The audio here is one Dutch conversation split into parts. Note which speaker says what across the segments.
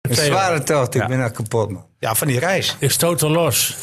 Speaker 1: een zware tocht. Ik ben al kapot, man.
Speaker 2: Ja, van die reis.
Speaker 3: Ik stoot er los.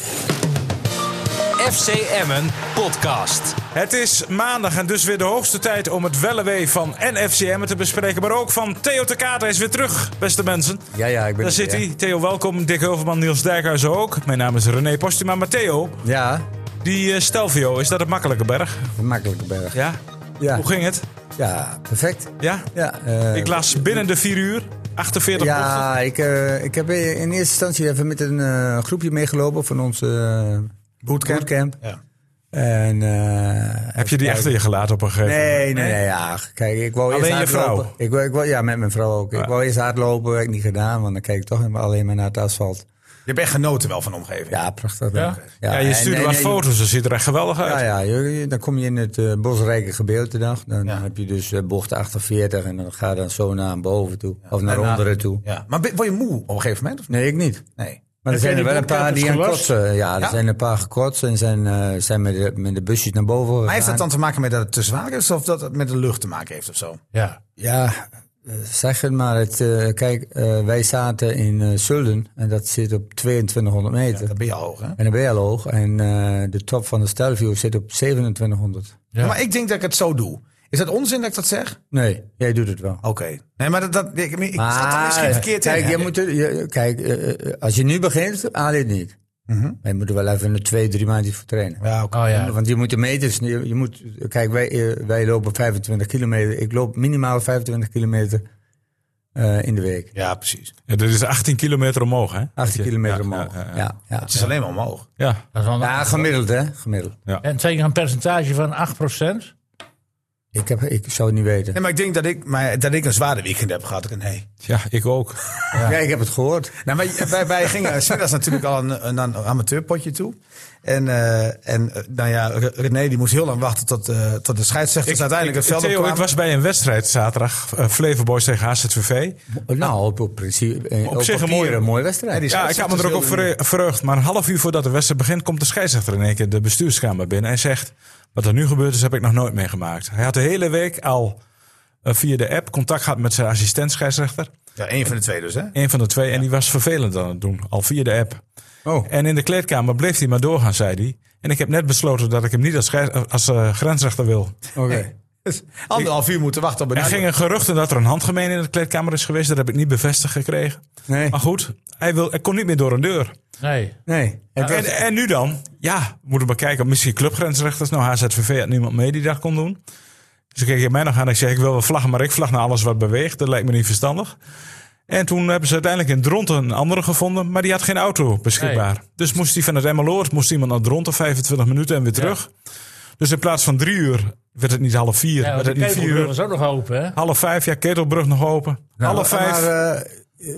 Speaker 4: FC Emmen podcast.
Speaker 5: Het is maandag en dus weer de hoogste tijd om het wellewee van NFCM te bespreken. Maar ook van Theo de Kater is weer terug, beste mensen.
Speaker 1: Ja, ja, ik ben
Speaker 5: Daar
Speaker 1: er
Speaker 5: zit
Speaker 1: weer.
Speaker 5: hij. Theo, welkom. Dick Hulverman, Niels Dijkhuizen ook. Mijn naam is René Postuma. Maar Theo,
Speaker 1: Ja,
Speaker 5: die eh, Stelvio, is dat een makkelijke berg?
Speaker 1: een makkelijke berg.
Speaker 5: Ja.
Speaker 1: Ja,
Speaker 5: Hoe ging het?
Speaker 1: ja perfect.
Speaker 5: Ja?
Speaker 1: Ja, eh,
Speaker 5: Ik las binnen de 4 uur 48 punten.
Speaker 1: ja ik, eh, ik heb in eerste instantie even met een eh, groepje meegelopen van onze eh, bootcamp.
Speaker 2: Ja.
Speaker 1: En, eh,
Speaker 5: Heb je die achter je gelaten op een gegeven moment?
Speaker 1: Nee, nee, nee. Ja, kijk, ik wou
Speaker 5: Alleen
Speaker 1: eerst
Speaker 5: je vrouw?
Speaker 1: hardlopen. Ik wou, ik wou, ja, met mijn vrouw ook.
Speaker 5: Ja.
Speaker 1: Ik wou eerst hardlopen, heb ik niet gedaan, want dan kijk ik toch alleen maar naar het asfalt.
Speaker 2: Je bent genoten wel van de omgeving.
Speaker 1: Ja, prachtig.
Speaker 3: Ja?
Speaker 1: dank je.
Speaker 5: Ja, je
Speaker 1: en-
Speaker 5: stuurde
Speaker 1: en-
Speaker 5: wat
Speaker 1: en-
Speaker 5: foto's, dat ziet er echt geweldig uit.
Speaker 1: Ja, ja je- je- dan kom je in het eh, bosrijke gedeelte dan. Dan
Speaker 2: Ja.
Speaker 1: heb je dus eh, bocht 48 en dan ga je dan zo naar boven toe. Of naar
Speaker 2: En, eh,
Speaker 1: onderen toe.
Speaker 2: Ja. Maar ben- word je moe op een gegeven moment? Of niet?
Speaker 1: Nee, ik niet.
Speaker 2: Nee.
Speaker 1: Maar er
Speaker 3: Heb jij
Speaker 1: zijn er
Speaker 3: die
Speaker 1: wel een paar die aan
Speaker 3: bootcampers
Speaker 1: kotsen. Ja, er
Speaker 2: Ja?
Speaker 1: zijn een paar gekotst en zijn, eh, zijn met, de, met de busjes naar boven gegaan.
Speaker 2: Maar heeft dat dan te maken met dat het te zwaar is of dat het met de lucht te maken heeft of zo?
Speaker 3: Ja.
Speaker 1: Ja, eh, zeg het maar. Het, eh, kijk, eh, wij zaten in eh Zulden en dat zit op 2200 meter.
Speaker 2: Dat ben je al hoog, hè?
Speaker 1: En dan ben je al hoog. En eh, de top van de Stelvio zit op 2700.
Speaker 3: Ja.
Speaker 2: Maar ik denk dat ik het zo doe. Is dat onzin dat ik dat zeg?
Speaker 1: Nee, jij doet het wel.
Speaker 2: Oké. Nee, maar dat, dat, ik, ik zat er misschien verkeerd in.
Speaker 1: kijk,
Speaker 2: hè?
Speaker 1: je moet, er- je, kijk eh, eh, als je nu begint, haal je het niet. Maar je moet er wel even een twee, drie maandjes voor trainen.
Speaker 2: Ja, oké.
Speaker 3: Oh ja.
Speaker 1: Want je moet de meters, je, je moet, kijk, wij, eh, wij lopen 25 kilometer. Ik loop minimaal 25 kilometer eh, in de week.
Speaker 2: ja, precies.
Speaker 5: Ja, dit is 18 kilometer omhoog, hè?
Speaker 1: 18 kilometer
Speaker 5: ja,
Speaker 1: omhoog.
Speaker 5: ja,
Speaker 1: Ja,
Speaker 5: ja.
Speaker 1: ja, ja,
Speaker 2: Het is alleen maar omhoog.
Speaker 5: Ja.
Speaker 3: Dat is wel een-
Speaker 1: gemiddeld hè, gemiddeld.
Speaker 3: En tegen een percentage van 8%.
Speaker 1: Ik, heb, ik zou het niet weten.
Speaker 2: Nee, maar ik denk dat ik, maar, dat ik een zware weekend heb gehad. Nee.
Speaker 5: ja, ik ook.
Speaker 1: Ja, ik heb het gehoord.
Speaker 2: Nou, wij, wij, wij gingen smiddags natuurlijk al een- een- naar een amateurpotje toe. En, eh, en eh, nou ja, Re- René die moest heel lang wachten tot, eh, tot de scheidsrechters uiteindelijk het veld
Speaker 5: Theo,
Speaker 2: opkwamen.
Speaker 5: ik was bij een wedstrijd zaterdag. eh, Flevoboys tegen HZVV.
Speaker 1: Nou, op, op principe, eh,
Speaker 5: Op
Speaker 1: op,
Speaker 5: zich een
Speaker 1: papier
Speaker 5: mooie-
Speaker 1: een mooie wedstrijd.
Speaker 2: die
Speaker 5: Ja, ik had me er ook op verre- verheugd. Maar een half uur voordat de wedstrijd begint, komt de scheidsrechter in één keer de bestuurskamer binnen en zegt: Wat er nu gebeurd is, heb ik nog nooit meegemaakt. Hij had de hele week al eh, via de app contact gehad met zijn assistent scheidsrechter.
Speaker 2: Ja, één van de twee dus, hè?
Speaker 5: Een van de twee. En die was vervelend aan het doen, al via de app.
Speaker 1: Oh.
Speaker 5: En in de kleedkamer bleef hij maar doorgaan, zei hij. En ik heb net besloten dat ik hem niet als, scheids- als eh, grensrechter wil.
Speaker 1: Oké.
Speaker 2: Dus anderhalf uur moeten wachten op een
Speaker 5: Er gingen geruchten dat er een handgemeen in de kleedkamer is geweest. Dat heb ik niet bevestigd gekregen.
Speaker 1: Nee.
Speaker 5: Maar goed, hij, wil, hij kon niet meer door een deur.
Speaker 3: Nee.
Speaker 1: Nee. Het was-
Speaker 5: En, en nu dan? Ja, moeten we maar kijken. Misschien clubgrensrechters. Nou, HZVV had niemand mee die dat kon doen. Dus ik keek je mij nog aan. Ik zeg, ik wil wel vlaggen, maar ik vlag naar alles wat beweegt. Dat lijkt me niet verstandig. En toen hebben ze uiteindelijk in Dronten een andere gevonden. Maar die had geen auto beschikbaar. Dus moest die van het Emmeloord, moest iemand naar Dronten, 25 minuten en weer terug. Dus in plaats van drie uur werd het niet half vier,
Speaker 3: Ja, want
Speaker 5: werd
Speaker 3: de
Speaker 5: het niet vier
Speaker 3: ketelbrug
Speaker 5: uur.
Speaker 3: was ook nog open, hè?
Speaker 5: Half vijf, ja, Ketelbrug nog open. half
Speaker 1: Maar,
Speaker 5: vijf.
Speaker 1: eh,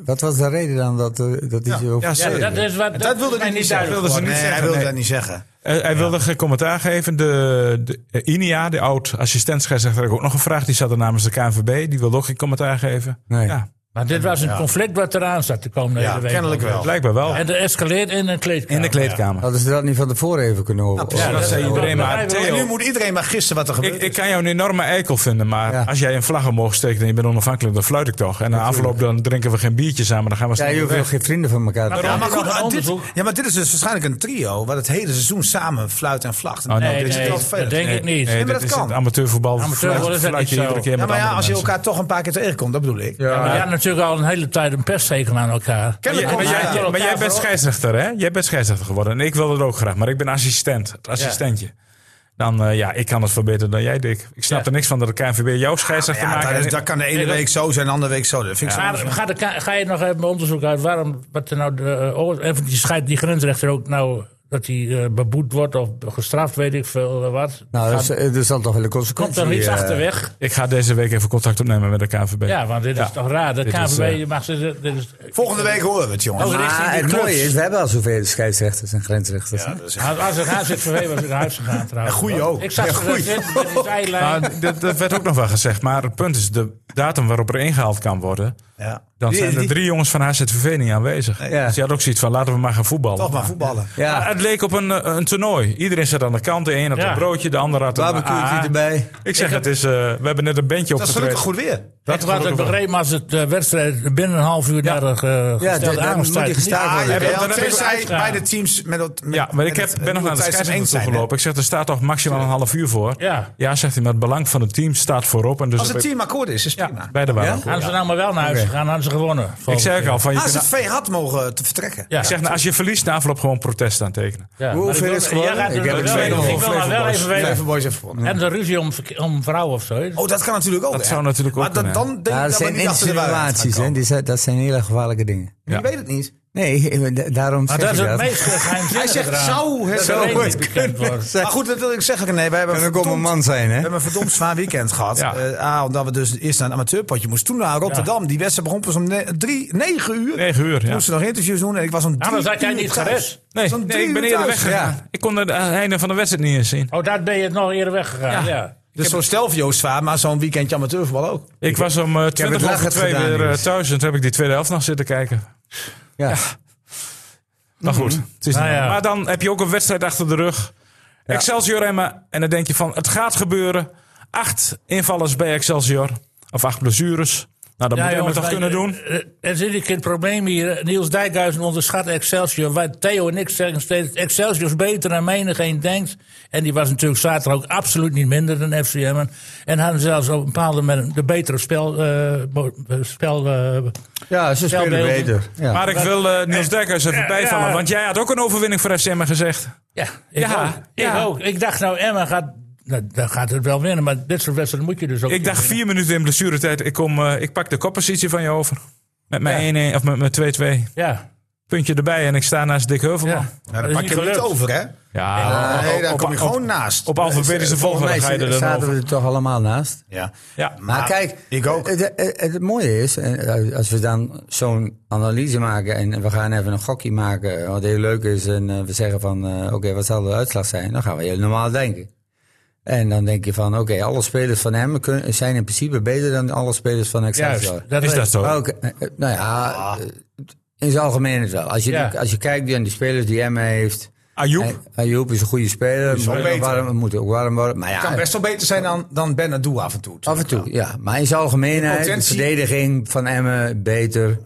Speaker 1: wat was de reden dan dat, eh, dat hij zo...
Speaker 5: ja,
Speaker 3: Ja,
Speaker 5: zeker.
Speaker 3: dat, is wat, dat,
Speaker 2: Dat wilde
Speaker 3: is mij
Speaker 2: hij niet zeggen.
Speaker 3: duidelijk
Speaker 5: Wilde ze
Speaker 2: Nee,
Speaker 5: niet
Speaker 2: hij
Speaker 5: zeggen,
Speaker 2: wilde
Speaker 5: nee.
Speaker 2: dat niet zeggen.
Speaker 5: Eh, hij wilde geen commentaar geven. De, de eh, Inia, de oud assistent scheidsrechter, heb ik ook nog gevraagd. Die zat er namens de KNVB. Die wilde ook geen commentaar geven.
Speaker 1: Nee.
Speaker 5: Ja,
Speaker 3: Maar dit was een conflict wat eraan zat te komen de
Speaker 2: Ja,
Speaker 3: hele week.
Speaker 2: kennelijk wel.
Speaker 5: blijkbaar wel.
Speaker 3: En dat escaleert in een kleedkamer.
Speaker 5: In de kleedkamer.
Speaker 1: Hadden ze dat niet van tevoren even kunnen over?
Speaker 2: precies. Ja,
Speaker 5: dat zei iedereen maar.
Speaker 3: Ja,
Speaker 2: En nu
Speaker 5: Theo,
Speaker 2: moet iedereen maar gissen wat er
Speaker 5: ik,
Speaker 2: gebeurt.
Speaker 5: ik kan jou een enorme eikel vinden. Maar
Speaker 1: Ja.
Speaker 5: als jij een vlag omhoog steekt en je bent onafhankelijk, dan fluit ik toch. En na afloop dan drinken we geen biertje samen. Dan gaan we
Speaker 1: ja, je
Speaker 5: snel
Speaker 1: hoeft nog
Speaker 5: weg.
Speaker 1: geen vrienden van elkaar te
Speaker 2: ja,
Speaker 1: hebben.
Speaker 2: maar
Speaker 3: Nog
Speaker 2: goed,
Speaker 3: een
Speaker 2: maar dit,
Speaker 3: onderzoek.
Speaker 2: ja, maar dit is dus waarschijnlijk een trio... wat het hele seizoen samen fluit en vlacht.
Speaker 5: Oh,
Speaker 3: Nee,
Speaker 5: dit is
Speaker 3: nee,
Speaker 2: wel
Speaker 3: dat
Speaker 2: vervelend.
Speaker 3: denk ik niet.
Speaker 5: Nee,
Speaker 2: maar
Speaker 5: dit
Speaker 2: dat
Speaker 5: is
Speaker 2: kan.
Speaker 5: het amateurvoetbal.
Speaker 3: Amateurvoetbal
Speaker 5: Fluit-
Speaker 3: is dat
Speaker 5: fluit je
Speaker 3: niet zo.
Speaker 5: iedere keer
Speaker 2: Ja,
Speaker 5: met
Speaker 2: maar ja,
Speaker 5: andere
Speaker 2: als je
Speaker 5: mensen.
Speaker 2: elkaar toch een paar keer tegenkomt, dat bedoel
Speaker 3: maar
Speaker 2: ik.
Speaker 3: die hadden natuurlijk al een hele tijd een pestzeken aan elkaar.
Speaker 2: Kennelijk
Speaker 3: En die
Speaker 5: Maar
Speaker 2: wel, ja.
Speaker 5: jij,
Speaker 3: zaten
Speaker 5: maar
Speaker 3: elkaar
Speaker 5: jij bent
Speaker 3: voor-
Speaker 5: scheidsrechter, hè? Jij bent scheidsrechter geworden. En ik wil het ook graag, maar ik ben assistent. Het assistentje. Dan, eh, ja, ik kan het verbeteren dan jij, Dick. Ik snap
Speaker 3: Ja.
Speaker 5: er niks van dat de KNVB jouw scheidsrechter
Speaker 2: Ja,
Speaker 5: maakt.
Speaker 2: dat, is- dat kan de ene
Speaker 3: Nee, dat-
Speaker 2: week zo zijn, de andere week zo. Dat vind ik zo
Speaker 3: Maar ga, de, ka- ga je nog even onderzoek uit waarom, wat er nou de, eh, oor- even die scheidt die grensrechter ook nou, dat hij eh, beboet wordt of gestraft, weet ik veel eh, wat.
Speaker 1: Nou, dat
Speaker 3: Gaat-
Speaker 1: is- eh, er zal toch wel een
Speaker 3: komt
Speaker 1: consequentie...
Speaker 3: er iets
Speaker 1: eh,
Speaker 3: achterweg?
Speaker 5: Ik ga deze week even contact opnemen met de KNVB.
Speaker 3: Ja, want dit is
Speaker 5: Ja.
Speaker 3: toch raar. De
Speaker 5: Dit is,
Speaker 3: KVB
Speaker 5: eh,
Speaker 3: je mag ze. Dit is,
Speaker 2: Volgende week horen we het, jongens.
Speaker 3: Oh, richting
Speaker 1: Maar
Speaker 3: die
Speaker 1: Ah, het
Speaker 3: clubs.
Speaker 1: mooie is, we hebben al zoveel scheidsrechters en grensrechters. hè?
Speaker 2: dat is echt-
Speaker 3: als als het HZVV was in huis gegaan trouwens.
Speaker 2: En goeie ook.
Speaker 3: Ik zag
Speaker 2: Ja,
Speaker 3: ze dat
Speaker 2: goeie.
Speaker 3: zitten, dit is
Speaker 5: Maar
Speaker 3: zijlijn.
Speaker 5: dat, dat werd ook nog wel gezegd. Maar het punt is, de datum waarop er ingehaald kan worden...
Speaker 2: ja.
Speaker 5: dan
Speaker 2: Die-
Speaker 5: zijn er
Speaker 2: die-
Speaker 5: drie jongens van HZVV niet aanwezig.
Speaker 1: Ja.
Speaker 5: Dus je had ook zoiets van, laten we maar gaan voetballen.
Speaker 2: Toch maar voetballen.
Speaker 1: Ja,
Speaker 5: Maar het leek op een, eh, een toernooi. Iedereen zat aan de kant. De een had
Speaker 3: Ja.
Speaker 5: een broodje, de ander had een
Speaker 1: barbecue
Speaker 5: AA.
Speaker 1: erbij.
Speaker 5: Ik zeg, het is, eh, we hebben net een bandje
Speaker 2: Dat is gelukkig
Speaker 5: opgetreden.
Speaker 2: goed weer.
Speaker 3: Dat
Speaker 5: gelukkig
Speaker 3: wat ik
Speaker 5: wel.
Speaker 3: begreep was het eh, wedstrijd binnen een half uur daar eh
Speaker 1: dat-
Speaker 3: gesteld
Speaker 1: dat moet die
Speaker 3: aangestijd.
Speaker 1: gestaakt
Speaker 2: Ja,
Speaker 1: worden.
Speaker 2: ja,
Speaker 5: hebben-
Speaker 2: wel,
Speaker 5: dat hebben we
Speaker 2: tenzij
Speaker 3: uitgegaan.
Speaker 2: beide teams met dat. met-
Speaker 5: Ja, maar ik
Speaker 2: met
Speaker 5: heb,
Speaker 2: het-
Speaker 5: ben nog
Speaker 2: nieuwe
Speaker 5: naar de
Speaker 2: tijdstip eens
Speaker 5: scheidsrechter
Speaker 2: zijn, hè.
Speaker 5: gelopen. Ik zeg, er staat toch maximaal een half uur voor?
Speaker 3: Ja.
Speaker 5: Ja, zegt hij, maar het belang van het team staat voorop. En dus
Speaker 2: Als
Speaker 5: dat
Speaker 2: het
Speaker 5: ik-
Speaker 2: team akkoord is, is
Speaker 5: Ja,
Speaker 2: prima.
Speaker 5: beide waren goed.
Speaker 3: Hadden ze nou maar wel naar huis gegaan, hadden ze gewonnen.
Speaker 5: Ik
Speaker 3: volgende
Speaker 5: zeg ook
Speaker 3: keer.
Speaker 5: al, van, je kunt-
Speaker 2: HZV had mogen eh, te vertrekken.
Speaker 3: Ja.
Speaker 5: ik zeg, nou, als je verliest, na afloop gewoon protest aantekenen.
Speaker 3: Ja, maar
Speaker 1: hoeveel
Speaker 3: ik wil-
Speaker 1: is het geworden?
Speaker 3: jij gaat
Speaker 1: Ik
Speaker 3: er
Speaker 1: heb
Speaker 3: wel
Speaker 1: het
Speaker 3: even-
Speaker 1: tweede
Speaker 3: Ik wil
Speaker 5: over
Speaker 3: nou wel even
Speaker 5: Flevoland.
Speaker 2: Ja.
Speaker 3: weten.
Speaker 2: Even boys even gewonnen.
Speaker 3: En de ruzie om, om vrouwen of zo. hè?
Speaker 2: Oh, dat kan natuurlijk ook.
Speaker 5: Dat
Speaker 2: hè?
Speaker 5: zou natuurlijk ook
Speaker 2: Maar dat,
Speaker 5: kunnen.
Speaker 2: dan denk
Speaker 1: Ja,
Speaker 2: ik
Speaker 1: dat
Speaker 2: dat we
Speaker 1: zijn
Speaker 2: niet achter de waarheid gaan
Speaker 1: insinuaties, hè.
Speaker 2: komen.
Speaker 1: Die zijn- Dat zijn hele gevaarlijke dingen.
Speaker 2: Je weet het niet.
Speaker 1: Nee, ik- da- daarom
Speaker 3: Maar
Speaker 1: zeg
Speaker 3: dat is
Speaker 1: ik
Speaker 3: het
Speaker 1: dat.
Speaker 3: meest geheimzinnige
Speaker 2: Hij zegt,
Speaker 3: eraan.
Speaker 2: zou het
Speaker 3: Dat
Speaker 2: zo
Speaker 3: weet niet
Speaker 2: ooit
Speaker 3: bekend worden.
Speaker 2: Maar goed, dat wil ik zeggen. Nee, we hebben
Speaker 1: Kan ook
Speaker 2: verdomd-
Speaker 1: om een man zijn, hè?
Speaker 2: We hebben een verdomd zwaar weekend gehad.
Speaker 5: Ja.
Speaker 2: Eh, A, omdat we dus eerst naar een amateurpotje moesten. Toen naar Rotterdam. Die wedstrijd begon pas om ne- drie, negen uur. Toen
Speaker 5: Negen uur, ja.
Speaker 2: moesten we nog interviews doen. En ik was om drie
Speaker 3: Anders had jij
Speaker 2: uur
Speaker 3: niet
Speaker 2: thuis.
Speaker 3: gered.
Speaker 5: Nee,
Speaker 2: Zo'n
Speaker 5: nee,
Speaker 2: drie
Speaker 5: ik ben
Speaker 2: uur
Speaker 5: eerder
Speaker 2: thuis,
Speaker 5: weggegaan. Ik kon het eh, einde van de wedstrijd niet eens zien.
Speaker 3: Oh, daar ben je nog eerder weggegaan.
Speaker 5: Ja.
Speaker 3: Ja.
Speaker 2: Dus zo'n stelvio is zwaar, maar zo'n weekendje amateurvoetbal ook.
Speaker 5: Ik was om eh, 20
Speaker 1: het
Speaker 5: over
Speaker 1: lachend
Speaker 5: twee
Speaker 1: gedaan,
Speaker 5: weer eh,
Speaker 1: Niels.
Speaker 5: thuis en toen heb ik die tweede helft nog zitten kijken.
Speaker 1: Ja.
Speaker 5: Maar goed, het is
Speaker 3: Nou
Speaker 5: niet-
Speaker 3: ja.
Speaker 5: Maar dan heb je ook een wedstrijd achter de rug. Excelsior Emma. En dan denk je van, het gaat gebeuren. Acht invallers bij Excelsior. Of acht blessures. Nou, dat
Speaker 3: Ja,
Speaker 5: moet Emma
Speaker 3: jongens,
Speaker 5: toch
Speaker 3: wij-
Speaker 5: kunnen doen.
Speaker 3: eh, eh, Er zit een keer een probleem hier. Niels Dijkhuizen onderschat Excelsior. Wij, Theo en ik zeggen steeds: Excelsior is beter dan menig een denkt. En die was natuurlijk zaterdag ook absoluut niet minder dan FCM. En, en hadden zelfs op een bepaalde manier de betere spel. eh, bo- eh, spel eh,
Speaker 1: Ja, ze spelen
Speaker 3: Zelfbeelden.
Speaker 1: beter. Ja.
Speaker 5: Maar ik wil eh, Niels Dijkhuis even
Speaker 3: Ja,
Speaker 5: bijvallen.
Speaker 3: ja.
Speaker 5: Want jij had ook een overwinning voor FC Emmen gezegd.
Speaker 3: ja, ik,
Speaker 5: Ja,
Speaker 3: ook,
Speaker 5: ja.
Speaker 3: ik ook. Ik dacht nou, Emma gaat. Nou, dan gaat het wel winnen, maar dit soort wedstrijden moet je dus ook.
Speaker 5: Ik dacht
Speaker 3: winnen.
Speaker 5: vier minuten in blessuretijd. Ik, kom, eh, ik pak de koppositie van je over. Met mijn 1-1 of met mijn 2-2.
Speaker 3: Ja.
Speaker 5: Puntje erbij en ik sta naast Dick Heuvelman.
Speaker 3: ja.
Speaker 2: Nou,
Speaker 3: Dat
Speaker 2: dan
Speaker 3: is
Speaker 2: pak
Speaker 3: niet
Speaker 2: je hem niet
Speaker 3: gelukt.
Speaker 2: over, hè?
Speaker 5: Ja,
Speaker 2: Nee, daar
Speaker 5: Ah, op-
Speaker 2: kom
Speaker 5: op-
Speaker 2: je gewoon naast.
Speaker 5: Op alfabetische
Speaker 1: Volgens
Speaker 5: volgorde
Speaker 1: mij
Speaker 5: ga je er dan
Speaker 1: zaten
Speaker 5: over.
Speaker 1: we er toch allemaal naast.
Speaker 2: Ja.
Speaker 5: Ja.
Speaker 1: Maar
Speaker 2: Ah,
Speaker 1: kijk, eh,
Speaker 2: ik ook.
Speaker 1: Het, het- het- het mooie is, en als we dan zo'n analyse maken en we gaan even een gokje maken, wat heel leuk is, en eh, we zeggen van eh, oké, wat zal de uitslag zijn? Dan gaan we heel normaal denken. En dan denk je van oké, alle spelers van hem kun- zijn in principe beter dan alle spelers van Excelsior.
Speaker 3: Juist. Dat
Speaker 5: Is dat zo?
Speaker 1: Oké, eh, nou ja,
Speaker 2: Ah.
Speaker 1: eh, in zijn algemeenheid wel. Als je,
Speaker 3: Ja.
Speaker 1: als je kijkt naar die spelers die Emma heeft.
Speaker 5: Ayoub.
Speaker 1: en- Ayoub is een goede speler.
Speaker 2: wel
Speaker 1: moet-
Speaker 2: beter.
Speaker 1: warm- Moet ook warm worden. Maar ja,
Speaker 2: Kan best wel beter zijn dan, dan Ben Adoe af en toe.
Speaker 1: Ah, Af en toe, ja. Maar in zijn algemeenheid,
Speaker 2: De
Speaker 1: de,
Speaker 2: potentie-
Speaker 1: verdediging van Emmen beter.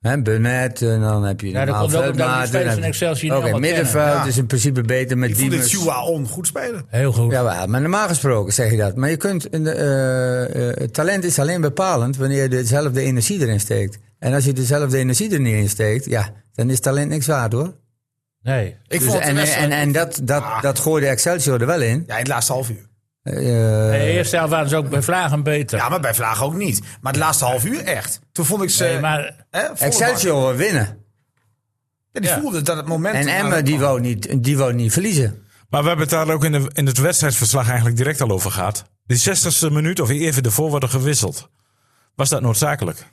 Speaker 1: Hè, Burnett, en dan heb je
Speaker 3: dat
Speaker 1: normaal
Speaker 3: komt ook omdat die
Speaker 1: Veldmaat,
Speaker 3: spelers
Speaker 1: dan heb
Speaker 3: van
Speaker 1: je-
Speaker 3: Excelsior
Speaker 1: Oké,
Speaker 3: niet allemaal
Speaker 1: middenveld
Speaker 2: Ja.
Speaker 1: is in principe beter met
Speaker 2: Ik vond dit
Speaker 1: Diemers.
Speaker 2: Chua on goed spelen.
Speaker 3: Heel goed.
Speaker 1: Ja, maar- maar normaal gesproken zeg je dat. Maar je kunt, een, eh, eh, talent is alleen bepalend wanneer je dezelfde energie erin steekt. En als je dezelfde energie er niet in steekt, ja, dan is talent niks waard hoor.
Speaker 3: Nee.
Speaker 2: Ik
Speaker 1: Dus-
Speaker 2: vond het
Speaker 1: en,
Speaker 2: best- Ah.
Speaker 1: en, en dat, dat, dat gooide Excelsior er wel in.
Speaker 2: Ja, in het laatste half uur.
Speaker 1: Eh,
Speaker 3: De eerste helft waren ze ook bij Vlagen beter.
Speaker 2: Ja, maar bij Vlaag ook niet. Maar het laatste half uur echt. Toen vond ik ze...
Speaker 3: Nee, maar
Speaker 2: hè, volle
Speaker 1: Excelsior wil winnen.
Speaker 2: bak. Ja, die
Speaker 3: Ja.
Speaker 2: voelde dat het moment... Ah,
Speaker 1: En Emmen, die wou niet, die wou niet verliezen.
Speaker 5: Maar we hebben het daar ook in, de, in het wedstrijdverslag eigenlijk direct al over gehad. Die 60ste minuut of even ervoor worden gewisseld. Was dat noodzakelijk?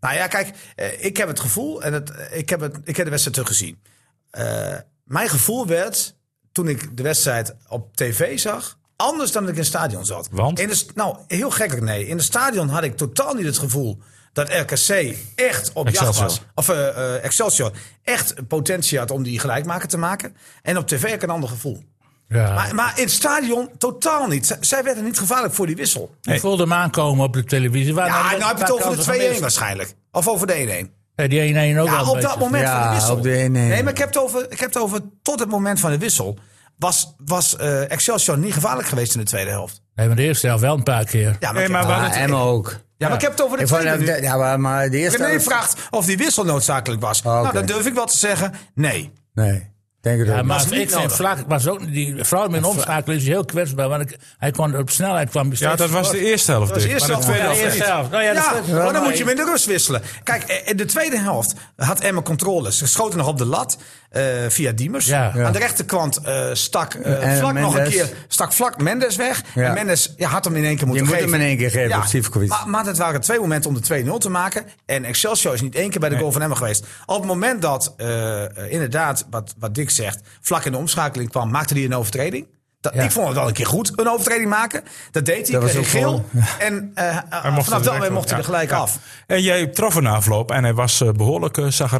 Speaker 2: Nou ja, kijk, eh, ik heb het gevoel, en het, eh, ik, heb het, ik heb de wedstrijd teruggezien. Eh, mijn gevoel werd, toen ik de wedstrijd op tv zag, anders dan dat ik in het stadion zat.
Speaker 5: Want?
Speaker 2: In de, st- nou, heel gekkelijk, nee. In het stadion had ik totaal niet het gevoel dat RKC echt op jacht
Speaker 5: Excelsior.
Speaker 2: was. Of eh, eh, Excelsior echt potentie had om die gelijkmaker te maken. En op tv heb ik een ander gevoel.
Speaker 3: ja.
Speaker 2: Maar, maar in het stadion totaal niet. Z- zij werden niet gevaarlijk voor die wissel.
Speaker 3: ik voelde hem aankomen op de televisie. Waar
Speaker 2: Ja, nou heb je het over
Speaker 3: kansen
Speaker 2: de 2-1
Speaker 3: gemist.
Speaker 2: waarschijnlijk. Of over de 1-1.
Speaker 3: Nee, die 1-1 ook
Speaker 2: Ja,
Speaker 3: wel
Speaker 2: op dat moment
Speaker 1: Ja,
Speaker 2: van de wissel.
Speaker 1: op de ene-
Speaker 2: nee, maar ik heb het over, ik heb het over tot het moment van de wissel. Was, was eh, Excelsior niet gevaarlijk geweest in de tweede helft?
Speaker 3: Nee, maar de eerste helft wel een paar keer.
Speaker 2: Ja,
Speaker 5: Nee,
Speaker 2: ik heb
Speaker 5: maar
Speaker 2: het-
Speaker 5: waar
Speaker 1: Ah, Emmen ook.
Speaker 2: ja, maar ik heb het over de
Speaker 1: Ik vond
Speaker 2: tweede
Speaker 1: dat-
Speaker 2: nu.
Speaker 1: ja, maar, maar de eerste...
Speaker 2: René
Speaker 1: helft-
Speaker 2: vraagt of die wissel noodzakelijk was.
Speaker 1: oké.
Speaker 2: Nou, dan durf ik wel te zeggen, nee.
Speaker 1: Nee, denk het
Speaker 3: Ja,
Speaker 1: ook
Speaker 3: maar
Speaker 2: was niet
Speaker 3: ik vind
Speaker 2: nodig.
Speaker 3: vlak, was ook, die vrouw met een omschakeling is heel kwetsbaar. Want ik, hij kon op snelheid kwam
Speaker 5: Ja, dat was de eerste helft. dus.
Speaker 2: was de
Speaker 5: Dick.
Speaker 2: eerste
Speaker 5: Maar de
Speaker 2: helft.
Speaker 5: tweede
Speaker 3: Ja,
Speaker 5: helft
Speaker 3: de eerste
Speaker 5: niet.
Speaker 3: helft. Nou ja, dat
Speaker 2: Ja,
Speaker 3: is-
Speaker 2: maar dan
Speaker 3: maar-
Speaker 2: moet je hem in de rust wisselen. Kijk, eh, in de tweede helft had Emma controles. Ze schoten nog op de lat eh, via Diemers.
Speaker 3: Ja.
Speaker 2: Aan de rechterkant eh, stak eh,
Speaker 1: En
Speaker 2: vlak nog een
Speaker 1: Mendes.
Speaker 2: keer stak vlak Mendes weg.
Speaker 1: Ja.
Speaker 2: En Mendes ja, had hem in één keer moeten
Speaker 1: moet
Speaker 2: geven.
Speaker 1: hem in één keer geven op Sivkovic.
Speaker 2: Maar, maar dat waren twee momenten om de 2-0 te maken. En Excelsior is niet één keer bij de goal van Emma geweest. Op het moment dat, eh, eh, inderdaad, wat, wat Dick zegt, vlak in de omschakeling kwam, maakte hij een overtreding. Dat,
Speaker 3: Ja.
Speaker 2: Ik vond het wel een keer goed, een overtreding maken. Dat deed hij,
Speaker 1: Dat was
Speaker 2: kreeg
Speaker 1: ook
Speaker 2: geel.
Speaker 1: gewoon-
Speaker 2: En eh, eh,
Speaker 5: Hij mocht er
Speaker 2: vanaf dat
Speaker 5: direct
Speaker 2: moment
Speaker 5: op,
Speaker 2: mocht hij
Speaker 5: ja.
Speaker 2: er gelijk
Speaker 5: Ja.
Speaker 2: af.
Speaker 5: En jij trof een afloop en hij was eh, behoorlijk uh,
Speaker 3: Ja, dat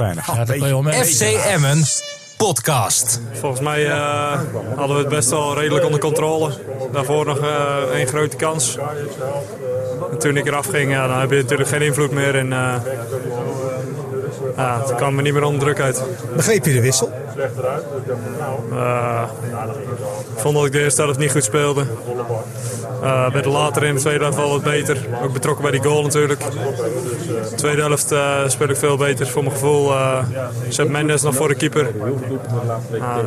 Speaker 3: kon je wel mee.
Speaker 4: FC Emmen podcast.
Speaker 6: Volgens mij eh, hadden we het best wel redelijk onder controle. Daarvoor nog eh één grote kans. En toen ik eraf ging, ja, dan heb je natuurlijk geen invloed meer. En, eh, ja, het kwam er niet meer onder druk uit.
Speaker 7: Begreep je de wissel?
Speaker 6: Eh, ik vond dat ik de eerste helft niet goed speelde. Eh werd later in de tweede helft wel wat beter. Ook betrokken bij die goal natuurlijk. De tweede helft eh, speel ik veel beter voor mijn gevoel. eh zet Mendes nog voor de keeper. Ah,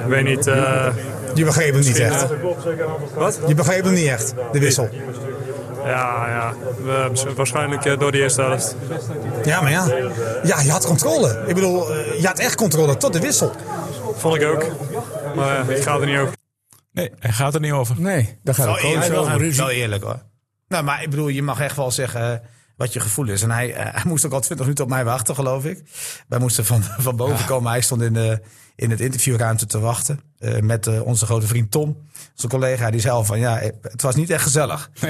Speaker 6: ik weet niet. eh,
Speaker 7: Je begreep hem niet echt.
Speaker 6: wat?
Speaker 7: Je begreep hem niet echt, de wissel.
Speaker 6: Ja, ja. We- waarschijnlijk eh, door die eerste helft.
Speaker 7: Ja, maar ja. Ja, je had controle. Ik bedoel, eh, je had echt controle tot de wissel.
Speaker 6: Vond ik ook. Maar ja, het gaat er niet over.
Speaker 5: Nee, hij gaat er niet over.
Speaker 1: Nee, daar gaat
Speaker 2: Wel
Speaker 1: het
Speaker 2: eerlijk,
Speaker 1: coach
Speaker 2: wel,
Speaker 1: over.
Speaker 2: wel eerlijk hoor. Nou, maar ik bedoel, je mag echt wel zeggen eh, wat je gevoel is. En hij, eh, hij moest ook al 20 minuten op mij wachten, geloof ik. Wij moesten van, van boven komen. Hij stond in, de, in het interviewruimte te wachten. eh, met eh, onze grote vriend Tom, zijn collega. Die zei al van, ja, eh, het was niet echt gezellig. Eh,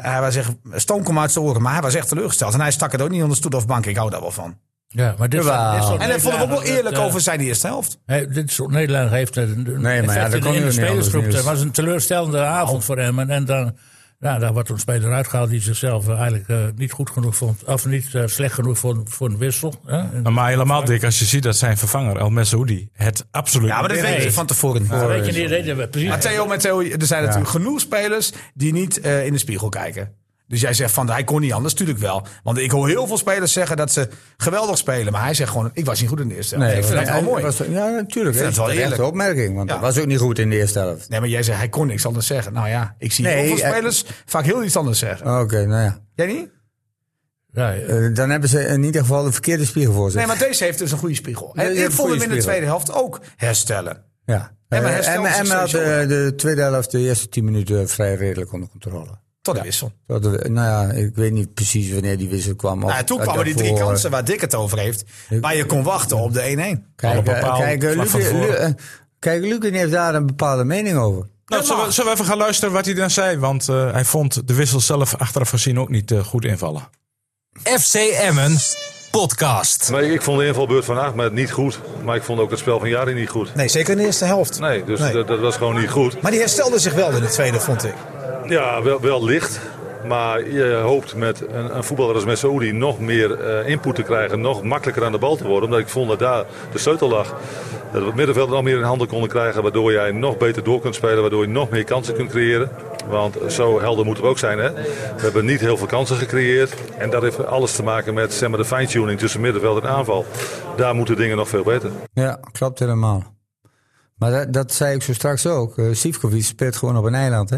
Speaker 2: hij was echt, stoom kwam uit zijn oren. Maar hij was echt teleurgesteld. En hij stak het ook niet onder stoel of bank. Ik hou daar wel van.
Speaker 3: Ja, maar dit
Speaker 1: Jawel.
Speaker 3: dit soort
Speaker 2: En hij vond ik ook wel
Speaker 3: nederlagen,
Speaker 2: eerlijk
Speaker 3: dat, eh,
Speaker 2: over zijn eerste helft.
Speaker 3: Hey, dit soort Nederland heeft een een
Speaker 1: maar ja,
Speaker 3: effect
Speaker 1: dat
Speaker 3: in de-
Speaker 1: kon
Speaker 3: in
Speaker 1: je niet
Speaker 3: de
Speaker 1: anders
Speaker 3: spelersgroep.
Speaker 1: nieuws.
Speaker 3: Het was een teleurstellende avond voor hem. En, en dan, ja, daar wordt een speler uitgehaald die zichzelf eh, eigenlijk eh, niet goed genoeg vond. Of niet eh, slecht genoeg voor, voor een wissel. Hè? En-
Speaker 5: Maar helemaal dik als je ziet dat zijn vervanger El Messoudi het absoluut
Speaker 2: Ja, maar dat
Speaker 5: niet
Speaker 2: weet je van tevoren.
Speaker 3: Weet je niet, reden we precies.
Speaker 2: Maar Theo, met Theo, er zijn natuurlijk genoeg spelers die niet eh, in de spiegel kijken. Dus jij zegt van, hij kon niet anders, natuurlijk wel. Want ik hoor heel veel spelers zeggen dat ze geweldig spelen. Maar hij zegt gewoon, ik was niet goed in de eerste helft.
Speaker 1: Nee,
Speaker 2: ik vind dat wel
Speaker 1: hij-
Speaker 2: mooi.
Speaker 1: was- ja, natuurlijk. Dat
Speaker 2: vind het
Speaker 1: is
Speaker 2: wel
Speaker 1: wel een
Speaker 2: eerlijk.
Speaker 1: opmerking, want
Speaker 2: Ja.
Speaker 1: dat was ook niet goed in de eerste helft.
Speaker 2: Nee, maar jij zegt, hij kon niks anders zeggen. Nou ja, ik zie
Speaker 1: Nee,
Speaker 2: heel veel
Speaker 1: eh,
Speaker 2: spelers vaak heel iets anders zeggen.
Speaker 1: Oké, nou ja.
Speaker 2: Jij niet?
Speaker 3: Ja, ja.
Speaker 1: Eh, dan hebben ze in ieder geval de verkeerde spiegel voor zich.
Speaker 2: Nee, maar deze heeft dus een goede spiegel.
Speaker 1: Nee,
Speaker 2: En
Speaker 1: je
Speaker 2: ik
Speaker 1: hebt
Speaker 2: vond hem
Speaker 1: een
Speaker 2: in de
Speaker 1: goede
Speaker 2: tweede helft ook herstellen.
Speaker 1: ja.
Speaker 2: Emma
Speaker 1: Eh,
Speaker 2: herstelde
Speaker 1: Emma,
Speaker 2: zich
Speaker 1: Emma had
Speaker 2: sowieso.
Speaker 1: eh, de tweede helft, de eerste tien minuten vrij redelijk onder controle.
Speaker 2: Tot de wissel.
Speaker 1: Dat we- nou ja, ik weet niet precies wanneer die wissel kwam. of
Speaker 2: Nou, en toen
Speaker 1: het
Speaker 2: kwamen die drie
Speaker 1: daarvoor.
Speaker 2: kansen waar Dick het over heeft. Waar je kon wachten op de 1-1.
Speaker 1: Kijk, eh,
Speaker 5: bepaald
Speaker 1: kijk, eh,
Speaker 5: vlak
Speaker 1: Luc-
Speaker 5: van tevoren.
Speaker 1: Lu- eh, kijk, Luc heeft daar een bepaalde mening over.
Speaker 5: Nou, zullen, we, zullen we even gaan luisteren wat hij dan zei? Want eh, hij vond de wissel zelf achteraf gezien ook niet eh, goed invallen.
Speaker 4: FC Emmen podcast.
Speaker 8: Maar ik, ik vond de invalbeurt van Ahmed niet goed. Maar ik vond ook het spel van Jari niet goed.
Speaker 7: Nee, zeker in de eerste helft.
Speaker 8: Nee, dus
Speaker 7: Nee.
Speaker 8: Dat, dat was gewoon niet goed.
Speaker 7: Maar die herstelde zich wel in de tweede, vond ik.
Speaker 8: Ja, wel, wel licht. Maar je hoopt met een, een voetballer als Messoudi nog meer eh, input te krijgen. Nog makkelijker aan de bal te worden. Omdat ik vond dat daar de sleutel lag. Dat we het middenveld nog meer in handen konden krijgen. Waardoor jij nog beter door kunt spelen. Waardoor je nog meer kansen kunt creëren. Want zo helder moeten we ook zijn. Hè? We hebben niet heel veel kansen gecreëerd. En dat heeft alles te maken met zeg maar, de fine-tuning tussen middenveld en aanval. Daar moeten dingen nog veel beter.
Speaker 1: Ja, klopt helemaal. Maar dat, dat zei ik zo straks ook. Eh, Sivkovic speelt gewoon op een eiland, hè?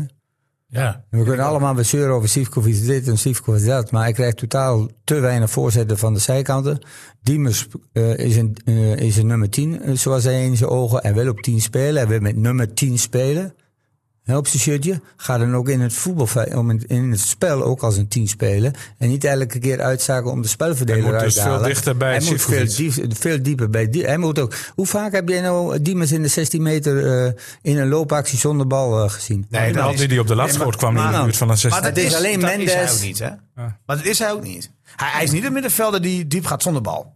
Speaker 3: ja.
Speaker 1: En We kunnen allemaal weer zeuren over Sivkovic dit en Sivkovic dat. Maar hij krijgt totaal te weinig voorzetten van de zijkanten. Diemers eh, is, een, eh, is een nummer 10, eh, zoals hij in zijn ogen. Hij wil op 10 spelen. Hij wil met nummer 10 spelen. Hè, op zijn shirtje. Ga dan ook in het voetbal, om in, in het spel ook als een 10 spelen. En niet elke keer uitzaken om de
Speaker 5: Hij
Speaker 1: spelverdeler
Speaker 5: moet
Speaker 1: uit
Speaker 5: dus
Speaker 1: te halen.
Speaker 5: veel dichter bij
Speaker 1: Hij moet veel,
Speaker 5: Sivkovic.
Speaker 1: diep- veel dieper bij. die- Hij moet ook. Hoe vaak heb jij nou Diemers in de 16 meter eh, in een loopactie zonder bal eh, gezien?
Speaker 2: Nee,
Speaker 5: En
Speaker 2: dat
Speaker 5: had
Speaker 2: is-
Speaker 5: hij die op de laatste
Speaker 2: Nee,
Speaker 5: schoot kwam, die in de
Speaker 1: maar-
Speaker 5: buurt van een 16.
Speaker 1: dat is alleen
Speaker 2: dat
Speaker 1: Mendes.
Speaker 2: Is hij ook niet, hè? Maar dat is hij ook niet. Hij, hij is niet een middenvelder die diep gaat zonder bal.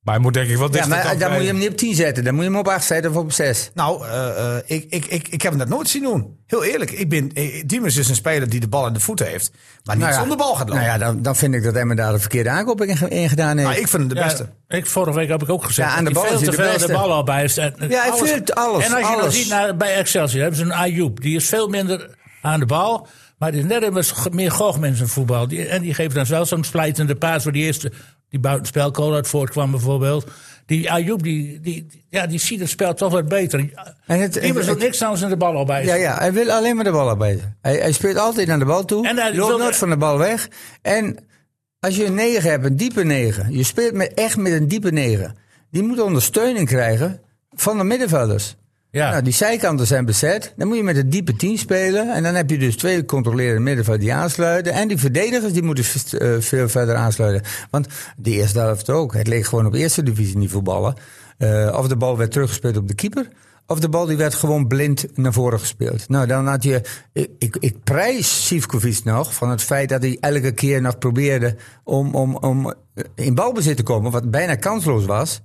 Speaker 5: Maar hij moet denk ik wel
Speaker 1: Ja,
Speaker 5: dichter
Speaker 1: maar eh,
Speaker 5: dan
Speaker 1: dan
Speaker 5: bij-
Speaker 1: moet je hem niet op 10 zetten. Dan moet je hem op 8 zetten of op 6.
Speaker 2: Nou, eh, eh, ik, ik, ik, ik heb hem dat nooit zien doen. Heel eerlijk, ik ben, eh, Diemers is een speler die de bal in de voeten heeft. Maar niet zonder bal gaat
Speaker 1: Nou
Speaker 2: lopen.
Speaker 1: ja, dan, dan vind ik dat Emma daar de verkeerde aankoop in, ge- in gedaan heeft.
Speaker 2: Maar ik vind hem de
Speaker 3: Ja,
Speaker 2: beste.
Speaker 3: ik, vorige week heb ik ook gezegd.
Speaker 1: Ja, aan
Speaker 3: dat
Speaker 1: de
Speaker 3: hij
Speaker 1: bal is
Speaker 3: veel
Speaker 1: hij
Speaker 3: te
Speaker 1: de
Speaker 3: veel
Speaker 1: beste.
Speaker 3: de bal al bij heeft. En, en
Speaker 1: Ja, hij veelt alles,
Speaker 3: En als je dan
Speaker 1: alles.
Speaker 3: ziet naar, bij Excelsior, hebben ze een Ayoub. Die is veel minder aan de bal. Maar die is net even ge- meer goochm in zijn voetbal. Die, en die geeft dan zelf zo'n splijtende paas. Voor die eerste, die buitenspelkool uit voortkwam bijvoorbeeld. Die Ayoub, die, die, ja, die ziet het spel toch wat beter.
Speaker 1: En het-
Speaker 3: Die was
Speaker 1: het-
Speaker 3: ook niks anders dan de bal al bij.
Speaker 1: ja, ja, hij wil alleen maar de bal arbeiden. Hij, hij speelt altijd naar de bal toe.
Speaker 3: En hij
Speaker 1: hij loopt
Speaker 3: wil-
Speaker 1: nooit van de bal weg. En als je een 9 hebt, een diepe 9. Je speelt met, echt met een diepe 9. Die moet ondersteuning krijgen van de middenvelders.
Speaker 3: Ja.
Speaker 1: Nou, die zijkanten zijn bezet. Dan moet je met een diepe 10 spelen. En dan heb je dus twee controlerende middenvelders die aansluiten. En die verdedigers die moeten v- eh, veel verder aansluiten. Want de eerste helft ook. Het leek gewoon op eerste divisie niet voetballen. Eh, of de bal werd teruggespeeld op de keeper. Of de bal die werd gewoon blind naar voren gespeeld. Nou, dan had je. Ik, ik, ik prijs Sivkovic nog van het feit dat hij elke keer nog probeerde om, om, om eh, in balbezit te komen. Wat bijna kansloos was.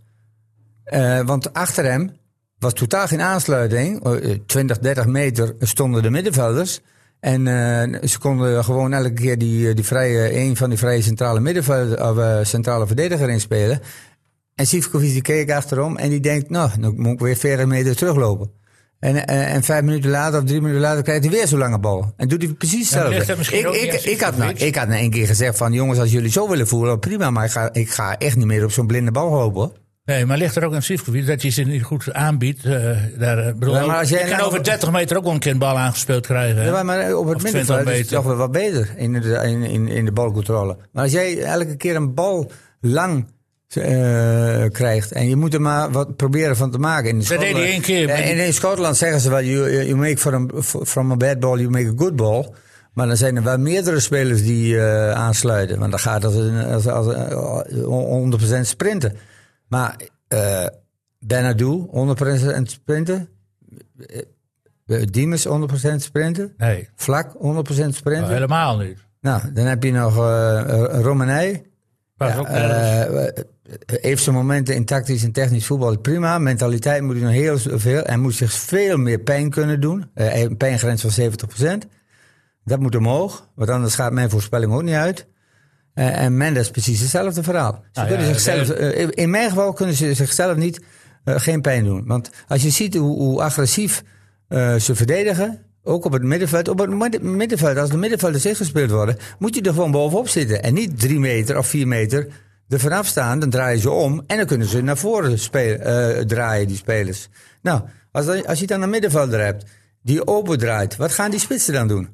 Speaker 1: Eh, want achter hem was totaal geen aansluiting. Eh, eh, 20, 30 meter stonden de middenvelders. En eh, ze konden gewoon elke keer die, die vrije, een van die vrije centrale, middenveld, of, eh, centrale verdediger inspelen. En Sivkovic die keek achterom en die denkt, nou, dan moet ik weer 40 meter teruglopen. En, eh, en vijf minuten later of drie minuten later krijgt hij weer zo'n lange bal. En doet hij precies
Speaker 3: maar
Speaker 1: hetzelfde.
Speaker 3: ligt dat misschien
Speaker 1: ik,
Speaker 3: ook niet
Speaker 1: ik,
Speaker 3: aan
Speaker 1: ik, had nou,
Speaker 3: Sivkovic?
Speaker 1: ik had na één keer gezegd van, jongens, als jullie zo willen voelen, prima. Maar ik ga, ik ga echt niet meer op zo'n blinde bal lopen. hoor.
Speaker 3: Nee, maar ligt er ook aan Sivkovic dat je ze niet goed aanbiedt. eh, daar, eh, bedoel,
Speaker 1: Ja, maar als jij
Speaker 3: je kan
Speaker 1: nou-
Speaker 3: over 30 meter ook wel een keer een bal aangespeeld krijgen. hè?
Speaker 1: Ja, maar- maar op het
Speaker 3: Of 20
Speaker 1: middenveld is het
Speaker 3: meter.
Speaker 1: toch wel wat beter in de, in, in, in de balcontrole. Maar als jij elke keer een bal lang eh, krijgt en je moet er maar wat proberen van te maken. In
Speaker 3: deed hij
Speaker 1: Schotland-
Speaker 3: één keer, maar
Speaker 1: Ja, en in Schotland zeggen ze wel, you, eh, you make from, from a bad ball, you make a good ball. Maar dan zijn er wel meerdere spelers die eh, aansluiten. Want dan gaat als, een- als, als, eh, 100% sprinten. Maar eh Benadou, 100% sprinten. Eh, Diemers, 100% sprinten.
Speaker 3: Nee,
Speaker 1: Vlak, 100%
Speaker 3: nou,
Speaker 1: sprinten.
Speaker 3: helemaal niet.
Speaker 1: Nou, dan heb je nog eh Romanij.
Speaker 3: Maar ook nergens.
Speaker 2: eh,
Speaker 1: Eh, heeft zijn momenten in tactisch en technisch voetbal prima. Mentaliteit moet hij nog heel veel. Hij moet zich veel meer pijn kunnen doen. Eh, hij heeft een pijngrens van 70%. Dat moet omhoog, want anders gaat mijn voorspelling ook niet uit. Eh, en Mendes precies hetzelfde verhaal. Ze
Speaker 3: Nou
Speaker 1: kunnen
Speaker 3: ja,
Speaker 1: zichzelf, eh, in mijn geval kunnen ze zichzelf niet, eh, geen pijn doen. Want als je ziet hoe, hoe agressief eh, ze verdedigen, ook op het middenveld. Op het midden- middenveld, als de middenvelders ingespeeld worden, moet je er gewoon bovenop zitten. En niet drie meter of vier meter er vanaf staan, dan draaien ze om en dan kunnen ze naar voren spelen, eh, draaien, die spelers. Nou, als, dan- als je dan een middenvelder hebt die open draait, wat gaan die spitsen dan doen?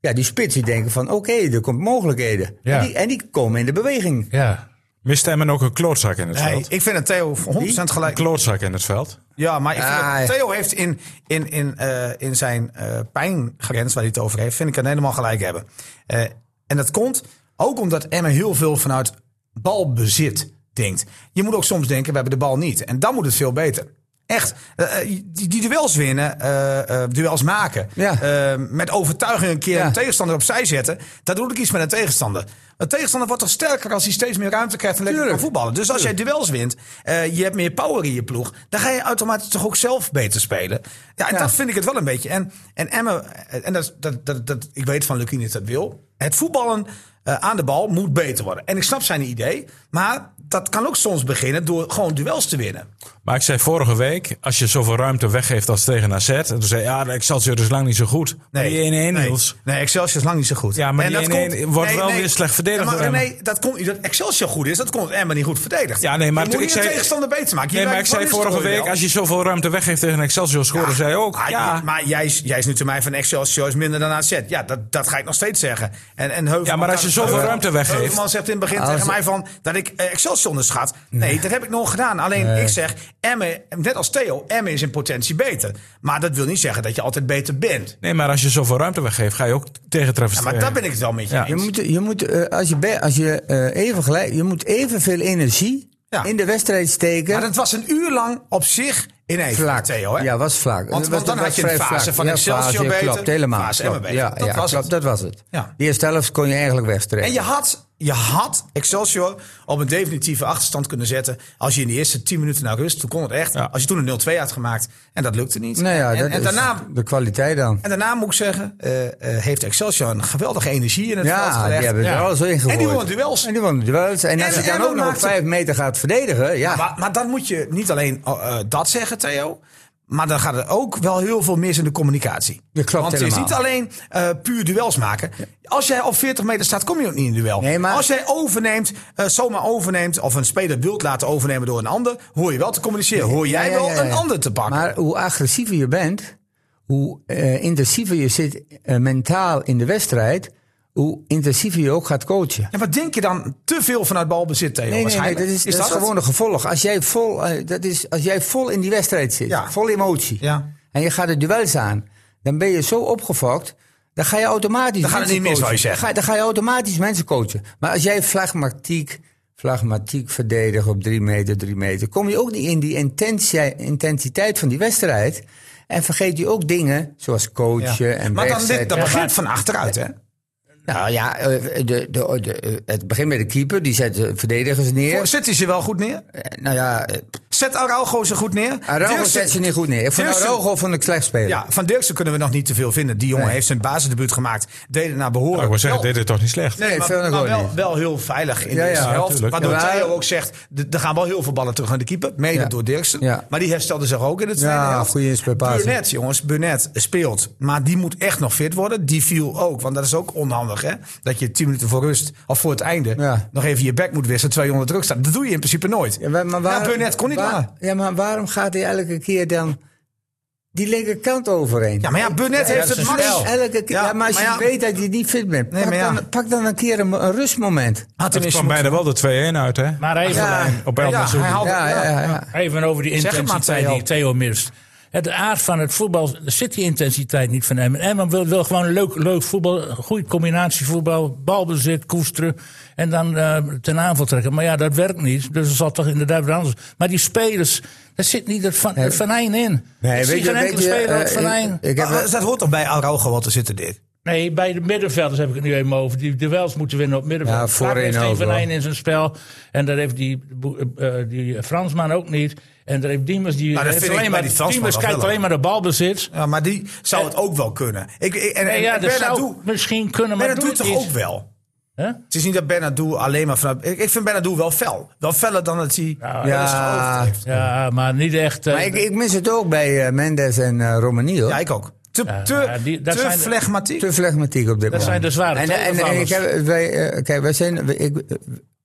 Speaker 1: Ja, die spits die denken van oké, er komt mogelijkheden.
Speaker 3: Ja.
Speaker 1: En, die, en die komen in de beweging.
Speaker 3: Ja.
Speaker 5: Mist hem en ook een klootzak in het
Speaker 2: Nee,
Speaker 5: veld.
Speaker 2: ik vind dat Theo 100%
Speaker 5: Een
Speaker 2: gelijk.
Speaker 5: klootzak in het veld.
Speaker 2: Ja, maar ik vind
Speaker 1: Ah,
Speaker 2: dat
Speaker 1: ja.
Speaker 2: Theo heeft in, in, in, eh, in zijn eh, pijngrens waar hij het over heeft, vind ik het helemaal gelijk hebben. Eh, en dat komt ook omdat Emmen heel veel vanuit balbezit denkt. Je moet ook soms denken, we hebben de bal niet. En dan moet het veel beter. Echt, eh, eh, die, die duels winnen, eh, eh, duels maken.
Speaker 1: Ja.
Speaker 2: Eh, met overtuiging een keer
Speaker 1: Ja.
Speaker 2: een tegenstander opzij zetten. Daar doe ik iets met een tegenstander. Een tegenstander wordt toch sterker als hij steeds meer ruimte krijgt en lekker kan voetballen. Dus als jij duels wint, eh, je hebt meer power in je ploeg. Dan ga je automatisch toch ook zelf beter spelen. Ja, en dat vind ik het wel een beetje. En, en Emmen, eh, en dat, dat, dat, dat, ik weet van Lukien dat dat wil. Het voetballen eh, aan de bal moet beter worden. En ik snap zijn idee. Maar dat kan ook soms beginnen door gewoon duels te winnen.
Speaker 5: Maar ik zei vorige week, als je zoveel ruimte weggeeft als tegen AZ... en toen zei je, ja, de Excelsior is dus lang niet zo goed. Maar die 1-1, Niels.
Speaker 2: Nee, Excelsior is lang niet zo goed.
Speaker 5: Ja, maar
Speaker 2: En
Speaker 5: die
Speaker 2: dat
Speaker 5: 1-1
Speaker 2: komt-
Speaker 5: wordt wel weer slecht verdedigd
Speaker 2: Ja, maar
Speaker 5: door Emmen.
Speaker 2: nee, dat komt niet dat Excelsior goed is, dat komt Emmen niet goed verdedigd.
Speaker 5: Ja, nee, maar
Speaker 2: je
Speaker 5: toen-
Speaker 2: moet
Speaker 5: ik
Speaker 2: je
Speaker 5: zei-
Speaker 2: tegenstander beter maken. Je
Speaker 5: Nee, maar ik
Speaker 2: werkt
Speaker 5: zei
Speaker 2: wel eens
Speaker 5: vorige
Speaker 2: door je
Speaker 5: week,
Speaker 2: wel.
Speaker 5: als je zoveel ruimte weggeeft tegen Excelsior scoren, zei je ook.
Speaker 2: Ah,
Speaker 5: ja.
Speaker 2: Maar jij, is- jij is nu te mij van Excelsior is minder dan AZ. Ja, dat, dat ga ik nog steeds zeggen. En, en Heuvelman
Speaker 5: Ja, maar als je
Speaker 2: kan-
Speaker 5: zoveel ruimte weggeeft-
Speaker 2: Heuvelman zegt in het begin
Speaker 1: Als-
Speaker 2: tegen mij van, dat ik eh, Excelsior onderschat. Nee, dat heb ik nog gedaan. Alleen ik zeg, Emmen, net als Theo, Emmen is in potentie beter. Maar dat wil niet zeggen dat je altijd beter bent.
Speaker 5: Nee, maar als je zoveel ruimte weggeeft, ga je ook tegentreffers
Speaker 2: Ja, maar
Speaker 5: krijgen.
Speaker 2: daar ben ik het wel met je
Speaker 5: Ja.
Speaker 2: eens.
Speaker 1: Je moet, je moet, eh, als je, be- als je eh, even gelijk, je moet evenveel energie
Speaker 2: Ja.
Speaker 1: in de wedstrijd steken.
Speaker 2: Maar dat was een uur lang op zich in één
Speaker 1: vlak.
Speaker 2: Theo, hè?
Speaker 1: Ja, was vlak.
Speaker 2: Want-
Speaker 1: Dat
Speaker 2: want
Speaker 1: was,
Speaker 2: dan
Speaker 1: dat
Speaker 2: had je
Speaker 1: was
Speaker 2: een
Speaker 1: vrij
Speaker 2: fase
Speaker 1: vlak.
Speaker 2: van
Speaker 1: Ja,
Speaker 2: Excelsior
Speaker 1: fase,
Speaker 2: beter,
Speaker 1: Klopt, helemaal.
Speaker 2: fase Emmen
Speaker 1: klopt.
Speaker 2: beter.
Speaker 1: Ja,
Speaker 2: Dat
Speaker 1: ja,
Speaker 2: was
Speaker 1: klopt,
Speaker 2: het.
Speaker 1: dat was het.
Speaker 2: Ja.
Speaker 1: De eerste helft kon je eigenlijk
Speaker 2: En
Speaker 1: wegstrekken.
Speaker 2: je had, je had Excelsior op een definitieve achterstand kunnen zetten. Als je in de eerste 10 minuten naar rust, toen kon het echt.
Speaker 5: Ja.
Speaker 2: Als je toen een 0-2 had gemaakt en dat lukte niet.
Speaker 1: nou ja,
Speaker 2: en,
Speaker 1: dat
Speaker 2: en
Speaker 1: is
Speaker 2: daarna.
Speaker 1: de kwaliteit dan.
Speaker 2: En daarna moet ik zeggen, eh, eh, heeft Excelsior een geweldige energie in het veld
Speaker 1: Ja,
Speaker 2: gelegd.
Speaker 1: die hebben er alles in
Speaker 2: En
Speaker 1: gegooid.
Speaker 2: die wonnen duels.
Speaker 1: En die wonnen duels. En als
Speaker 2: En-
Speaker 1: je dan
Speaker 2: en dan
Speaker 1: ook nog op
Speaker 2: maakte-
Speaker 1: vijf meter gaat verdedigen, ja.
Speaker 2: Maar, maar dan moet je niet alleen eh, eh, dat zeggen, Theo. Maar dan gaat er ook wel heel veel mis in de communicatie.
Speaker 1: Dat klopt
Speaker 2: Want het is
Speaker 1: helemaal.
Speaker 2: niet alleen eh, puur duels maken. Als jij op 40 meter staat, kom je ook niet in een duel.
Speaker 1: Nee, maar-
Speaker 2: Als jij overneemt, eh, zomaar overneemt... of een speler wilt laten overnemen door een ander... hoor je wel te communiceren. Hoor jij
Speaker 1: Ja, ja,
Speaker 2: wel
Speaker 1: ja, ja.
Speaker 2: een ander te pakken.
Speaker 1: Maar hoe agressiever je bent, hoe eh, intensiever je zit eh, mentaal in de wedstrijd, hoe intensiever je ook gaat coachen.
Speaker 2: Ja, maar denk je dan te veel vanuit balbezit, Theo?
Speaker 1: Nee, nee, nee,
Speaker 2: waarschijnlijk?
Speaker 1: dat is, dat is
Speaker 2: het?
Speaker 1: gewoon een gevolg. Als jij vol, eh, dat is, als jij vol in die wedstrijd zit,
Speaker 2: Ja.
Speaker 1: vol emotie,
Speaker 2: Ja.
Speaker 1: en je gaat de duels aan, dan ben je zo opgefokt, dan ga je automatisch
Speaker 2: Dan gaat het
Speaker 1: mensen
Speaker 2: niet mis, wou je
Speaker 1: coachen. Dan ga,
Speaker 2: zeggen.
Speaker 1: dan ga je automatisch mensen coachen. Maar als jij flagmatiek, flagmatiek verdedigt op drie meter, drie meter, kom je ook niet in die intentie, intensiteit van die wedstrijd. En vergeet je ook dingen zoals coachen
Speaker 2: Ja.
Speaker 1: en
Speaker 2: Maar dan, dit,
Speaker 1: wegzetten.
Speaker 2: dat begint van achteruit, hè?
Speaker 1: Nou ja, eh, de, de, de- eh, het begint met de keeper, die zet de verdedigers neer.
Speaker 2: Zet hij ze wel goed neer?
Speaker 1: Eh, Nou ja, eh,
Speaker 2: Zet Araujo ze goed neer.
Speaker 1: Araujo
Speaker 2: Dirksen-
Speaker 1: zet ze niet goed neer. Ik vond
Speaker 2: Dirksen-
Speaker 1: Araujo vond ik slecht spelen.
Speaker 2: Ja, van Dirksen kunnen we nog niet te veel vinden. Die jongen
Speaker 1: Nee.
Speaker 2: heeft zijn basisdebuut gemaakt. Deed het naar behoren.
Speaker 5: ik wil zeggen,
Speaker 2: Wel-
Speaker 5: dit is toch niet slecht.
Speaker 2: Nee,
Speaker 1: Nee, veel
Speaker 2: maar,
Speaker 1: nog
Speaker 2: maar
Speaker 1: gewoon
Speaker 2: wel,
Speaker 1: niet.
Speaker 2: wel heel veilig
Speaker 1: Ja,
Speaker 2: in de
Speaker 1: ja,
Speaker 2: eerste helft.
Speaker 5: tuurlijk.
Speaker 2: Waardoor
Speaker 1: Ja.
Speaker 2: Theo ook zegt, d- er gaan wel heel veel ballen terug aan de keeper. Mede
Speaker 1: Ja.
Speaker 2: door Dirksen.
Speaker 1: Ja.
Speaker 2: Maar die herstelde zich ook in de tweede
Speaker 1: Ja,
Speaker 2: helft.
Speaker 1: goede inspelpaas.
Speaker 2: Burnett, jongens, Burnett speelt. Maar die moet echt nog fit worden. Die viel ook, want dat is ook onhandig. Hè? Dat je tien minuten voor rust, of voor het einde...
Speaker 1: Ja.
Speaker 2: nog even je bek moet wisselen terwijl je onder druk staat. Dat doe je in principe nooit.
Speaker 1: Ja, maar maar waarom,
Speaker 2: Ja, Burnett kon niet
Speaker 1: waar-
Speaker 2: waar.
Speaker 1: Ja, maar waarom gaat hij elke keer dan die linkerkant overheen?
Speaker 2: Ja, maar ja, Burnett heeft
Speaker 1: dat
Speaker 2: het
Speaker 1: is
Speaker 2: max.
Speaker 1: wel. Elke keer, ja, maar als je
Speaker 2: ja,
Speaker 1: weet dat je niet fit bent,
Speaker 2: Nee,
Speaker 1: pak,
Speaker 2: maar ja.
Speaker 1: dan, pak dan een keer een, een rustmoment.
Speaker 2: had
Speaker 5: Het
Speaker 2: hem
Speaker 5: kwam bijna wel de 2-1 uit, hè?
Speaker 3: Maar even,
Speaker 1: Ja.
Speaker 5: Op El
Speaker 2: Oh, Ja,
Speaker 5: Mansour.
Speaker 2: hij haalt-
Speaker 1: Ja, ja, ja.
Speaker 3: even over die
Speaker 2: Zeg het maar,
Speaker 3: intensiteit
Speaker 2: Theo.
Speaker 3: die Theo mist. Het aard van het voetbal zit die intensiteit niet van Emmen. Emmen wil, wil gewoon leuk, leuk voetbal, goede combinatie voetbal, balbezit, koesteren en dan eh, ten aanval trekken. Maar ja, dat werkt niet, dus het zal toch inderdaad weer anders. Maar die spelers, daar zit niet het van, het venijn in. ik zie geen enkele speler het
Speaker 1: eh,
Speaker 3: venijn.
Speaker 1: ik, ik heb,
Speaker 2: Maar Ah, dat hoort toch bij Araujo wat er zitten, Dick?
Speaker 3: Nee, bij de middenvelders heb ik het nu even over. Die duels moeten winnen op middenveld.
Speaker 1: Ja, voorin
Speaker 3: Vaak heeft
Speaker 1: ook,
Speaker 3: Steven
Speaker 1: hoor.
Speaker 3: Heijn in zijn spel. En daar heeft die, bo- eh, eh, die Fransman ook niet. En daar heeft Diemers... Die,
Speaker 2: Nou, dat
Speaker 3: heeft
Speaker 2: vind ik
Speaker 3: alleen
Speaker 2: bij
Speaker 3: maar-
Speaker 2: die Fransman
Speaker 3: Diemers
Speaker 2: nog
Speaker 3: kijkt
Speaker 2: wel.
Speaker 3: alleen maar de balbezit.
Speaker 2: Ja, maar die zou het ook wel kunnen. Ik, ik, en
Speaker 3: Nee,
Speaker 2: en
Speaker 3: ja, dat zou
Speaker 2: Bernardo,
Speaker 3: misschien kunnen, maar
Speaker 2: Bernardo
Speaker 3: doet
Speaker 2: toch
Speaker 3: het
Speaker 2: ook
Speaker 3: niet.
Speaker 2: wel?
Speaker 3: Hè?
Speaker 2: Het is niet dat Bernardo alleen maar vanuit... Ik, ik vind Bernardo wel fel. Wel feller dan dat hij wel eens geoefend heeft.
Speaker 3: Ja, maar niet echt... eh,
Speaker 1: maar ik, ik mis het ook bij eh, Mendes en eh Romani. hoor.
Speaker 2: Ja, ik ook. Te, te,
Speaker 3: ja, die- dat
Speaker 2: te
Speaker 3: zijn de-
Speaker 2: flegmatiek.
Speaker 1: Te flegmatiek op dit moment.
Speaker 3: zijn de zware
Speaker 1: En, en, en ik
Speaker 3: tegenvallers.
Speaker 1: heb, wij, eh, kijk, wij zijn, wij- ik, eh,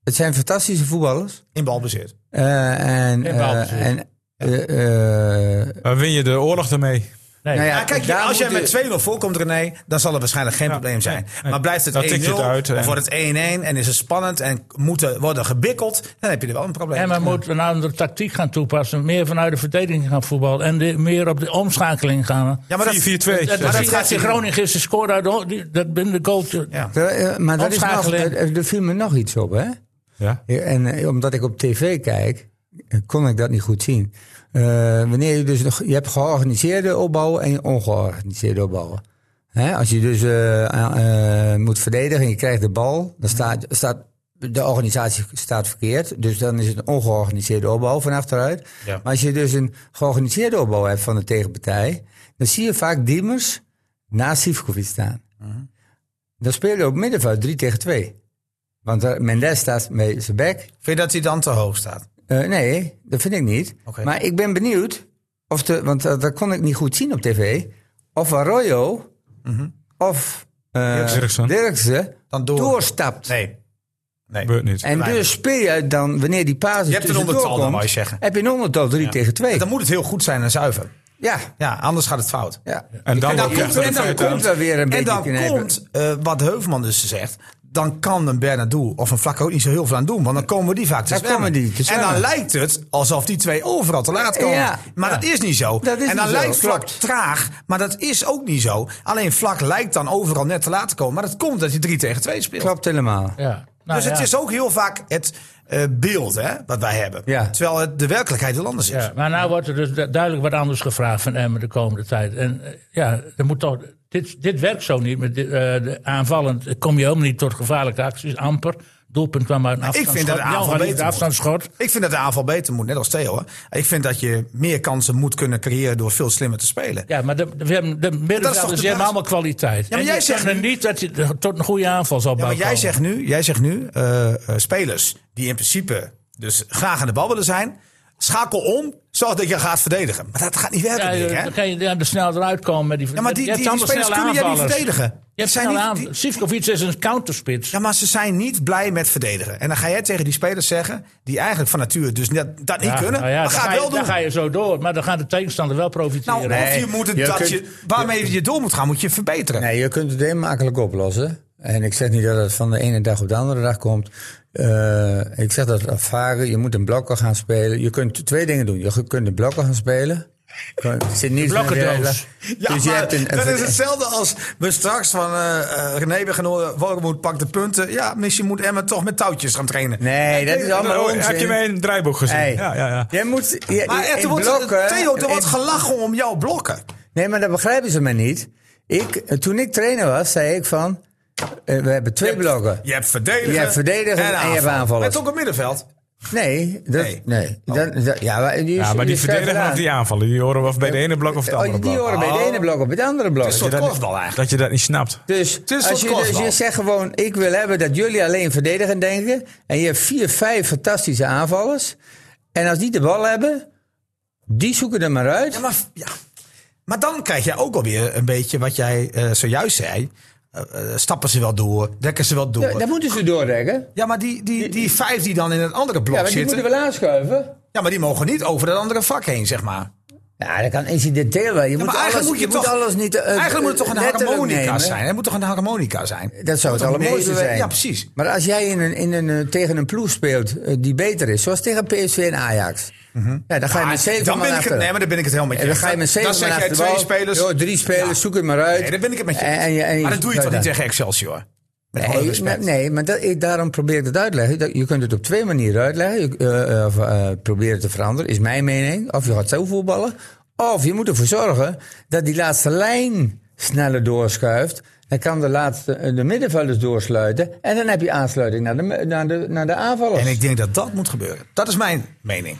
Speaker 1: het zijn fantastische voetballers.
Speaker 2: in balbezit.
Speaker 1: Eh, en,
Speaker 3: En balbezit.
Speaker 1: eh, en eh, eh,
Speaker 5: Maar win je de oorlog ermee?
Speaker 3: nee.
Speaker 1: nou
Speaker 2: Ja, kijk,
Speaker 1: daar
Speaker 2: als jij
Speaker 1: moet
Speaker 2: met 2-0 voorkomt, René, dan zal er waarschijnlijk geen probleem zijn. Maar blijft het
Speaker 5: Dan tik je
Speaker 2: 1-0,
Speaker 5: het uit
Speaker 2: of
Speaker 5: en-
Speaker 2: wordt het 1-1 en is het spannend en moeten worden gebikkeld, dan heb je er wel een probleem.
Speaker 3: En men moet een andere tactiek gaan toepassen. Meer vanuit de verdediging gaan voetballen. En de- meer op de omschakeling gaan.
Speaker 2: ja, maar dat,
Speaker 5: 4-4-2.
Speaker 3: dat,
Speaker 2: dat
Speaker 3: dat, dat,
Speaker 2: gaat
Speaker 3: die
Speaker 2: hij
Speaker 3: Groningen gisteren scoorde uit de, ho- die- dat binnen de goal.
Speaker 2: Ja.
Speaker 1: Eh, eh, Maar dat is nog,
Speaker 3: Omschakeling.
Speaker 1: eh, er viel me nog iets op, hè?
Speaker 5: Ja.
Speaker 1: Ja, En eh, omdat ik op tv kijk, eh, kon ik dat niet goed zien. Eh, wanneer je dus nog, je hebt georganiseerde opbouwen en ongeorganiseerde opbouwen. Hè, als je dus eh, eh, eh, moet verdedigen en je krijgt de bal, dan staat, staat de organisatie staat verkeerd. Dus dan is het een ongeorganiseerde opbouw van achteruit. Maar als je dus een georganiseerde opbouw hebt van de tegenpartij, dan zie je vaak Diemers naast Sivkovic staan. Dan speel je op middenveld 3 tegen 2. Want eh, Mendes staat met zijn bek
Speaker 2: Vind je dat hij dan te hoog staat?
Speaker 1: eh, nee, dat vind ik niet.
Speaker 2: Oké.
Speaker 1: Maar ik ben benieuwd, of de, want eh, dat, dat kon ik niet goed zien op tv, of Arroyo of eh
Speaker 5: Dirksen.
Speaker 1: Dirksen
Speaker 2: Mhm. Dan door.
Speaker 1: doorstapt.
Speaker 2: Nee. Nee.
Speaker 5: Gebeurt niet.
Speaker 1: En
Speaker 2: Weinig.
Speaker 1: dus speel je dan, wanneer die paas
Speaker 2: Je hebt een ondertal dan, wou je zeggen.
Speaker 1: Heb je een ondertal 3 tegen 2.
Speaker 2: Dan moet het heel goed zijn en zuiver.
Speaker 1: Ja,
Speaker 2: Ja, anders gaat het fout.
Speaker 1: ja.
Speaker 5: En dan,
Speaker 2: En dan
Speaker 5: wordt
Speaker 2: komt,
Speaker 5: het
Speaker 2: en dan
Speaker 5: feit aan.
Speaker 1: komt er weer een
Speaker 2: En
Speaker 1: beetje
Speaker 2: dan
Speaker 1: knijpen.
Speaker 2: komt, eh, wat Heuvelman dus zegt, dan kan een Bernardo of een Vlak ook niet zo heel veel aan doen. Want dan komen die vaak te
Speaker 1: Dan
Speaker 2: zwemmen.
Speaker 1: komen die te
Speaker 2: en dan
Speaker 1: zwemmen.
Speaker 2: lijkt het alsof die twee overal te laat komen.
Speaker 1: Ja.
Speaker 2: Maar dat is niet zo.
Speaker 1: Dat is
Speaker 2: en dan
Speaker 1: niet zo,
Speaker 2: lijkt Vlak
Speaker 1: klopt.
Speaker 2: traag, maar dat is ook niet zo. Alleen Vlak lijkt dan overal net te laat te komen. Maar dat komt dat hij 3 tegen 2 speelt.
Speaker 1: klopt helemaal.
Speaker 3: Ja. Nou,
Speaker 2: Dus het
Speaker 3: ja.
Speaker 2: is ook heel vaak het eh, beeld hè, wat wij hebben.
Speaker 1: Ja.
Speaker 2: Terwijl het de werkelijkheid heel anders is.
Speaker 3: Ja, maar nou wordt er dus du- duidelijk wat anders gevraagd van Emmen de komende tijd. En eh, ja, er moet toch, dit, dit werkt zo niet. Met dit, eh, de aanvallend kom je helemaal niet tot gevaarlijke acties, amper. Doelpunt kwam uit een
Speaker 2: ik vind
Speaker 3: afstandsschot.
Speaker 2: dat de aanval
Speaker 3: Jan van Lies,
Speaker 2: beter
Speaker 3: de
Speaker 2: moet.
Speaker 3: afstandsschot.
Speaker 2: Ik vind dat de aanval beter moet, net als Theo. Hè. Ik vind dat je meer kansen moet kunnen creëren door veel slimmer te spelen.
Speaker 3: Ja, maar de, de, we hebben- de
Speaker 2: toch de
Speaker 3: middenvelders die hebben
Speaker 2: basis?
Speaker 3: allemaal kwaliteit.
Speaker 2: maar
Speaker 3: En
Speaker 2: jij
Speaker 3: die
Speaker 2: zegt
Speaker 3: kunnen
Speaker 2: nu-
Speaker 3: niet dat je de- tot een goede aanval zal
Speaker 2: Ja, maar
Speaker 3: bouwen.
Speaker 2: jij zegt nu, jij zegt nu eh, eh, spelers die in principe dus graag aan de bal willen zijn, schakel om, zorg dat je gaat verdedigen. Maar dat gaat niet werken,
Speaker 3: Ja,
Speaker 2: Dick,
Speaker 3: je-
Speaker 2: hè?
Speaker 3: dan kan je er snel eruit komen. Met die,
Speaker 2: Ja, maar die,
Speaker 3: je hebt
Speaker 2: die, die
Speaker 3: allemaal
Speaker 2: spelers
Speaker 3: snelle
Speaker 2: kunnen jij niet
Speaker 3: aanvallers.
Speaker 2: verdedigen.
Speaker 3: Je hebt
Speaker 2: Zijn
Speaker 3: snelle
Speaker 2: niet-
Speaker 3: aanvallers.
Speaker 2: die-
Speaker 3: Sivkovic is een counterspits.
Speaker 2: Ja, maar ze zijn niet blij met verdedigen. En dan ga jij tegen die spelers zeggen, die eigenlijk van nature dus net, dat niet
Speaker 3: Ja,
Speaker 2: kunnen,
Speaker 3: nou ja, dan
Speaker 2: maar ga
Speaker 3: ga
Speaker 2: het
Speaker 3: je-
Speaker 2: wel
Speaker 3: Dan ga
Speaker 2: doen.
Speaker 3: je zo door. Maar dan gaan de tegenstander wel profiteren.
Speaker 2: Nou, of je moet het,
Speaker 1: je
Speaker 2: dat
Speaker 1: kunt-
Speaker 2: je, waarmee je door moet gaan, moet je verbeteren.
Speaker 1: Nee, je kunt het heel makkelijk oplossen. En ik zeg niet dat het van de ene dag op de andere dag komt. Eh, ik zeg dat ervaren. Je moet een blokker gaan spelen. Je kunt twee dingen doen. Je kunt een blokker gaan spelen. Er zit niets meer in de
Speaker 3: blokkendoos.
Speaker 1: regel.
Speaker 2: Ja,
Speaker 1: Dus je
Speaker 2: maar
Speaker 1: hebt een-
Speaker 2: dat
Speaker 1: een-
Speaker 2: is hetzelfde als we straks van eh eh, René Begenoor, Wormoed pakt de punten. Ja, misschien moet Emma toch met touwtjes gaan trainen.
Speaker 1: Nee, dat is allemaal onzin.
Speaker 5: Oh, Heb je mijn draaiboek gezien?
Speaker 1: Hey,
Speaker 5: Ja, ja, ja.
Speaker 1: Je moet, je,
Speaker 2: Maar echt,
Speaker 1: in
Speaker 2: er wordt, eh,
Speaker 1: blokken-
Speaker 2: Theo, er wordt
Speaker 1: in-
Speaker 2: gelachen om jouw blokken.
Speaker 1: Nee, maar dat begrijpen ze mij niet. Ik, eh, toen ik trainer was, zei ik van... eh, we hebben twee blokken.
Speaker 2: Je hebt verdedigen.
Speaker 1: Je hebt verdedigen en je hebt aanvallers.
Speaker 2: Het ook een middenveld.
Speaker 1: Nee, dat, nee. Dat- dat- ja, maar die,
Speaker 5: Ja, maar die
Speaker 1: die schuiven
Speaker 5: verdedigen of
Speaker 1: aan.
Speaker 5: die aanvallen, die horen of bij de ene blok of het
Speaker 1: Oh,
Speaker 5: andere
Speaker 1: die
Speaker 5: blok. Ah,
Speaker 1: horen bij de ene blok of bij de andere blok.
Speaker 5: Dat je dat niet- Dat je dat niet snapt.
Speaker 1: Dus als je, dus je zegt gewoon, ik wil hebben dat jullie alleen verdedigen denken. En je hebt vier, vijf fantastische aanvallers. En als die de bal hebben, die zoeken er maar uit.
Speaker 2: Ja, maar, ja. maar dan krijg je ook alweer een beetje wat jij eh, zojuist zei. Eh, eh, stappen ze wel door, dekken ze wel door.
Speaker 1: Ja, dat moeten ze doordekken.
Speaker 2: Ja, maar die, die, die vijf die dan in het andere
Speaker 1: Ja,
Speaker 2: blok
Speaker 1: maar die
Speaker 2: zitten...
Speaker 1: moeten wel aanschuiven.
Speaker 2: Ja, maar die mogen niet over dat andere vak heen, zeg maar.
Speaker 1: Ja, dat kan incidenteel wel. Je moet,
Speaker 2: maar eigenlijk
Speaker 1: alles,
Speaker 2: moet je
Speaker 1: je moet
Speaker 2: toch-
Speaker 1: alles niet eh,
Speaker 2: Eigenlijk moet het toch een
Speaker 1: letterlijk
Speaker 2: harmonica
Speaker 1: nemen.
Speaker 2: zijn. Het moet toch een harmonica zijn.
Speaker 1: Dat zou het
Speaker 2: Toch
Speaker 1: allermooiste
Speaker 2: meebewe-
Speaker 1: zijn.
Speaker 2: Ja, precies.
Speaker 1: Maar als jij in een, in een, eh, tegen een ploeg speelt eh, die beter is, zoals tegen PSV en Ajax. Mhm. ja, dan ga je met zeven
Speaker 2: dan
Speaker 1: man
Speaker 2: ben ik het,
Speaker 1: achter.
Speaker 2: nee, maar dan ben ik het helemaal met
Speaker 1: En
Speaker 2: je.
Speaker 1: dan ga je met
Speaker 2: Dan-
Speaker 1: zeven
Speaker 2: dan
Speaker 1: man
Speaker 2: zeg jij
Speaker 1: achter de
Speaker 2: twee
Speaker 1: bal.
Speaker 2: spelers.
Speaker 1: Joh, drie spelers,
Speaker 2: Ja.
Speaker 1: zoek het maar uit.
Speaker 2: Nee, daar ben ik het met je.
Speaker 1: En- en je- en
Speaker 2: maar dat doe je toch niet
Speaker 1: dat-
Speaker 2: tegen Excelsior? Met alle
Speaker 1: Nee, maar,
Speaker 2: respect.
Speaker 1: nee, maar dat, ik, daarom probeer ik het uit te leggen. Dat- Je kunt het op twee manieren uitleggen. Je, eh, eh, of, eh, proberen te veranderen, is mijn mening. Of je gaat zo voetballen. Of je moet ervoor zorgen dat die laatste lijn sneller doorschuift. Dan kan de, laatste, eh, de middenvelders doorsluiten. En dan heb je aansluiting naar de, me- naar de, naar de aanvallers.
Speaker 2: En ik denk dat dat moet gebeuren. Dat is mijn mening.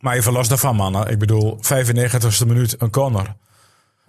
Speaker 5: Maar even los daarvan, mannen. Ik bedoel, 95ste minuut, een corner.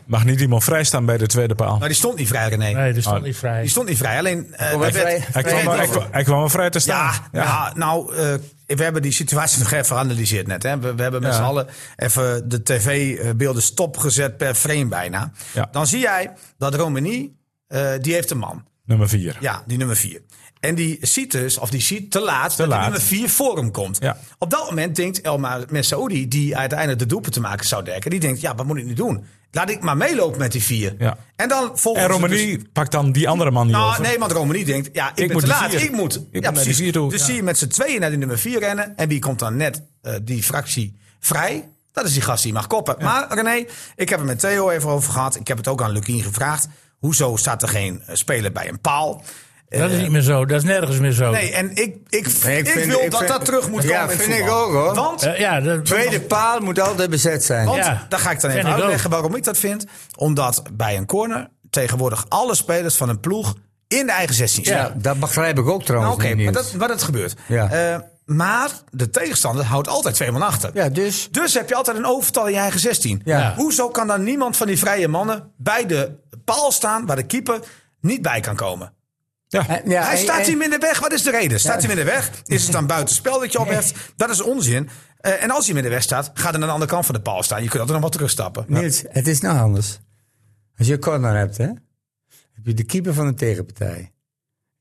Speaker 5: Mag niet iemand vrijstaan bij de tweede paal.
Speaker 2: Maar Nou, die stond niet vrij, René.
Speaker 3: Nee,
Speaker 5: Oh.
Speaker 3: dat stond niet vrij.
Speaker 2: Die stond niet vrij. Alleen. eh,
Speaker 1: maar
Speaker 2: er werd-
Speaker 1: vrij-
Speaker 2: er
Speaker 5: Hij
Speaker 1: vrij-
Speaker 5: kwam,
Speaker 2: werd
Speaker 5: wel- hij,
Speaker 2: niet-
Speaker 5: kwam, hij kwam wel vrij te staan.
Speaker 2: Ja, ja, nou, eh, we hebben die situatie nog even geanalyseerd net. Hè. We, we hebben met
Speaker 5: Ja.
Speaker 2: z'n allen even de tv-beelden stopgezet per frame bijna.
Speaker 5: Ja.
Speaker 2: Dan zie jij dat Romani, eh, die heeft een man.
Speaker 5: Nummer 4.
Speaker 2: Ja, die nummer 4. En die ziet dus, of die ziet te laat, dat
Speaker 5: laat.
Speaker 2: die nummer 4 voor hem komt.
Speaker 5: Ja.
Speaker 2: Op dat moment denkt Elma Messaoudi, die uiteindelijk de doelpunt te maken zou dekken, die denkt, ja, wat moet ik nu doen? Laat ik maar meelopen met die 4.
Speaker 5: Ja.
Speaker 2: En dan volgens dus-
Speaker 5: En Romani pakt dan die andere man niet
Speaker 2: nou,
Speaker 5: over.
Speaker 2: nee, want Romani denkt, ja, ik, ben
Speaker 5: moet
Speaker 2: te
Speaker 5: die
Speaker 2: laat,
Speaker 5: vier.
Speaker 2: ik moet.
Speaker 5: Ik moet
Speaker 2: ja,
Speaker 5: naar die
Speaker 2: precies.
Speaker 5: vier toe,
Speaker 2: Dus
Speaker 5: ja.
Speaker 2: zie je met z'n tweeën naar die nummer 4 rennen. En wie komt dan net eh, die fractie vrij? Dat is die gast die mag koppen. Maar René, ik heb het met Theo even over gehad. Ik heb het ook aan Lukien gevraagd. Hoezo staat er geen eh, speler bij een paal?
Speaker 3: Dat is niet meer zo. Dat is nergens meer zo.
Speaker 2: eh, Nee, en ik, ik,
Speaker 1: Nee,
Speaker 2: ik,
Speaker 1: ik vind-
Speaker 2: wil
Speaker 1: ik
Speaker 2: dat
Speaker 1: vind-
Speaker 2: dat terug moet
Speaker 1: Ja,
Speaker 2: komen. in het
Speaker 1: vind ik
Speaker 2: voetbal.
Speaker 1: ook, hoor.
Speaker 2: Want,
Speaker 3: Eh, ja, dat,
Speaker 1: Tweede paal moet altijd bezet zijn.
Speaker 2: want
Speaker 3: ja,
Speaker 2: daar ga ik dan even
Speaker 3: vind ik
Speaker 2: uitleggen waarom ik dat vind. Omdat bij een corner tegenwoordig alle spelers van een ploeg in de eigen 16 staan.
Speaker 1: Ja, Oh, dat begrijp ik ook trouwens.
Speaker 2: Nou, Oké,
Speaker 1: niet.
Speaker 2: maar, dat, maar dat gebeurt.
Speaker 1: Ja.
Speaker 2: Eh, maar de tegenstander houdt altijd twee man achter.
Speaker 1: Ja, dus.
Speaker 2: Dus heb je altijd een overtal in je eigen 16.
Speaker 1: Ja.
Speaker 2: Hoezo kan dan niemand van die vrije mannen bij de paal staan waar de keeper niet bij kan komen?
Speaker 1: En- Eh, ja,
Speaker 2: hij
Speaker 1: en-
Speaker 2: staat
Speaker 1: en-
Speaker 2: hier minder weg. Wat is de reden? Staat hij minder weg? Is het dan buitenspel dat je opheft? Dat is onzin. Eh, en als hij minder weg staat, ga dan aan de andere kant van de paal staan. Je kunt altijd nog wat terugstappen.
Speaker 1: Niels, het is nou anders. Als je een corner hebt, hè, heb je de keeper van de tegenpartij.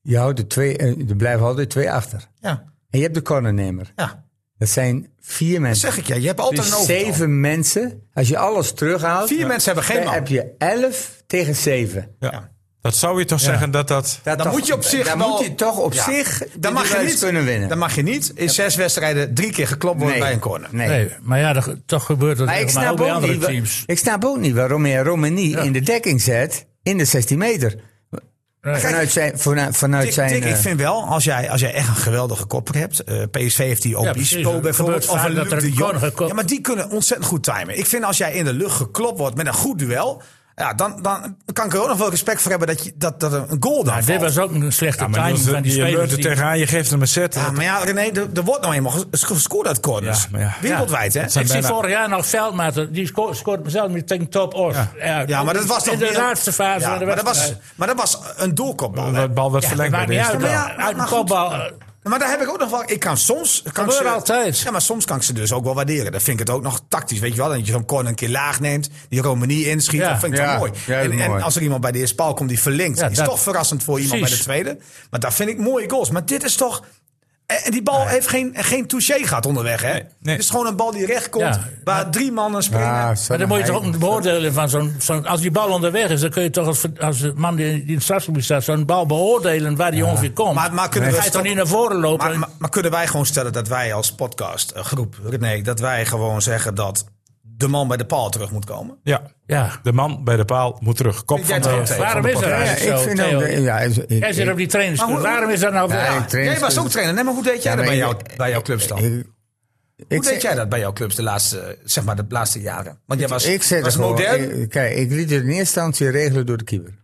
Speaker 1: Je houdt er, twee, eh, er blijven altijd twee achter.
Speaker 2: Ja,
Speaker 1: En je hebt de cornernemer.
Speaker 2: ja.
Speaker 1: Dat zijn vier
Speaker 2: Dat
Speaker 1: mensen.
Speaker 2: zeg ik ja. Je hebt altijd een
Speaker 1: dus
Speaker 2: overtal.
Speaker 1: zeven mensen. Als je alles terughaalt,
Speaker 2: Vier mensen hebben geen
Speaker 1: dan
Speaker 2: man.
Speaker 1: heb je elf tegen zeven.
Speaker 5: Ja. Dat zou je toch zeggen dat dat...
Speaker 1: Dat
Speaker 2: Dan
Speaker 1: toch-
Speaker 2: moet je op zich
Speaker 1: dan
Speaker 2: wel-
Speaker 1: moet je toch op
Speaker 2: Ja.
Speaker 1: zich
Speaker 2: Dan mag, je niet,
Speaker 1: kunnen winnen.
Speaker 2: dan mag je niet in zes wedstrijden drie keer geklopt worden
Speaker 1: Nee.
Speaker 2: bij een corner.
Speaker 1: Nee.
Speaker 3: Nee, maar ja, dat, toch gebeurt dat
Speaker 1: Maar ik
Speaker 3: ook, maar ook
Speaker 1: snap,
Speaker 3: bij
Speaker 1: ook
Speaker 3: andere
Speaker 1: niet, wa-
Speaker 3: teams.
Speaker 1: ik snap ook niet waarom je Romani in de dekking zet in de 16 meter. Vanuit zijn. Vanuit, vanuit
Speaker 2: Tik,
Speaker 1: zijn
Speaker 2: tik, ik
Speaker 1: eh,
Speaker 2: vind wel, als jij, als jij echt een geweldige kopper hebt. eh, PSV heeft die
Speaker 3: Ja,
Speaker 2: Obispo
Speaker 3: precies. Het
Speaker 2: bijvoorbeeld.
Speaker 3: gebeurt
Speaker 2: Of
Speaker 3: vaak
Speaker 2: een
Speaker 3: dat
Speaker 2: Luc
Speaker 3: er
Speaker 2: de
Speaker 3: een
Speaker 2: Jong.
Speaker 3: corner gekop-
Speaker 2: Ja, maar die kunnen ontzettend goed timen. Ik vind als jij in de lucht geklopt wordt met een goed duel. Ja, dan, dan kan ik er ook nog wel respect voor hebben dat, je, dat, dat er een goal dan
Speaker 3: Maar dit
Speaker 2: valt.
Speaker 3: was ook een slechte
Speaker 5: Ja, maar
Speaker 3: timing
Speaker 5: Niels,
Speaker 3: van die
Speaker 5: je leunt
Speaker 3: spelers.
Speaker 5: er
Speaker 3: die-
Speaker 5: tegenaan, je geeft hem een set.
Speaker 2: Ja, maar ja, René, er, er wordt nou eenmaal ges- gescoord uit corners.
Speaker 5: Ja, maar ja.
Speaker 2: Wereldwijd, hè?
Speaker 5: Het zijn
Speaker 3: Ik zie
Speaker 5: bijna-
Speaker 3: vorig jaar nog Veldmaten, die sco- scoort mezelf met tegen Top Os. Ja.
Speaker 2: Ja, maar dat was toch
Speaker 3: In de
Speaker 2: meer-
Speaker 3: laatste fase
Speaker 2: Ja,
Speaker 3: van de
Speaker 2: maar dat
Speaker 3: wedstrijd.
Speaker 2: was, maar dat was een doelkopbal. hè?
Speaker 5: De bal werd
Speaker 3: Ja, dat
Speaker 5: verlengd bij
Speaker 3: maakt
Speaker 5: de
Speaker 3: niet
Speaker 5: eerste
Speaker 3: uit.
Speaker 5: bal.
Speaker 2: Ja, maar
Speaker 3: Uit een
Speaker 2: goed.
Speaker 3: kopbal. eh,
Speaker 2: Maar daar heb ik ook nog wel. Ik kan soms. Kan ik
Speaker 3: Gebeurt
Speaker 2: ze,
Speaker 3: altijd.
Speaker 2: Ja, maar soms kan ik ze dus ook wel waarderen. Dat vind ik het ook nog tactisch. Weet je wel, dat je zo'n corner een keer laag neemt. Die Romani inschiet.
Speaker 3: Ja.
Speaker 2: Dat vind ik wel
Speaker 1: Ja,
Speaker 2: mooi.
Speaker 1: ja,
Speaker 2: en, en
Speaker 1: mooi.
Speaker 2: als er iemand bij de eerste paal komt die verlengt.
Speaker 3: Ja,
Speaker 2: is
Speaker 3: dat-
Speaker 2: toch verrassend voor iemand bij de
Speaker 3: Precies.
Speaker 2: tweede. Maar dat vind ik mooie goals. Maar dit is toch. En en die bal heeft geen, geen touché gehad onderweg. Hè?
Speaker 5: nee.
Speaker 2: Het is gewoon een bal die recht komt.
Speaker 3: Ja.
Speaker 2: Waar drie mannen springen.
Speaker 1: ah,
Speaker 3: Maar
Speaker 1: sorry,
Speaker 3: dan moet je
Speaker 1: hij-
Speaker 3: toch ook beoordelen van zo'n... zo'n- als die bal onderweg is, dan kun je toch als, als de man die in het stadsgebied staat... zo'n bal beoordelen waar die ongeveer komt.
Speaker 2: Maar- maar kunnen
Speaker 3: dan ga
Speaker 2: we
Speaker 3: je
Speaker 2: stop-
Speaker 3: toch niet naar voren lopen?
Speaker 2: Maar, maar, maar kunnen wij gewoon stellen dat wij als podcast, eh, groep, nee, dat wij gewoon zeggen dat de man bij de paal terug moet komen?
Speaker 5: Ja.
Speaker 3: ja.
Speaker 5: De man bij de paal moet terug. Kop
Speaker 2: jij
Speaker 5: van
Speaker 2: het ook
Speaker 5: de,
Speaker 2: tegen?
Speaker 5: van
Speaker 3: Waarom
Speaker 5: de
Speaker 3: is dat
Speaker 5: partij.
Speaker 1: Ja,
Speaker 3: eigenlijk
Speaker 1: ik
Speaker 3: zo,
Speaker 1: vind
Speaker 3: Theo?
Speaker 1: ook. Ja, ik, ik,
Speaker 3: Jij zit op die
Speaker 2: Maar
Speaker 3: trainerschool.
Speaker 2: hoe-
Speaker 3: Waarom is dat nou...
Speaker 1: Ja, ik train-
Speaker 2: Jij was ook trainer, nee, maar hoe deed jij
Speaker 1: Ja,
Speaker 2: dat
Speaker 1: maar
Speaker 2: bij,
Speaker 1: ik-
Speaker 2: jou, bij jouw clubs dan?
Speaker 1: ik-
Speaker 2: hoe
Speaker 1: ik
Speaker 2: deed
Speaker 1: zit-
Speaker 2: jij dat bij jouw clubs de laatste, zeg maar, de laatste jaren? Want jij was,
Speaker 1: Ik zet
Speaker 2: was
Speaker 1: er gewoon-
Speaker 2: modern.
Speaker 1: ik- kijk, ik liet het in eerste instantie regelen door de keeper.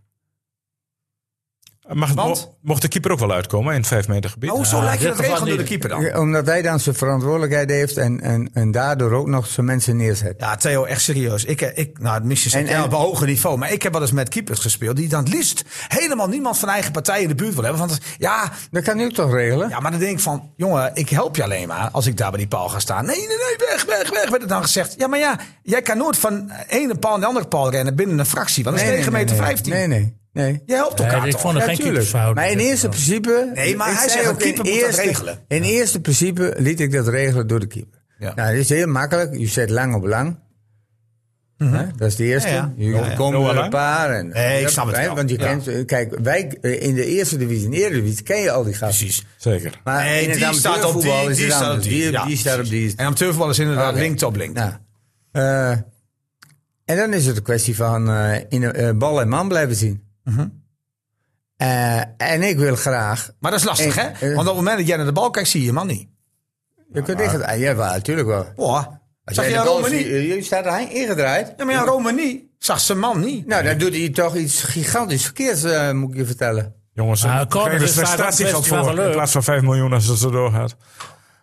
Speaker 5: Mag, het-
Speaker 2: Want? Nou,
Speaker 5: mo- Mocht de keeper ook wel uitkomen in het 5 meter gebied?
Speaker 2: Maar hoezo lijkt Oh, je dat
Speaker 3: dit
Speaker 2: regelen
Speaker 3: geval
Speaker 2: door de
Speaker 3: niet.
Speaker 2: keeper dan?
Speaker 1: Ja, Omdat hij dan zijn verantwoordelijkheid heeft en, en, en daardoor ook nog zijn mensen neerzet.
Speaker 2: Ja, Theo, echt serieus. Ik, eh, ik, nou, misschien zit
Speaker 1: En-
Speaker 2: jij
Speaker 1: en-
Speaker 2: op een hoger niveau. Maar ik heb wel eens met keepers gespeeld. Die dan het liefst helemaal niemand van eigen partij in de buurt wil hebben. Want ja,
Speaker 1: Dat kan hij ook toch regelen?
Speaker 2: ja, maar dan denk ik van... Jongen, ik help je alleen maar als ik daar bij die paal ga staan. Nee, nee, nee, weg, weg, weg. Werd het dan gezegd. Ja, maar ja, jij kan nooit van ene paal naar de andere paal rennen binnen een fractie. Want dat is 9 meter
Speaker 1: nee.
Speaker 2: 15.
Speaker 1: Nee, nee. nee.
Speaker 2: Je helpt
Speaker 3: Nee,
Speaker 2: elkaar
Speaker 3: ik
Speaker 2: toch?
Speaker 3: vond het
Speaker 1: Ja,
Speaker 3: geen
Speaker 1: tuurlijk.
Speaker 3: keepersfout.
Speaker 1: Maar in eerste principe...
Speaker 2: Nee, maar
Speaker 1: ik
Speaker 2: hij
Speaker 1: zei
Speaker 2: zegt,
Speaker 1: ook,
Speaker 2: de keeper
Speaker 1: in
Speaker 2: moet dat
Speaker 1: eerste-
Speaker 2: regelen.
Speaker 1: In eerste principe liet ik dat regelen door de keeper.
Speaker 2: Ja.
Speaker 1: Nou, dat is heel makkelijk. Je zet lang op lang. Hè? Dat is de eerste.
Speaker 2: Ja, ja.
Speaker 1: Je
Speaker 2: Ja, ja.
Speaker 1: komt
Speaker 5: Noah
Speaker 1: er een
Speaker 5: Lang?
Speaker 1: paar. En,
Speaker 2: Nee, ik snap het
Speaker 1: hè,
Speaker 2: wel.
Speaker 1: Want je
Speaker 2: Ja.
Speaker 1: kent, kijk, wij eh, in de eerste divisie, in de eredivisie, ken je al die gasten.
Speaker 2: Precies.
Speaker 5: Zeker.
Speaker 1: Maar
Speaker 2: Nee,
Speaker 1: in het
Speaker 2: die staat op die,
Speaker 1: amateurvoetbal Ah, is
Speaker 2: die,
Speaker 1: het
Speaker 2: staat op
Speaker 1: anders.
Speaker 2: die. Ja,
Speaker 1: die staat op die.
Speaker 2: precies. En amateurvoetbal is inderdaad
Speaker 1: Oké.
Speaker 2: link top link.
Speaker 1: Nou, eh, en dan is het een kwestie van eh, in, eh, bal en man blijven zien. Eh, en ik wil graag.
Speaker 2: Maar dat is lastig,
Speaker 1: En-
Speaker 2: hè? Want op het moment dat jij naar de bal kijkt, zie je je man niet.
Speaker 1: Je kunt ingedraaid. ah, Jawel, natuurlijk wel.
Speaker 2: Oh,
Speaker 1: Als
Speaker 2: zag
Speaker 1: jij
Speaker 2: je
Speaker 1: de goal
Speaker 2: Rome
Speaker 1: ziet,
Speaker 2: niet?
Speaker 1: eh, Je staat er ingedraaid.
Speaker 2: Ja, maar ja, Rome niet. Zag zijn man niet.
Speaker 1: Nou, dan doet hij toch iets gigantisch verkeerds, eh, moet ik je vertellen.
Speaker 5: Jongens, eh,
Speaker 3: Nou,
Speaker 5: dan
Speaker 3: Corner
Speaker 5: krijgen
Speaker 3: is
Speaker 5: ze
Speaker 3: vaak ook
Speaker 5: frustratiegeld
Speaker 3: best wel
Speaker 5: voor.
Speaker 3: leuk.
Speaker 5: In plaats van 5 miljoen als het zo doorgaat.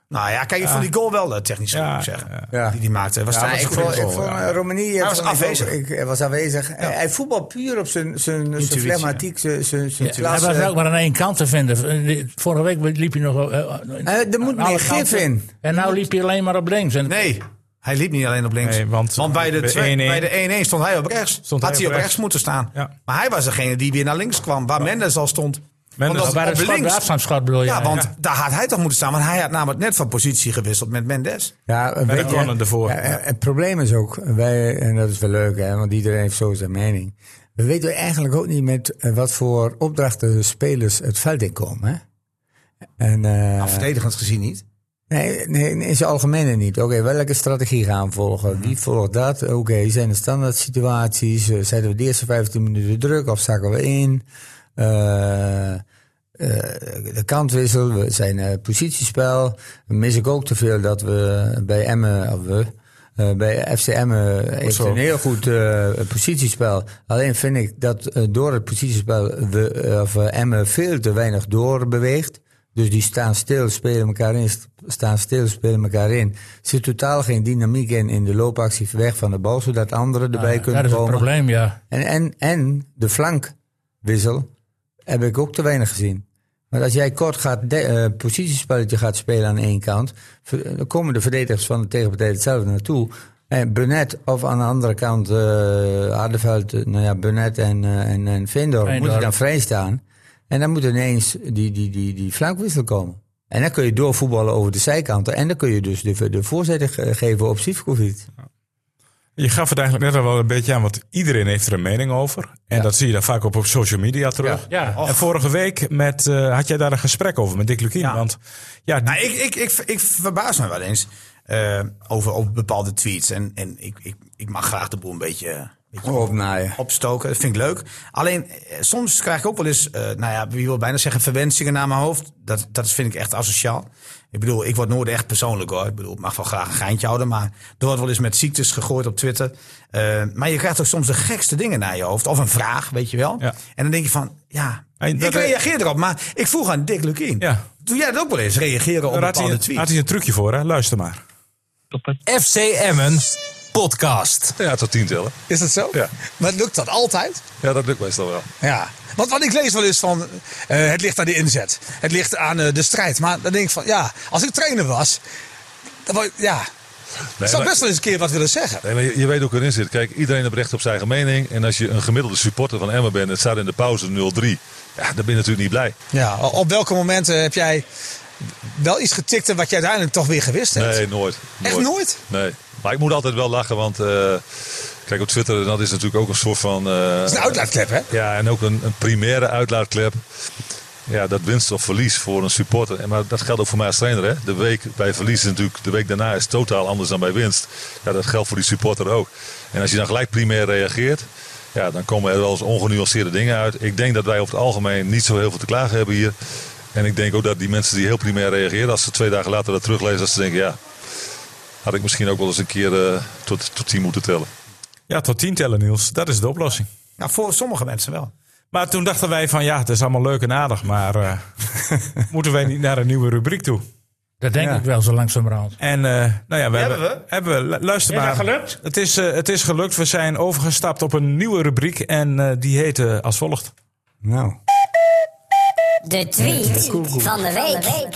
Speaker 2: Nou ja, kijk, ik vond die goal wel eh, technisch goed, moet ik zeggen.
Speaker 1: Ja.
Speaker 2: Die die maakte. Was
Speaker 1: Ja,
Speaker 2: dat
Speaker 1: ik
Speaker 2: was een
Speaker 1: vond,
Speaker 2: goede
Speaker 1: ik
Speaker 2: goal.
Speaker 1: vond eh, Romani... eh,
Speaker 2: was
Speaker 1: vond ik ook-
Speaker 2: aanwezig.
Speaker 1: Ik, hij was aanwezig. Hij, hij voetbal puur op zijn, zijn, zijn
Speaker 2: Intuïtie,
Speaker 1: flegmatiek, zijn, zijn, zijn
Speaker 3: Hij
Speaker 1: klasse.
Speaker 3: was ook maar aan één kant te vinden. Eh, Vorige week liep je nog... eh,
Speaker 1: Eh, er moet
Speaker 3: aan alle
Speaker 1: meer gif
Speaker 3: kanten.
Speaker 1: in.
Speaker 3: En nou liep je alleen maar op links. En
Speaker 2: Nee, hij liep niet alleen op links.
Speaker 5: Nee, want-
Speaker 2: bij de
Speaker 5: bij
Speaker 2: twee-
Speaker 5: 1-1
Speaker 2: bij de 1-1 stond hij op rechts.
Speaker 5: Stond
Speaker 2: Had
Speaker 5: hij
Speaker 2: hij op
Speaker 5: op
Speaker 2: rechts,
Speaker 5: rechts
Speaker 2: moeten staan.
Speaker 5: Ja.
Speaker 2: Maar hij was degene die weer naar links kwam, waar Mendes al stond.
Speaker 5: Mendes-
Speaker 2: Omdat
Speaker 3: waar
Speaker 2: op
Speaker 3: het schot, de
Speaker 2: links-
Speaker 3: afstandsschot bedoel je?
Speaker 2: Ja, want
Speaker 5: ja.
Speaker 2: daar had hij toch moeten staan. Want hij had namelijk net van positie gewisseld met Mendes. Nou,
Speaker 1: Ja, een
Speaker 5: de plannen ervoor. Ja.
Speaker 1: Het probleem is ook, wij, en dat is wel leuk, hè, want iedereen heeft zo zijn mening. We weten eigenlijk ook niet met eh, wat voor opdrachten de spelers het veld in komen. Hè? En, eh,
Speaker 2: Nou, verdedigend gezien niet.
Speaker 1: nee, nee, in zijn algemene niet. Oké, welke strategie gaan we volgen? Wie volgt dat? Oké, zijn er standaard situaties? Eh, Zetten we de eerste 15 minuten druk of zakken we in? Eh, eh, de kantwissel, we zijn eh, positiespel. Mis ik ook te veel dat we bij Emmen, of we, eh, bij FC Emmen heeft een heel goed eh, positiespel. Alleen vind ik dat eh, door het positiespel we, eh, of, eh, Emmen veel te weinig doorbeweegt. Dus die staan stil, spelen elkaar in, st- staan stil, spelen elkaar in. Er zit totaal geen dynamiek in, in de loopactie weg van de bal, zodat anderen erbij kunnen
Speaker 3: dat Ah, is het
Speaker 1: komen.
Speaker 3: probleem, ja.
Speaker 1: En, en, en de flankwissel heb ik ook te weinig gezien. Want als jij kort gaat de, eh, positiespelletje gaat spelen aan één kant, ver- dan komen de verdedigers van de tegenpartij hetzelfde naartoe. En Burnett of aan de andere kant eh Hardeveld, eh, nou ja, Burnett en, eh, en, en Veendorp moeten
Speaker 3: Veendorp.
Speaker 1: dan vrij staan. En dan moet ineens die, die, die, die flankwissel komen. En dan kun je doorvoetballen over de zijkanten. En dan kun je dus de, de voorzet ge- geven op Sivkovic.
Speaker 5: Je gaf het eigenlijk net al wel een beetje aan, want iedereen heeft er een mening over. En dat zie je dan vaak op, op social media terug.
Speaker 3: Ja.
Speaker 5: En vorige week met, eh, had jij daar een gesprek over met Dick Lukien.
Speaker 2: Ja.
Speaker 5: Want ja, die-
Speaker 2: Nou, ik, ik, ik, ik verbaas me wel eens eh, over, over bepaalde tweets. En, en ik, ik, ik mag graag de boel een beetje, een beetje
Speaker 5: Oh,
Speaker 1: Opnaaien.
Speaker 2: opstoken. Dat vind ik leuk. Alleen eh, soms krijg ik ook wel eens, eh, nou ja, wie wil bijna zeggen verwensingen naar mijn hoofd. Dat, dat vind ik echt asociaal. Ik bedoel, ik word nooit echt persoonlijk hoor. Ik bedoel, ik mag wel graag een geintje houden, maar er wordt wel eens met ziektes gegooid op Twitter. Eh, maar je krijgt ook soms de gekste dingen naar je hoofd. Of een vraag, weet je wel.
Speaker 5: Ja.
Speaker 2: En dan denk je van, ja,
Speaker 5: En dat-
Speaker 2: ik reageer erop. Maar ik vroeg aan Dick Lukien.
Speaker 5: Ja.
Speaker 2: Doe jij dat ook wel eens? Reageren op
Speaker 5: daar had hij,
Speaker 2: bepaalde
Speaker 5: een- had
Speaker 2: tweets?
Speaker 5: hij een trucje voor, hè? luister maar.
Speaker 4: FC Emmen podcast.
Speaker 9: Ja, tot tien tellen.
Speaker 7: Is dat zo?
Speaker 9: Ja.
Speaker 7: Maar lukt dat altijd?
Speaker 9: Ja, dat lukt meestal wel.
Speaker 7: Ja. Want wat ik lees wel eens van, eh, het ligt aan de inzet. Het ligt aan eh, de strijd. Maar dan denk ik van, ja, als ik trainer was, dan wou ik- ja,
Speaker 9: Nee,
Speaker 7: zou ik
Speaker 9: maar-
Speaker 7: best wel eens een keer wat willen zeggen.
Speaker 9: nee, maar je, je weet hoe ik erin zit. Kijk, iedereen heeft recht op zijn eigen mening. En als je een gemiddelde supporter van Emmen bent en het staat in de pauze 0-3. Ja, dan ben je natuurlijk niet blij.
Speaker 7: Ja, op welke momenten heb jij wel iets getikt en wat je uiteindelijk toch weer gewist hebt?
Speaker 9: Nee, nooit.
Speaker 7: Echt nooit?
Speaker 9: Nee. Maar ik moet altijd wel lachen, want eh, kijk op Twitter, dat is natuurlijk ook een soort van... eh,
Speaker 7: Dat is een uitlaatklep, hè?
Speaker 9: Ja, en ook een, een primaire uitlaatklep. Ja, dat winst of verlies voor een supporter. En Maar dat geldt ook voor mij als trainer. Hè? De week bij verlies is natuurlijk, de week daarna is totaal anders dan bij winst. Ja, dat geldt voor die supporter ook. En als je dan gelijk primair reageert, ja, dan komen er wel eens ongenuanceerde dingen uit. Ik denk dat wij over het algemeen niet zo heel veel te klagen hebben hier. En ik denk ook dat die mensen die heel primair reageren, als ze twee dagen later dat teruglezen, dat ze denken, ja, had ik misschien ook wel eens een keer eh, tot, tot tien moeten tellen.
Speaker 5: Ja, tot tien tellen Niels, dat is de oplossing.
Speaker 2: Ja, voor Nou, sommige mensen wel.
Speaker 5: Maar toen dachten wij van ja, het is allemaal leuk en aardig, maar eh, moeten wij niet naar een nieuwe rubriek toe?
Speaker 3: Dat denk
Speaker 5: Ja.
Speaker 3: ik wel zo langzamerhand.
Speaker 5: En eh, nou ja, we
Speaker 2: Hebben
Speaker 5: hebben,
Speaker 2: we?
Speaker 5: hebben lu- luister
Speaker 3: Is dat
Speaker 5: maar.
Speaker 3: gelukt?
Speaker 5: Het is, eh, het is gelukt. We zijn overgestapt op een nieuwe rubriek en eh, die heet eh, als volgt.
Speaker 10: Nou,
Speaker 11: De tweet van de week.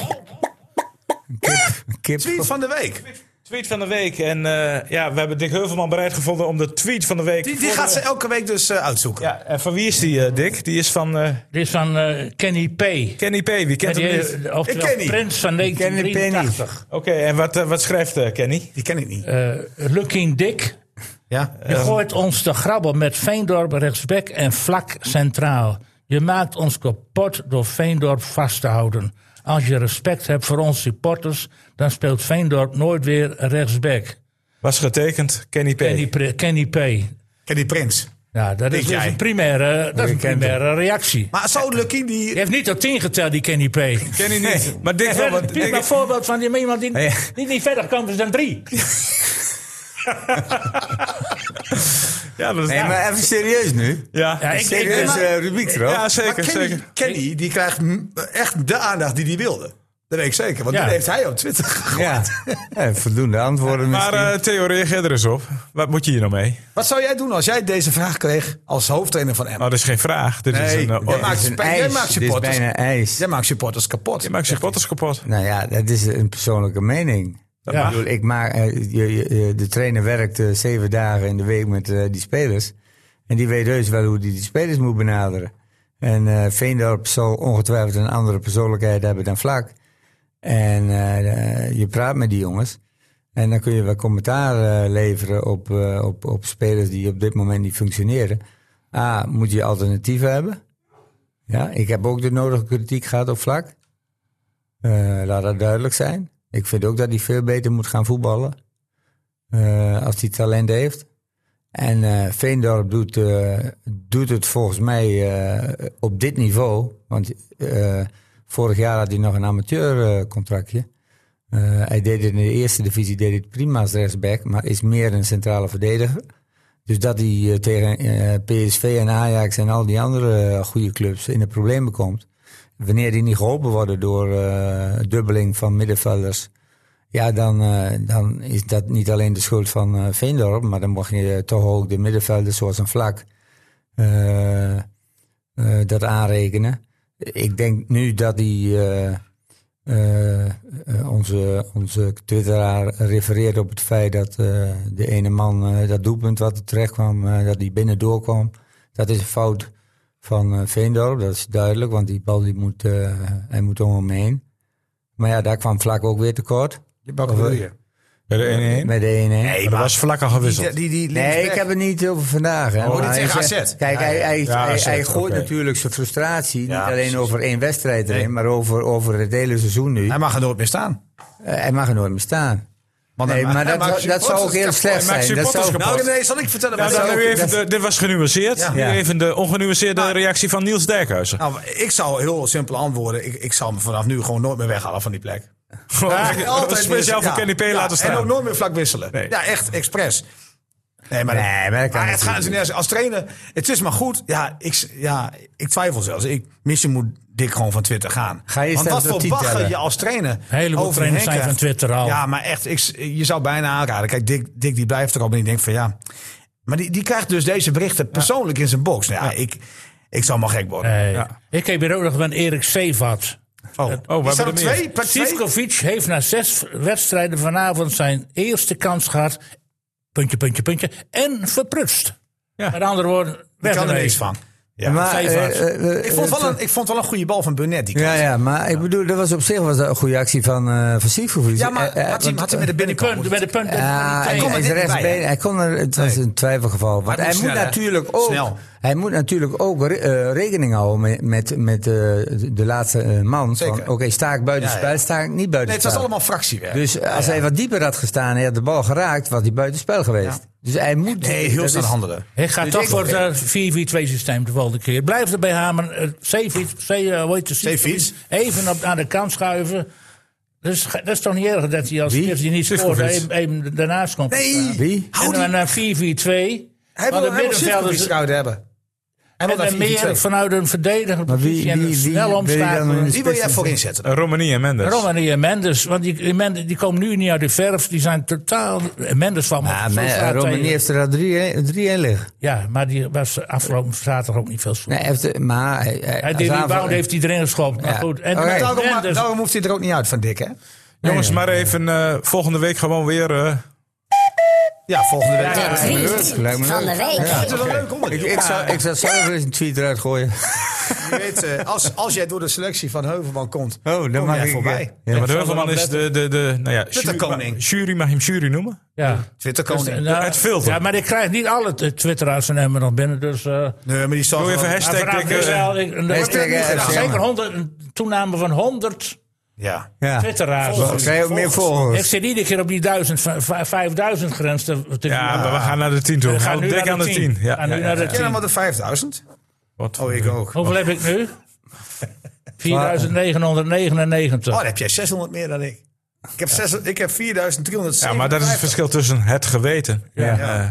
Speaker 10: kip.
Speaker 2: Tweet van de week.
Speaker 5: Tweet van de week. En eh, ja, we hebben Dick Heuvelman bereid gevonden om de tweet van de week.
Speaker 2: Die, die
Speaker 5: voor
Speaker 2: gaat
Speaker 5: de-
Speaker 2: ze elke week dus eh, uitzoeken.
Speaker 5: Ja, en van wie is die, eh, Dick? Die is van eh,
Speaker 3: Dit is van eh, Kenny P.
Speaker 5: Kenny P. Wie kent hem niet?
Speaker 3: Kenny, of
Speaker 2: Ik ken die.
Speaker 3: Prins van 1983.
Speaker 5: Oké, en wat, eh, wat schrijft eh, Kenny?
Speaker 2: Die ken ik niet.
Speaker 3: Eh, Looking Dick.
Speaker 2: ja.
Speaker 3: Je gooit ons te grabbel met Veendorp rechtsbek en vlak centraal. Je maakt ons kapot door Veendorp vast te houden. Als je respect hebt voor onze supporters, dan speelt Veendorp nooit weer rechtsbek.
Speaker 5: Was getekend Kenny P.
Speaker 3: Kenny, Pre- Kenny P.
Speaker 2: Ken die prins.
Speaker 3: Ja, dat is
Speaker 2: Denk
Speaker 3: dus
Speaker 2: jij?
Speaker 3: een primaire, dat is een
Speaker 10: kent hem.
Speaker 3: primaire reactie.
Speaker 2: Maar zou Lucky die...
Speaker 3: Je heeft niet tot tien geteld, die Kenny P. Ja,
Speaker 5: Kenny niet. Maar Dick wel.
Speaker 3: Dat is
Speaker 5: want
Speaker 3: een prima
Speaker 5: Dick-
Speaker 3: voorbeeld van die- iemand die
Speaker 5: Ja.
Speaker 3: die niet verder kan dus dan drie.
Speaker 5: Ja, dat is-
Speaker 10: Nee, maar even serieus nu.
Speaker 5: ja.
Speaker 3: Ja, ik, ik,
Speaker 10: Serieus
Speaker 3: maar-
Speaker 10: eh, rubriek erop.
Speaker 5: Ja,
Speaker 2: Maar
Speaker 5: zeker,
Speaker 2: Kenny,
Speaker 5: zeker.
Speaker 2: Kenny, die krijgt mm, echt de aandacht die hij wilde. Dat weet ik zeker, want
Speaker 3: Ja.
Speaker 2: dat heeft hij op Twitter gegooid.
Speaker 10: Ja. Ja, voldoende antwoorden
Speaker 5: Maar
Speaker 10: misschien.
Speaker 5: eh, Theo, reageer er eens op. Wat moet je hier nou mee?
Speaker 2: Wat zou jij doen als jij deze vraag kreeg als hoofdtrainer van Emmen?
Speaker 5: Nou, dat is geen vraag. Dit is
Speaker 2: Nee,
Speaker 5: een... eh,
Speaker 2: jij
Speaker 5: or-
Speaker 2: maakt,
Speaker 10: Dit Oh, is een
Speaker 2: jij
Speaker 10: ijs.
Speaker 2: maakt
Speaker 10: Dit is
Speaker 2: supporters,
Speaker 10: bijna ijs.
Speaker 2: jij maakt supporters kapot.
Speaker 5: je maakt supporters kapot.
Speaker 10: Nou ja, dat is een persoonlijke mening.
Speaker 5: mag.
Speaker 10: Ik bedoel, ik maak, eh, je, je- je- de trainer werkt eh, zeven dagen in de week met eh, die spelers. En die weet dus wel hoe die die spelers moet benaderen. En eh Veendorp zal ongetwijfeld een andere persoonlijkheid hebben dan Vlak. En eh, eh, je praat met die jongens. En dan kun je wel commentaar eh, leveren op, eh, op, op spelers die op dit moment niet functioneren. A, moet je alternatieven hebben? Ja, ik heb ook de nodige kritiek gehad op vlak. Eh, laat dat duidelijk zijn. Ik vind ook dat hij veel beter moet gaan voetballen. eh, als hij talent heeft. En eh, Veendorp doet, eh, doet het volgens mij eh, op dit niveau. Want eh, vorig jaar had hij nog een amateurcontractje. Eh, hij deed het in de eerste divisie deed het prima als rechtsback, maar is meer een centrale verdediger. Dus dat hij eh, tegen eh, PSV en Ajax en al die andere eh, goede clubs in de problemen komt. Wanneer die niet geholpen worden door eh, dubbeling van middenvelders. Ja, dan, eh, dan is dat niet alleen de schuld van eh, Veendorp. Maar dan mag je toch ook de middenvelders zoals een vlak eh, eh, dat aanrekenen. Ik denk nu dat die... eh, eh, eh, onze, onze twitteraar refereert op het feit dat eh, de ene man, eh, dat doelpunt wat er terecht kwam, eh, dat die binnendoor kwam. Dat is een fout van eh, Veendorp, dat is duidelijk, want die bal die moet, eh, hij moet om hem heen. Maar ja, daar kwam Vlak ook weer tekort.
Speaker 2: Wat
Speaker 10: Of,
Speaker 2: bedoel
Speaker 10: eh,
Speaker 2: je?
Speaker 5: Bij de 1-1.
Speaker 10: Met de 1-1. Nee,
Speaker 5: Er was vlak al gewisseld.
Speaker 2: Die, die, die
Speaker 10: ik heb het niet over vandaag. Hè.
Speaker 2: dit
Speaker 10: Maar hij
Speaker 2: tegen
Speaker 10: zegt-
Speaker 2: AZ.
Speaker 10: Kijk, hij, hij,
Speaker 5: Ja,
Speaker 10: hij,
Speaker 5: AZ,
Speaker 10: hij gooit
Speaker 5: oké.
Speaker 10: natuurlijk zijn frustratie
Speaker 2: Ja,
Speaker 10: niet alleen
Speaker 2: precies.
Speaker 10: over één wedstrijd erin, maar over, over het hele seizoen nu.
Speaker 2: Hij mag er nooit meer staan.
Speaker 10: Eh, hij mag er nooit meer staan.
Speaker 2: Want
Speaker 10: Nee,
Speaker 2: hij-
Speaker 10: maar
Speaker 2: hij
Speaker 10: dat,
Speaker 2: maakt
Speaker 10: zou- dat zou ook
Speaker 2: supporters
Speaker 10: heel
Speaker 2: kapot.
Speaker 10: slecht
Speaker 5: Hij maakt
Speaker 10: zijn. Dat
Speaker 5: supporters
Speaker 10: zou,
Speaker 5: kapot.
Speaker 2: Nou nee, zal ik vertellen
Speaker 5: Ja,
Speaker 2: wat
Speaker 5: dan
Speaker 2: ik
Speaker 5: nu
Speaker 2: zou-
Speaker 5: even
Speaker 10: dat-
Speaker 5: de- dit was genuanceerd.
Speaker 2: Ja.
Speaker 5: Nu
Speaker 10: Ja.
Speaker 5: even de ongenuanceerde
Speaker 2: Maar-
Speaker 5: reactie van Niels Dijkhuizen.
Speaker 2: Nou, ik zou heel simpel antwoorden. Ik, ik zal me vanaf nu gewoon nooit meer weghalen van die plek.
Speaker 5: Altijd speciaal voor
Speaker 2: wisselen.
Speaker 5: Kenny P
Speaker 2: Ja,
Speaker 5: laten
Speaker 2: ja,
Speaker 5: staan.
Speaker 2: En ook nooit meer vlak wisselen. Ja, echt, expres. Nee, maar,
Speaker 10: Nee, maar dat kan
Speaker 2: het gaat
Speaker 10: natuurlijk
Speaker 2: nergens. Als trainer, het is maar goed. Ja, ik, ja, ik twijfel zelfs. Ik, misschien moet Dick gewoon van Twitter gaan.
Speaker 10: Ga je
Speaker 2: Want wat
Speaker 10: zelf door
Speaker 2: voor
Speaker 10: tien
Speaker 2: bagger
Speaker 10: tellen?
Speaker 2: je als trainer
Speaker 3: Een heleboel
Speaker 2: over
Speaker 3: trainers
Speaker 2: hen
Speaker 3: zijn
Speaker 2: krijgt.
Speaker 3: van Twitter al.
Speaker 2: Ja, maar echt, ik, je zou bijna aanraden. Kijk, Dick, Dick die blijft er al. En ik denk van ja... Maar die, die krijgt dus deze berichten persoonlijk in zijn box. Nou, ja, ik, ik zal maar gek worden.
Speaker 3: Nee.
Speaker 5: Ja.
Speaker 3: Ik heb hier ook nog van Erik Sevat.
Speaker 2: Oh,
Speaker 5: hebben
Speaker 2: Is dat
Speaker 5: er meer.
Speaker 2: twee? Plek twee?
Speaker 3: Sivkovic heeft na zes wedstrijden vanavond zijn eerste kans gehad. Puntje, puntje, puntje. En verprutst.
Speaker 5: Ja.
Speaker 3: Met andere woorden,
Speaker 2: Ik
Speaker 3: weg
Speaker 2: kan er
Speaker 3: ermee.
Speaker 2: niks van. Ah, Ja.
Speaker 10: maar,
Speaker 3: vijf
Speaker 10: eh,
Speaker 3: was.
Speaker 10: eh, eh,
Speaker 2: ik, vond wel een, ik vond wel een goede bal van Burnett. Die
Speaker 10: ja,
Speaker 2: kant.
Speaker 10: ja, maar ik bedoel, dat was op zich was dat een goede actie van eh van Sivkovic.
Speaker 2: ja, maar
Speaker 10: Eh, eh,
Speaker 2: had hij,
Speaker 10: want-
Speaker 2: had hij met de
Speaker 3: Met de
Speaker 2: binnenkant
Speaker 3: punt, met de punt.
Speaker 10: Ja,
Speaker 2: Hij kon
Speaker 10: hij,
Speaker 2: er
Speaker 10: is
Speaker 2: niet bij,
Speaker 10: rechtsbeen.
Speaker 2: hè?
Speaker 10: Hij kon er, het was
Speaker 2: Nee.
Speaker 10: een twijfelgeval. Want
Speaker 2: moet
Speaker 10: hij moet,
Speaker 2: snel, hè?
Speaker 10: natuurlijk ook,
Speaker 2: Snel.
Speaker 10: hij moet natuurlijk ook re- eh, rekening houden met, met, met eh, de laatste eh, man.
Speaker 2: Zeker.
Speaker 10: Van, Oké, sta ik buiten
Speaker 2: Ja, ja.
Speaker 10: spel, sta ik niet buiten
Speaker 2: Nee, het
Speaker 10: spel.
Speaker 2: was allemaal fractiewerk.
Speaker 10: Dus als hij wat dieper had gestaan en hij had de bal geraakt, was hij buitenspel geweest. Dus hij moet...
Speaker 2: nee, heel
Speaker 10: dat
Speaker 2: snel
Speaker 10: is-
Speaker 2: handelen.
Speaker 3: Ik ga
Speaker 10: Dus
Speaker 3: toch
Speaker 10: ik-
Speaker 3: voor het eh, 4-4-2 systeem de volgende keer. Blijf erbij hameren. Eh, Zeefiets,
Speaker 2: Zeefiets.
Speaker 3: Even op, aan de kant schuiven. Dus, ge- dat is toch niet erg dat hij als
Speaker 10: Wie?
Speaker 3: eerste die niet scoort,
Speaker 5: Sivkovic.
Speaker 3: even, even daarnaast komt. te
Speaker 2: Nee,
Speaker 3: staan.
Speaker 10: Wie?
Speaker 2: Hou
Speaker 3: En
Speaker 2: die-
Speaker 3: dan naar 4-4-2.
Speaker 2: Hij
Speaker 3: Want
Speaker 2: wil
Speaker 3: de
Speaker 2: hem
Speaker 3: middenvelders,
Speaker 2: zouden hebben. En
Speaker 3: En
Speaker 2: dan
Speaker 3: dan meer vanuit een verdedigende
Speaker 1: Maar wie-
Speaker 3: positie en
Speaker 1: wie-
Speaker 3: een
Speaker 1: wie
Speaker 3: snel
Speaker 1: wil je dan in
Speaker 3: omschakelen.
Speaker 1: de
Speaker 2: Wie wil jij voor inzetten?
Speaker 5: Eh, Romani en Mendes.
Speaker 3: Romani en Mendes, want die, die, Mendes, die komen nu niet uit de verf. Die zijn totaal... Mendes van...
Speaker 1: Ja,
Speaker 10: Eh,
Speaker 1: maar Romani heeft er al drie, drie in liggen.
Speaker 3: Ja, maar die was afgelopen zaterdag ook niet veel slecht.
Speaker 1: Nee, heeft, maar hij,
Speaker 10: eh,
Speaker 1: hij,
Speaker 3: Hij
Speaker 1: als
Speaker 3: die
Speaker 1: aanval-
Speaker 3: rebound heeft hij erin geschopt. Maar
Speaker 1: Ja.
Speaker 3: goed. En,
Speaker 1: Oké.
Speaker 3: en
Speaker 2: Daarom,
Speaker 3: dus-
Speaker 2: daarom hoeft hij er ook niet uit van Dick, hè?
Speaker 5: Jongens, maar even eh, volgende week gewoon weer. eh,
Speaker 2: Ja, volgende week.
Speaker 11: De
Speaker 1: leuk, lijkt me
Speaker 11: tweet van de week.
Speaker 2: Het is een leuk
Speaker 1: Ik,
Speaker 2: onderdeel.
Speaker 1: ik, zou, ik zou zelf eens een tweet eruit gooien.
Speaker 2: Je weet, eh, als, als jij door de selectie van Heuvelman komt,
Speaker 1: Oh, dan
Speaker 2: kom
Speaker 1: mag
Speaker 2: jij
Speaker 1: ik
Speaker 2: voorbij.
Speaker 1: Ja,
Speaker 5: ja,
Speaker 1: maar
Speaker 5: maar de Heuvelman is de, de, de nou ja,
Speaker 2: Twitterkoning.
Speaker 5: jury, jury mag je hem jury noemen.
Speaker 3: ja.
Speaker 2: Twitterkoning.
Speaker 3: Nou,
Speaker 5: Het filter.
Speaker 3: Ja, maar ik krijg niet alle t- twitteraars en hebben nog binnen. Dus, eh,
Speaker 2: nee, maar die staat
Speaker 5: Doe even
Speaker 2: wel-
Speaker 5: hashtag.
Speaker 3: maar vanaf
Speaker 5: ik, eh,
Speaker 3: nu wel, ik- er wordt
Speaker 1: hashtag,
Speaker 3: niet
Speaker 1: eh,
Speaker 3: gedaan.
Speaker 1: zeg
Speaker 3: Zeker
Speaker 1: maar.
Speaker 3: 100, een toename van 100
Speaker 2: Ja.
Speaker 1: ja.
Speaker 3: twitteraars.
Speaker 1: Dan krijg je ook meer
Speaker 3: Ik
Speaker 1: volgers.
Speaker 3: zit iedere keer op die 1000, va- va- 5000 grens. Te, te
Speaker 5: Ja, maar we gaan naar de 10 toe.
Speaker 3: We
Speaker 5: We
Speaker 3: gaan nu
Speaker 5: dik
Speaker 3: naar
Speaker 5: aan
Speaker 3: de
Speaker 5: de
Speaker 3: 10.
Speaker 5: 10. Ja,
Speaker 3: Gaan nu
Speaker 5: ja, ja,
Speaker 3: naar de
Speaker 5: ja.
Speaker 2: Ken allemaal de 5000?
Speaker 5: Wat?
Speaker 2: Oh, ik ook.
Speaker 3: Hoeveel heb ik nu? 4999.
Speaker 2: Oh, dan heb jij 600 meer dan ik. Ik heb, 600 ik heb 4300.
Speaker 5: Ja, maar dat is het verschil tussen het geweten. Ja. eh,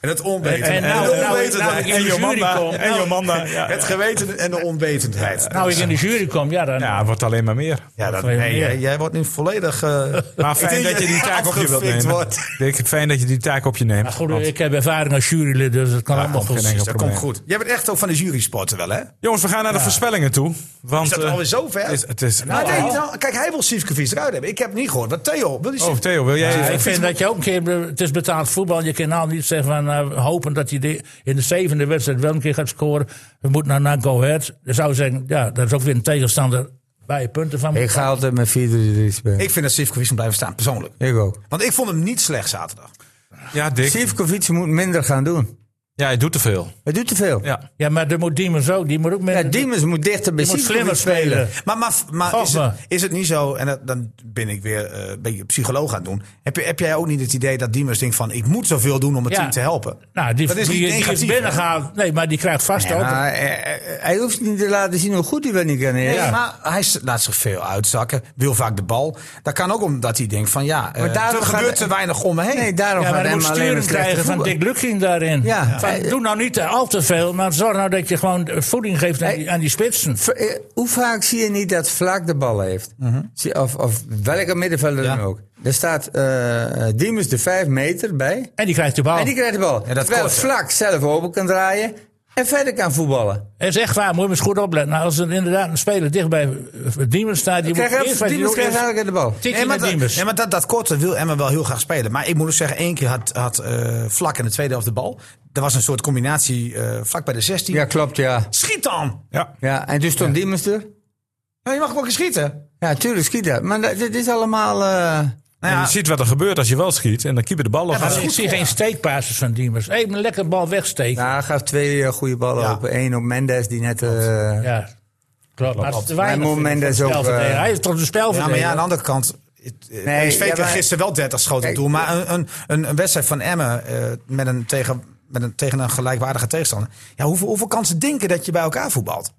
Speaker 2: En het onweten.
Speaker 3: En nou,
Speaker 2: de
Speaker 3: nou,
Speaker 2: onwetendheid.
Speaker 3: nou, ik in de jury kom.
Speaker 5: En
Speaker 3: Nou,
Speaker 5: Jomanda. Ja,
Speaker 2: Het geweten en de onwetendheid.
Speaker 3: Nou, ik in de jury kom, ja dan.
Speaker 5: ja, het wordt alleen maar meer.
Speaker 2: Ja, dat,
Speaker 3: Veel
Speaker 2: nee,
Speaker 3: meer.
Speaker 2: jij, jij wordt nu volledig. eh,
Speaker 5: Maar fijn
Speaker 2: denk
Speaker 5: dat je die taak op je wilt
Speaker 2: afgefikt
Speaker 5: nemen.
Speaker 2: wordt.
Speaker 5: Ik denk fijn dat je die taak op je neemt.
Speaker 3: Maar goed,
Speaker 5: Want-
Speaker 3: ik heb ervaring als jurylid, dus dat kan allemaal
Speaker 5: geen
Speaker 3: goed.
Speaker 5: enkel
Speaker 2: dat
Speaker 5: probleem. Nou,
Speaker 2: komt goed. Jij bent echt ook van de jury sporten wel, hè?
Speaker 5: Jongens, we gaan naar de voorspellingen toe. Want,
Speaker 2: Is dat
Speaker 5: eh,
Speaker 2: alweer zo ver?
Speaker 5: het is, het is,
Speaker 2: Maar nee, nou, kijk, hij wil Sivkovic eruit hebben. Ik heb niet gehoord. Wat Theo, wil die
Speaker 5: oh,
Speaker 2: Sivkovic-
Speaker 5: Theo, wil jij
Speaker 3: Ja,
Speaker 5: even-
Speaker 3: ik vind dat je ook een keer, het is betaald voetbal, je kan nou niet zeggen van eh, hopen dat hij de- in de zevende wedstrijd wel een keer gaat scoren. We moeten naar, naar Go Ahead. Dan zou ik zeggen, ja, dat is ook weer een tegenstander waar je punten van moet
Speaker 1: Ik ga altijd met 4-3-3 spelen. Ik,
Speaker 2: Ik vind dat Sivkovic moet blijven staan, persoonlijk.
Speaker 1: ook.
Speaker 2: Want ik vond hem niet slecht zaterdag.
Speaker 5: Ja, Dick.
Speaker 1: Sivkovic moet minder gaan doen.
Speaker 5: Ja, hij doet te veel.
Speaker 1: Hij doet te veel. Ja,
Speaker 5: Ja.
Speaker 3: Ja, maar dat moet Diemers ook. Die moet ook met
Speaker 1: Diemers moet dichter bij
Speaker 3: die moet slimmer
Speaker 1: Sivkovic spelen.
Speaker 3: spelen.
Speaker 2: Maar, maar, maar
Speaker 3: Gaf
Speaker 2: is,
Speaker 3: me.
Speaker 2: het, is het niet zo, en dat, dan ben ik weer eh, een beetje psycholoog aan het doen. Heb, je, heb jij ook niet het idee dat Diemers denkt van... ik moet zoveel doen om het
Speaker 3: Ja.
Speaker 2: team te helpen?
Speaker 3: Nou, die,
Speaker 2: Dat is
Speaker 3: die,
Speaker 2: niet
Speaker 3: die is
Speaker 2: negatief,
Speaker 3: binnengehaald. Nee, maar die krijgt vast ook.
Speaker 1: Maar hij, hij- hij hoeft niet te laten zien hoe goed hij wel niet kan.
Speaker 2: Nee,
Speaker 1: ja.
Speaker 2: maar hij s- laat zich veel uitzakken, wil vaak de bal. Dat kan ook omdat hij denkt van ja, eh,
Speaker 1: daarom
Speaker 2: er
Speaker 1: gaat-
Speaker 2: gebeurt te weinig om me heen.
Speaker 1: Nee, daarom
Speaker 3: Ja,
Speaker 1: gaat
Speaker 3: maar dan
Speaker 1: hem
Speaker 3: moet
Speaker 1: alleen maar
Speaker 3: sturing
Speaker 1: slechte
Speaker 3: krijgen van
Speaker 1: voetbal.
Speaker 3: Dick Lukking daarin.
Speaker 1: Ja.
Speaker 3: Van,
Speaker 1: Ja.
Speaker 3: doe nou niet te- al te veel, maar zorg nou dat je gewoon voeding geeft aan, die, aan die spitsen.
Speaker 1: V- eh, Hoe vaak zie je niet dat Vlaak de bal heeft?
Speaker 2: Mhm.
Speaker 1: Zie- of, of welke middenvelder dan ook. Er staat eh Diemers de 5 meter bij.
Speaker 3: En die krijgt de bal.
Speaker 1: En die krijgt de bal.
Speaker 2: Oh. dat
Speaker 1: terwijl
Speaker 2: kort, hè?
Speaker 1: Vlak zelf open kan draaien en verder kan voetballen.
Speaker 3: Dat is echt waar, moet je maar eens goed opletten. Nou, als er inderdaad een speler dicht bij eh, Diemers staat, die moet
Speaker 1: Krijg
Speaker 3: eerst
Speaker 1: je,
Speaker 3: wat
Speaker 1: Diemers
Speaker 3: die
Speaker 1: krijgt
Speaker 3: moet eerst-
Speaker 1: eigenlijk de bal.
Speaker 3: tikje
Speaker 2: Nee, maar,
Speaker 3: naar
Speaker 2: dat,
Speaker 3: Diemers.
Speaker 2: nee, maar dat, dat korte wil Emma wel heel graag spelen. Maar ik moet ook zeggen, één keer had, had eh, Vlak in de tweede helft de bal. Er was een soort combinatie eh, vlak bij de 16.
Speaker 1: Ja, klopt, ja.
Speaker 2: Schiet dan!
Speaker 5: Ja.
Speaker 1: ja en toen stond Diemers er.
Speaker 2: Ja, je mag ook wel schieten.
Speaker 1: Ja, tuurlijk, schiet dat. Maar dat- dit is allemaal... eh,
Speaker 2: Nou
Speaker 5: En
Speaker 2: ja,
Speaker 5: je ziet wat er gebeurt als je wel schiet. En dan keeper de bal af.
Speaker 3: Maar Nou, ik zie geen steekpases van Diemers. Even een lekker bal wegsteken.
Speaker 1: nou, hij gaf twee eh, goede ballen
Speaker 2: Ja.
Speaker 1: open. Eén op Mendes, die net... eh,
Speaker 3: Ja, klopt. Maar het is te
Speaker 1: Hij
Speaker 3: weinig.
Speaker 1: moet
Speaker 3: vind ik,
Speaker 1: Mendes
Speaker 3: voor de
Speaker 1: ook,
Speaker 3: spelverdediging.
Speaker 1: eh,
Speaker 3: Hij is toch een
Speaker 2: ja, Nou, maar
Speaker 3: spelverdeler.
Speaker 2: ja, aan de andere kant... het- eh,
Speaker 1: Nee,
Speaker 2: PSV
Speaker 1: ja,
Speaker 2: kreeg
Speaker 1: maar-
Speaker 2: gisteren wel 30 schoten op
Speaker 1: Kijk,
Speaker 2: doel. Maar een, een, een, een wedstrijd van Emmen eh, met een tegen... Met een, tegen een gelijkwaardige tegenstander. Ja, hoeveel, hoeveel kansen denken dat je bij elkaar voetbalt?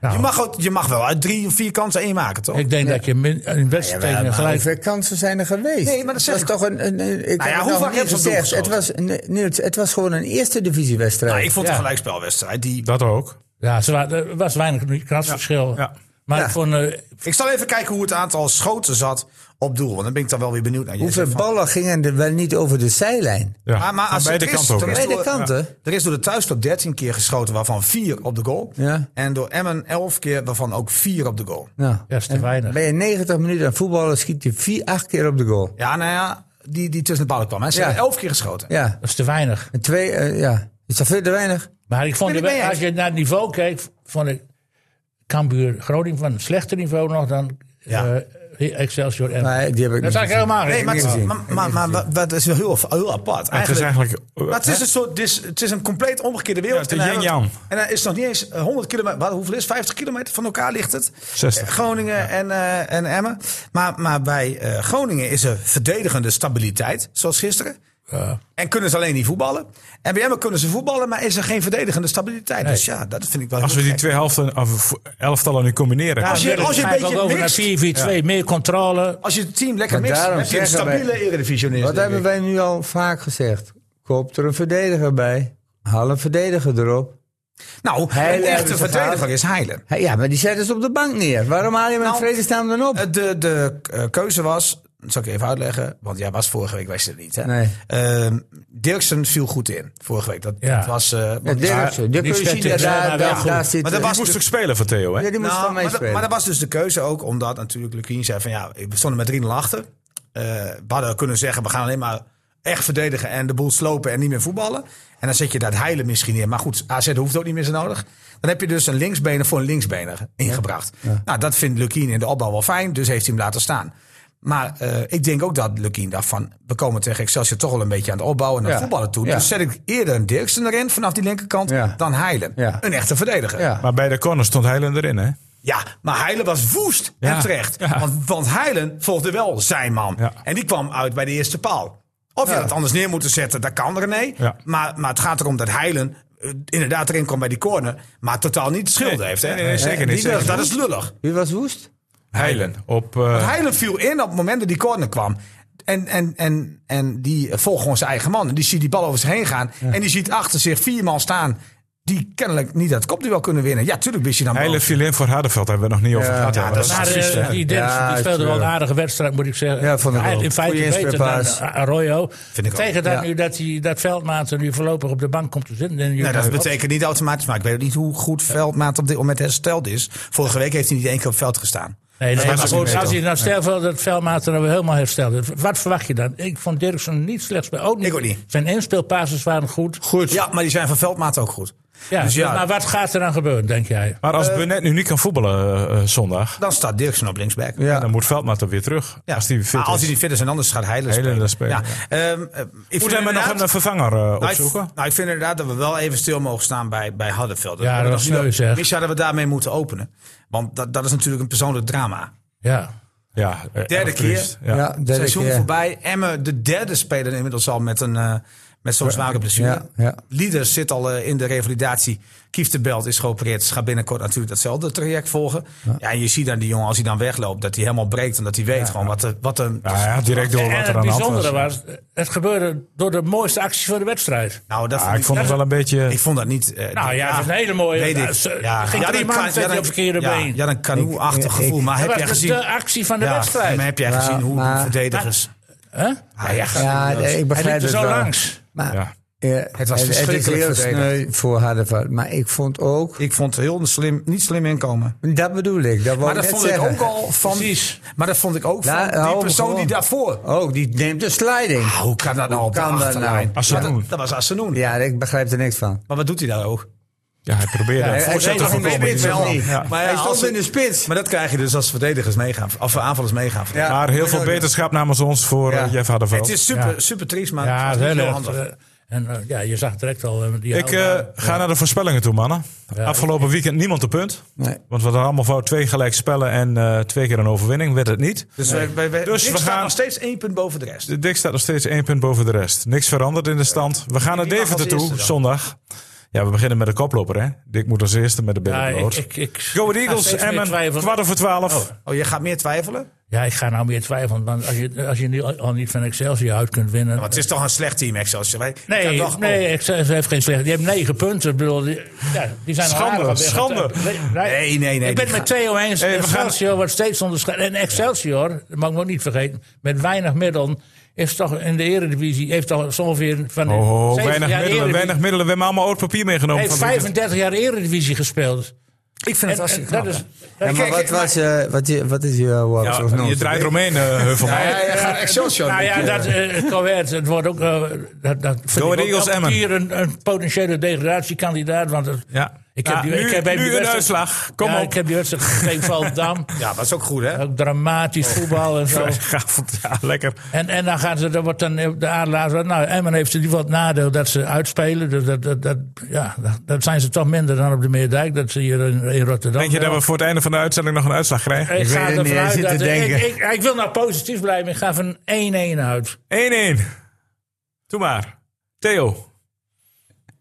Speaker 3: Nou,
Speaker 2: Je, mag, ook- je mag wel uit drie of vier kansen één maken, toch?
Speaker 3: Ik denk dat je min- een wedstrijd tegen een
Speaker 1: maar
Speaker 3: gelijk...
Speaker 1: hoeveel kansen zijn er geweest?
Speaker 2: Nee, maar dat zeg
Speaker 1: was
Speaker 2: ik-
Speaker 1: toch een. een, een- ik
Speaker 2: Nou ja,
Speaker 1: heb
Speaker 2: hoe
Speaker 1: het nog
Speaker 2: vaak
Speaker 1: niet
Speaker 2: hebben ze het
Speaker 1: gezegd. Het was, nee, Niels, het was gewoon een eerste divisiewedstrijd.
Speaker 2: Nou, ik vond de
Speaker 3: Ja.
Speaker 2: gelijkspelwedstrijd. Die...
Speaker 5: Dat ook.
Speaker 3: Ja, ze wa- er was weinig krasverschil.
Speaker 5: Ja.
Speaker 3: Maar
Speaker 2: Ja.
Speaker 3: ik vond... eh,
Speaker 2: Ik zal even kijken hoe het aantal schoten zat op doel. Want dan ben ik dan wel weer benieuwd naar je.
Speaker 1: Hoeveel ballen gingen er wel niet over de zijlijn?
Speaker 5: Ja.
Speaker 2: Maar, maar
Speaker 5: Van
Speaker 2: als
Speaker 5: beide
Speaker 2: er is-
Speaker 5: kanten ook.
Speaker 2: er is
Speaker 5: hè.
Speaker 1: Beide
Speaker 2: door-
Speaker 1: kanten.
Speaker 2: Er is door de thuisclub 13 keer geschoten, waarvan 4 op de goal.
Speaker 1: Ja.
Speaker 2: En door Emmen 11 keer, waarvan ook 4 op de goal.
Speaker 1: Nou,
Speaker 3: Ja, is te
Speaker 1: en
Speaker 3: weinig.
Speaker 1: Ben je 90 minuten aan voetballen, schiet je 4, 8 keer op de goal.
Speaker 2: Ja, nou ja, die, die tussen de ballen kwam. Hè. Ze
Speaker 1: Ja.
Speaker 2: hebben 11 keer geschoten.
Speaker 1: Ja,
Speaker 3: Dat is te weinig.
Speaker 1: en twee, eh, ja. Is dat veel te weinig?
Speaker 3: Maar ik vond,
Speaker 2: Ben ik mee
Speaker 3: de-
Speaker 2: eens.
Speaker 3: als je naar het niveau keek, vond ik Cambuur Groningen van een slechter niveau nog dan
Speaker 2: Ja.
Speaker 3: eh, Excelsior. En,
Speaker 1: Nee, die heb ik
Speaker 3: dat
Speaker 1: niet
Speaker 3: zag ik
Speaker 1: gezien.
Speaker 3: helemaal
Speaker 2: Nee,
Speaker 3: geen.
Speaker 2: maar,
Speaker 1: niet gezien.
Speaker 2: maar, maar, maar, maar dat is wel heel, heel apart.
Speaker 5: Het is eigenlijk... eh,
Speaker 2: maar het is een soort, dis- het is een compleet omgekeerde
Speaker 5: Ja,
Speaker 2: wereld.
Speaker 5: het is
Speaker 2: en, hij-
Speaker 5: yin-yang.
Speaker 2: en hij is nog niet eens eh, 100 kilometer, wat, hoeveel is het? 50 kilometer van elkaar ligt het.
Speaker 5: 60.
Speaker 2: Eh, Groningen en, eh, en Emmen. Maar, maar bij eh, Groningen is er verdedigende stabiliteit, zoals gisteren. En kunnen ze alleen niet voetballen. En bij Emmen kunnen ze voetballen, maar is er geen verdedigende stabiliteit. Dus ja, dat vind ik wel
Speaker 5: Als
Speaker 2: heel
Speaker 5: we die
Speaker 2: gek.
Speaker 5: twee helften, of elftallen nu combineren.
Speaker 2: als je, als je een beetje
Speaker 3: over naar
Speaker 2: mixt,
Speaker 3: 4-4-2, meer controle.
Speaker 2: als je het team lekker
Speaker 1: Maar
Speaker 2: mixt,
Speaker 1: daarom
Speaker 2: heb je een
Speaker 1: zeggen wij-
Speaker 2: stabiele eredivisionist.
Speaker 1: Wat
Speaker 2: denk
Speaker 1: hebben
Speaker 2: ik.
Speaker 1: wij nu al vaak gezegd? Koop er een verdediger bij. Haal een verdediger erop. Heilen
Speaker 2: Nou, een
Speaker 1: hebben
Speaker 2: echte
Speaker 1: ze
Speaker 2: verdediger
Speaker 1: gehaald.
Speaker 2: is heilen.
Speaker 1: Hé, Ja, maar die zetten ze op de bank neer. Waarom haal je hem in
Speaker 2: Nou,
Speaker 1: vredesnaam dan op?
Speaker 2: De, de eh, keuze was, dat zal ik even uitleggen, want jij was vorige week, wist je het niet. Hè?
Speaker 1: Nee.
Speaker 2: Ehm, Dirksen viel goed in vorige week. Dat,
Speaker 3: Ja.
Speaker 2: dat was. eh, want-
Speaker 1: Ja, Dirksen, die
Speaker 3: niet
Speaker 1: kun je zien,
Speaker 3: slecht in
Speaker 1: daar,
Speaker 3: zijn,
Speaker 1: daar,
Speaker 3: maar wel
Speaker 1: daar,
Speaker 3: goed.
Speaker 1: zit...
Speaker 2: Maar dat
Speaker 5: Hij
Speaker 2: was
Speaker 5: moest ook spelen voor Theo, hè?
Speaker 1: Ja, die moest
Speaker 2: Nou,
Speaker 1: gewoon
Speaker 2: maar, dat,
Speaker 1: meespelen.
Speaker 2: maar dat was dus de keuze ook, omdat natuurlijk Lukien zei van ja, we stonden met 3-0 achter. Eh, we hadden kunnen zeggen, we gaan alleen maar echt verdedigen en de boel slopen en niet meer voetballen. En dan zet je dat heilen misschien in. Maar goed, AZ hoeft ook niet meer zo nodig. Dan heb je dus een linksbener voor een linksbener ingebracht. Nou, dat vindt Lukien in de opbouw wel fijn, dus heeft hij hem laten staan. Maar eh, ik denk ook dat Lukien dacht van... we komen tegen Excelsior toch wel een beetje aan het opbouwen... en aan het
Speaker 1: Ja.
Speaker 2: voetballen toe.
Speaker 1: Ja.
Speaker 2: Dus zet ik eerder een Dirksen erin vanaf die linkerkant...
Speaker 1: Ja.
Speaker 2: dan Heilen.
Speaker 1: Ja.
Speaker 2: Een echte verdediger.
Speaker 1: Ja.
Speaker 5: Maar bij de corner stond Heilen erin, hè?
Speaker 2: Ja, maar Heilen was woest en
Speaker 5: Ja,
Speaker 2: terecht.
Speaker 5: ja.
Speaker 2: Want, want Heilen volgde wel zijn man.
Speaker 5: Ja.
Speaker 2: En die kwam uit bij de eerste paal. Of je dat anders neer moeten zetten, dat kan René.
Speaker 5: Ja.
Speaker 2: Maar, maar het gaat erom dat Heilen eh, inderdaad erin kwam bij die corner. Maar totaal niet de schuld
Speaker 5: Nee,
Speaker 2: heeft. Hè?
Speaker 5: nee, nee, zeker niet,
Speaker 2: Die-
Speaker 5: zeker
Speaker 2: dat is lullig.
Speaker 1: Wie was woest?
Speaker 5: Heilen. Op, eh,
Speaker 2: Heilen viel in op het moment dat die corner kwam. En, en, en, en die volgt gewoon zijn eigen man. En die ziet die bal over zich heen gaan. En die ziet achter zich vier man staan. Die kennelijk niet dat kopduel kunnen winnen. Ja, tuurlijk wist je dan
Speaker 5: Heilen
Speaker 2: boos.
Speaker 5: viel in voor Hardenveld, daar hebben we het nog niet over gehad.
Speaker 2: ja,
Speaker 5: hè?
Speaker 2: dat is
Speaker 3: Maar eh,
Speaker 2: precies, hè?
Speaker 3: die Dennis
Speaker 1: Ja,
Speaker 3: die speelde
Speaker 1: is,
Speaker 3: wel een
Speaker 1: eh,
Speaker 3: aardige wedstrijd, moet ik zeggen.
Speaker 1: Ja, vond ik
Speaker 3: Hij
Speaker 1: wel.
Speaker 3: in feite
Speaker 1: Goeie
Speaker 3: beter dan eh,
Speaker 1: inspelpaas.
Speaker 3: Arroyo.
Speaker 2: Vind ik ook.
Speaker 3: Tegen dat
Speaker 2: Ja.
Speaker 3: nu dat, hij, dat Veldmaat er nu voorlopig op de bank komt te zitten. En
Speaker 2: Nee, Nou, dat
Speaker 3: Arroyo-
Speaker 2: betekent niet automatisch. Maar ik weet ook niet hoe goed Veldmaat op dit moment hersteld is. Vorige week heeft hij niet één keer op veld gestaan.
Speaker 3: Nee, nee, maar
Speaker 2: was ook niet
Speaker 3: goed, als
Speaker 2: beter.
Speaker 3: hij nou stel voor dat Veldmaat er nou weer helemaal hersteld is. Wat verwacht je dan? Ik vond Dirksen niet slecht spelen. Ook niet.
Speaker 2: Ik ook niet.
Speaker 3: Zijn inspeelpases waren goed.
Speaker 2: Goed. Ja, maar die zijn van Veldmaat ook goed.
Speaker 3: Ja,
Speaker 2: Dus ja.
Speaker 3: Maar wat gaat er dan gebeuren, denk jij?
Speaker 5: Maar
Speaker 2: Eh,
Speaker 5: als Burnett nu niet kan voetballen eh, eh, zondag,
Speaker 2: Dan staat Dirksen op linksback.
Speaker 5: dan moet Veldmaat er weer terug.
Speaker 2: Ja.
Speaker 5: Als die fit
Speaker 2: maar als
Speaker 5: is.
Speaker 2: hij niet fit is en anders gaat Heilen
Speaker 5: Heilen
Speaker 2: spelen.
Speaker 5: dan spelen,
Speaker 2: Ja. Ehm, eh, ik vind
Speaker 5: Moeten we nog
Speaker 2: inderdaad-
Speaker 5: een eh, vervanger eh,
Speaker 2: Nou, ik-
Speaker 5: opzoeken?
Speaker 2: Nou, ik vind inderdaad dat we wel even stil mogen staan bij, bij Hardenveld.
Speaker 3: Ja, dat was sneu, zeg.
Speaker 2: Misschien hadden we daarmee moeten openen. Want dat, dat is natuurlijk een persoonlijk drama.
Speaker 3: Ja.
Speaker 5: Ja, eh,
Speaker 2: Derde
Speaker 5: erg triest.
Speaker 1: Ja,
Speaker 5: Ja.
Speaker 1: derde
Speaker 2: seizoen
Speaker 1: keer.
Speaker 2: voorbij. Emmen, de derde speler inmiddels al met een eh, met zo'n zware blessure.
Speaker 1: ja, ja.
Speaker 2: Lieders zit al eh, in de revalidatie. Kieft de Belt is geopereerd. Ze gaat binnenkort natuurlijk datzelfde traject volgen. Ja. en je ziet aan die jongen als hij dan wegloopt dat hij helemaal breekt. En dat hij weet gewoon wat, de, wat een...
Speaker 5: Ja, ja, direct door
Speaker 3: En
Speaker 5: wat
Speaker 3: het
Speaker 5: er aan de hand was.
Speaker 3: bijzondere was, het gebeurde door de mooiste actie van de wedstrijd.
Speaker 2: Nou, dat
Speaker 5: Ja, ik vond het wel een beetje...
Speaker 2: ik vond dat niet... eh,
Speaker 3: Nou ja, dat is een hele mooie.
Speaker 2: Weet ik.
Speaker 3: Nou, ze- Ging drie
Speaker 2: dan kan-
Speaker 3: maanden op verkeerde
Speaker 2: ja,
Speaker 3: been.
Speaker 2: Ja, dan kanoe-achtig
Speaker 1: ik-
Speaker 2: gevoel. Maar
Speaker 3: dat
Speaker 2: heb
Speaker 3: was
Speaker 2: jij
Speaker 3: dus
Speaker 2: gezien...
Speaker 3: de actie van de
Speaker 2: ja,
Speaker 3: wedstrijd.
Speaker 2: maar heb jij
Speaker 1: Ja,
Speaker 2: gezien hoe
Speaker 1: maar-
Speaker 2: de verdedigers...
Speaker 3: Hè?
Speaker 2: Ah, ja,
Speaker 1: Ja, ik
Speaker 3: Hij liep
Speaker 1: begrijp
Speaker 3: er
Speaker 1: het
Speaker 3: zo
Speaker 1: wel.
Speaker 3: langs.
Speaker 1: Maar
Speaker 5: Ja.
Speaker 1: eh,
Speaker 2: Het was
Speaker 1: is
Speaker 2: verschrikkelijk
Speaker 1: heel
Speaker 2: verdedigd.
Speaker 1: sneu voor Hardenveld. Maar ik vond ook...
Speaker 2: Ik vond het heel slim, niet slim inkomen.
Speaker 1: Dat bedoel ik. Dat
Speaker 2: Maar dat vond ik ook al van.
Speaker 3: Precies.
Speaker 2: Maar dat vond ik ook van
Speaker 1: Nou, hou
Speaker 2: die
Speaker 1: hem
Speaker 2: persoon die
Speaker 1: gewoon.
Speaker 2: daarvoor.
Speaker 1: Oh, die neemt een sliding.
Speaker 2: Ah, hoe kan dat nou op de
Speaker 1: kan dat
Speaker 2: achterlijn?
Speaker 1: nou?
Speaker 2: Ja,
Speaker 5: Assenoen.
Speaker 2: dat, dat was Assenoen.
Speaker 1: Ja, ik begrijp er niks van.
Speaker 2: Maar wat doet hij daar ook?
Speaker 5: Ja, hij probeerde
Speaker 1: hij-
Speaker 5: het
Speaker 1: hij zat
Speaker 5: voorzet te
Speaker 1: nog in de
Speaker 5: voorkomen. die
Speaker 1: spits,
Speaker 5: bal.
Speaker 1: wel niet.
Speaker 5: Ja.
Speaker 2: Maar,
Speaker 1: Hij
Speaker 2: ja, als
Speaker 1: stond
Speaker 2: ze-
Speaker 1: in de spits.
Speaker 2: maar dat krijg je dus als verdedigers meegaan. Of aanvallers meegaan.
Speaker 1: Ja.
Speaker 5: Maar heel veel
Speaker 1: Ja.
Speaker 5: beterschap namens ons voor
Speaker 1: Ja.
Speaker 5: eh, Jeff Hardenveld.
Speaker 2: Het is super, super triest, maar
Speaker 3: Ja, dat
Speaker 2: het was
Speaker 3: is
Speaker 2: niet
Speaker 3: heel
Speaker 2: heel
Speaker 3: erg.
Speaker 2: handig.
Speaker 3: eh, En eh, ja, je zag direct al. eh, Die
Speaker 5: Ik eh,
Speaker 3: oude-
Speaker 5: ga naar de voorspellingen toe, mannen. Afgelopen weekend niemand een punt.
Speaker 1: Nee.
Speaker 5: Want we hadden allemaal voor twee gelijk spellen en eh, twee keer een overwinning. Werd het niet.
Speaker 2: Dus, wij, wij, wij,
Speaker 5: Dus
Speaker 2: Nick
Speaker 5: we
Speaker 2: staat
Speaker 5: gaan-
Speaker 2: nog steeds één punt boven de rest.
Speaker 5: De Dus, Dik staat nog steeds één punt boven de rest. Niks veranderd in de stand. We gaan naar
Speaker 2: Wie mag
Speaker 5: Deventer
Speaker 2: als eerste
Speaker 5: toe,
Speaker 2: dan?
Speaker 5: zondag. Ja, we beginnen met de koploper, hè. Dik moet als eerste met de
Speaker 3: Ja, ik,
Speaker 5: billenbloot.
Speaker 3: ik, ik,
Speaker 5: Go Ahead
Speaker 3: ik ga
Speaker 5: Eagles,
Speaker 3: steeds meer
Speaker 5: Emmen,
Speaker 3: twijfelen.
Speaker 5: kwart over twaalf.
Speaker 2: Oh, je gaat meer twijfelen?
Speaker 3: Ja, ik ga nou meer twijfelen. Want als je, als je nu al al niet van Excelsior uit kunt winnen.
Speaker 2: Maar het is toch een slecht team, Excelsior. Wij- ik had
Speaker 3: Nee,
Speaker 2: toch-
Speaker 3: nee Excelsior heeft geen slecht. Die hebben negen punten. Ik bedoel, die, ja, die zijn al
Speaker 5: Schande,
Speaker 3: aardig op weg.
Speaker 5: schande.
Speaker 3: Nee,
Speaker 2: Nee, nee, nee,
Speaker 3: Ik ben
Speaker 2: die
Speaker 3: het met Theo eens.
Speaker 5: Hey, we gaan-
Speaker 3: Excelsior wordt steeds onderschat. En Excelsior, dat mag ik ook niet vergeten, met weinig middelen is toch in de eredivisie, heeft toch zo ongeveer van de
Speaker 5: Oh, oh,
Speaker 3: 70 jaar
Speaker 5: weinig middelen,
Speaker 3: eredivisie-
Speaker 5: weinig middelen. We hebben allemaal oud papier meegenomen.
Speaker 3: heeft
Speaker 5: van Dik.
Speaker 3: 35 jaar eredivisie gespeeld.
Speaker 2: Ik vind het
Speaker 3: En, en
Speaker 2: hartstikke
Speaker 3: dat
Speaker 2: knap,
Speaker 3: is,
Speaker 2: hè.
Speaker 1: Ja, maar
Speaker 2: Kijk,
Speaker 1: wat, was, eh, wat, je- wat is je wat
Speaker 5: Ja,
Speaker 1: of
Speaker 5: je
Speaker 1: nood?
Speaker 5: draait eromheen, eh Heuvelman.
Speaker 2: Ja, je gaat Excelsior.
Speaker 3: Nou ja, dat eh, Coët, het wordt ook. eh, dat, dat vind
Speaker 5: Go
Speaker 3: ik ook
Speaker 5: Eagles,
Speaker 3: elke
Speaker 5: Emmen.
Speaker 3: keer een, een potentiële degradatiekandidaat. Want het-
Speaker 5: Ja.
Speaker 3: ik heb
Speaker 5: Ja,
Speaker 3: die,
Speaker 5: nu,
Speaker 3: ik heb even
Speaker 5: nu
Speaker 3: die
Speaker 5: een
Speaker 3: wedstrijd-
Speaker 5: uitslag. Kom
Speaker 3: ja,
Speaker 5: op.
Speaker 3: Ik heb die wedstrijd tegen Valdam.
Speaker 2: Oh, Ja, dat is ook goed, hè?
Speaker 3: Ook dramatisch voetbal en zo.
Speaker 5: Vrijdagavond, ja, lekker.
Speaker 3: En, en dan gaan ze, dan wordt dan de aardlaat. Nou, Emmen heeft in ieder geval het nadeel dat ze uitspelen. Dus dat, dat, dat, ja, dat, dat zijn ze toch minder dan op de Meerdijk. Dat ze hier in, in Rotterdam.
Speaker 5: Denk je dat
Speaker 3: wel.
Speaker 5: we voor het einde van de uitzending nog een uitslag krijgen? 1-1.
Speaker 3: ik
Speaker 1: weet
Speaker 3: ga
Speaker 1: het
Speaker 3: ervan
Speaker 1: niet, hij
Speaker 3: uit
Speaker 1: zit
Speaker 3: dat
Speaker 1: te
Speaker 3: ik,
Speaker 1: denken.
Speaker 3: ik, ik wil nou positief blijven. Ik ga van 1-1 uit.
Speaker 5: Doe maar. Theo,
Speaker 1: 1-3.
Speaker 5: 1-3.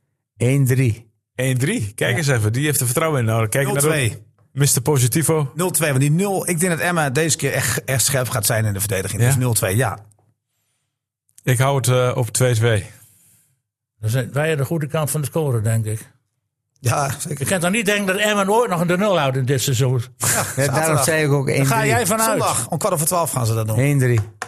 Speaker 5: Kijk eens even, die heeft er vertrouwen in nodig. Kijk naar de-
Speaker 2: 0-2.
Speaker 5: Mr. Positivo.
Speaker 2: 0-2, want die 0, ik denk dat Emma deze keer echt, echt scherp gaat zijn in de verdediging.
Speaker 5: Ja?
Speaker 2: Dus 0-2, ja.
Speaker 5: Ik hou het eh, op 2-2.
Speaker 3: Dan zijn wij aan de goede kant van de score, denk ik.
Speaker 2: Ja,
Speaker 3: Je
Speaker 2: zeker.
Speaker 3: kan toch niet denken dat Emmen ooit nog een de nul houdt in dit seizoen?
Speaker 1: Ja, daarom
Speaker 2: zaterdag.
Speaker 1: zei ik ook 1-3.
Speaker 3: Daar ga jij vanuit.
Speaker 2: Zondag, om kwart over twaalf gaan ze dat doen.
Speaker 1: 1-3.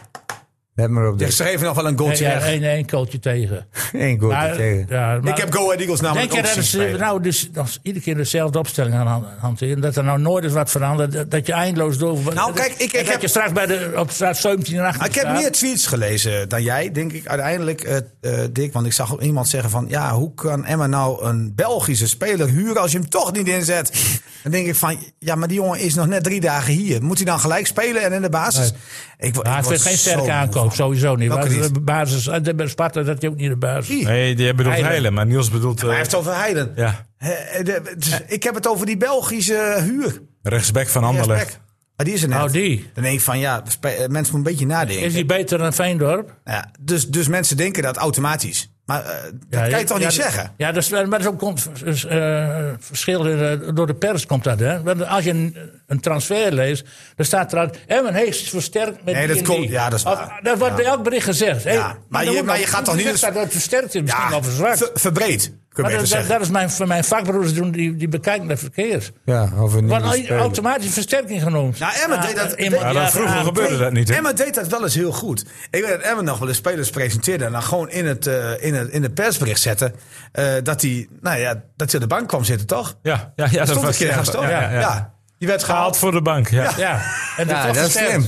Speaker 1: Let maar op
Speaker 2: Ja,
Speaker 1: dit.
Speaker 2: ze geven nog wel een goaltje
Speaker 3: Ja,
Speaker 2: weg.
Speaker 3: één één kooltje tegen.
Speaker 1: Eén goal
Speaker 3: Maar-
Speaker 1: tegen.
Speaker 3: ja, maar-
Speaker 2: Ik heb Go Ahead Eagles namelijk
Speaker 3: Denk je
Speaker 2: ook
Speaker 3: dat
Speaker 2: zien
Speaker 3: ze
Speaker 2: spelen.
Speaker 3: nou dus als iedere keer dezelfde opstelling aan han- hanteren? Dat er nou nooit eens wat verandert? dat- Dat je eindeloos door...
Speaker 2: Nou, kijk, ik- ik
Speaker 3: en dat
Speaker 2: heb-
Speaker 3: je straks bij de, op straat 17 en 18
Speaker 2: Maar ik heb
Speaker 3: staat.
Speaker 2: meer tweets gelezen dan jij, denk ik uiteindelijk, eh, eh, Dick. Want ik zag ook iemand zeggen van... ja, hoe kan Emma nou een Belgische speler huren als je hem toch niet inzet? Dan denk ik van... ja, maar die jongen is nog net drie dagen hier. Moet hij dan gelijk spelen en in de basis? Ik, wo-
Speaker 3: Maar
Speaker 2: ik
Speaker 3: het
Speaker 2: word
Speaker 3: is geen
Speaker 2: zo
Speaker 3: sterke
Speaker 2: moe
Speaker 3: aankoop,
Speaker 2: van.
Speaker 3: sowieso niet.
Speaker 2: Welke
Speaker 3: Want
Speaker 2: niet?
Speaker 3: de basis, eh, de Sparta, dat je ook niet de basis.
Speaker 2: Wie?
Speaker 5: Nee, die bedoelt
Speaker 3: Heilen.
Speaker 5: Heilen, maar Niels bedoelt...
Speaker 2: Maar
Speaker 5: eh,
Speaker 2: hij heeft het over Heiden.
Speaker 5: ja,
Speaker 2: Eh, de- het is- ik heb het over die Belgische huur.
Speaker 5: rechtsback van Anderlecht. Oh,
Speaker 2: Respect. Maar Ah, die is er net.
Speaker 3: Nou, die.
Speaker 2: Dan denk ik van ja, spe- eh, mensen moeten een beetje nadenken.
Speaker 3: Is die beter dan Veendorp?
Speaker 2: Ja, dus, dus mensen denken dat automatisch. Maar eh, dat
Speaker 3: Ja,
Speaker 2: kan je
Speaker 3: ja,
Speaker 2: toch niet
Speaker 3: ja,
Speaker 2: zeggen?
Speaker 3: Ja, dat is, maar dat is ook komt, is, eh, verschil in, eh, door de pers komt dat. Hè? Want als je een, een transfer leest, dan staat eruit... Emmen heeft versterkt met
Speaker 2: Nee, dat
Speaker 3: die en die.
Speaker 2: komt- ja, dat is
Speaker 3: Of-
Speaker 2: waar.
Speaker 3: dat wordt
Speaker 2: Ja.
Speaker 3: bij elk bericht gezegd. Hey,
Speaker 2: Ja, maar
Speaker 3: dan
Speaker 2: je-
Speaker 3: wordt
Speaker 2: maar
Speaker 3: nog
Speaker 2: je gaat toch niet
Speaker 3: gezegd
Speaker 2: eens-
Speaker 3: Dat het versterkt is, misschien
Speaker 2: Ja,
Speaker 3: wel verzwakt.
Speaker 2: ver- verbreed, kun je
Speaker 3: maar
Speaker 2: beter
Speaker 3: dat, dat,
Speaker 2: zeggen.
Speaker 3: dat is mijn, van mijn vakbroeders doen, die, die bekijken dat verkeerd.
Speaker 1: Ja, over
Speaker 3: Wordt al-
Speaker 1: nieuwe spelers.
Speaker 3: automatisch versterking Ah, genoemd.
Speaker 2: Nou, Emmen deed dat-
Speaker 3: iemand-
Speaker 5: Ja, dat vroeger
Speaker 3: aan-
Speaker 5: gebeurde dat niet, hè?
Speaker 2: Emma deed dat wel eens heel goed. Ik weet dat Emma nog wel eens spelers presenteerde... en dan gewoon in het, eh, in het, in het persbericht zette... eh, dat hij nou ja, dat hij op de bank kwam zitten, toch?
Speaker 5: Ja, ja, ja dat
Speaker 2: stond een
Speaker 5: was
Speaker 2: keer ergens, toch?
Speaker 5: ja, ja, ja.
Speaker 2: Die werd
Speaker 5: Gehaald
Speaker 2: gehaald.
Speaker 5: voor de bank, ja.
Speaker 3: Ja, en
Speaker 1: Ja,
Speaker 3: toch
Speaker 1: dat is
Speaker 3: versterkt.
Speaker 1: slim.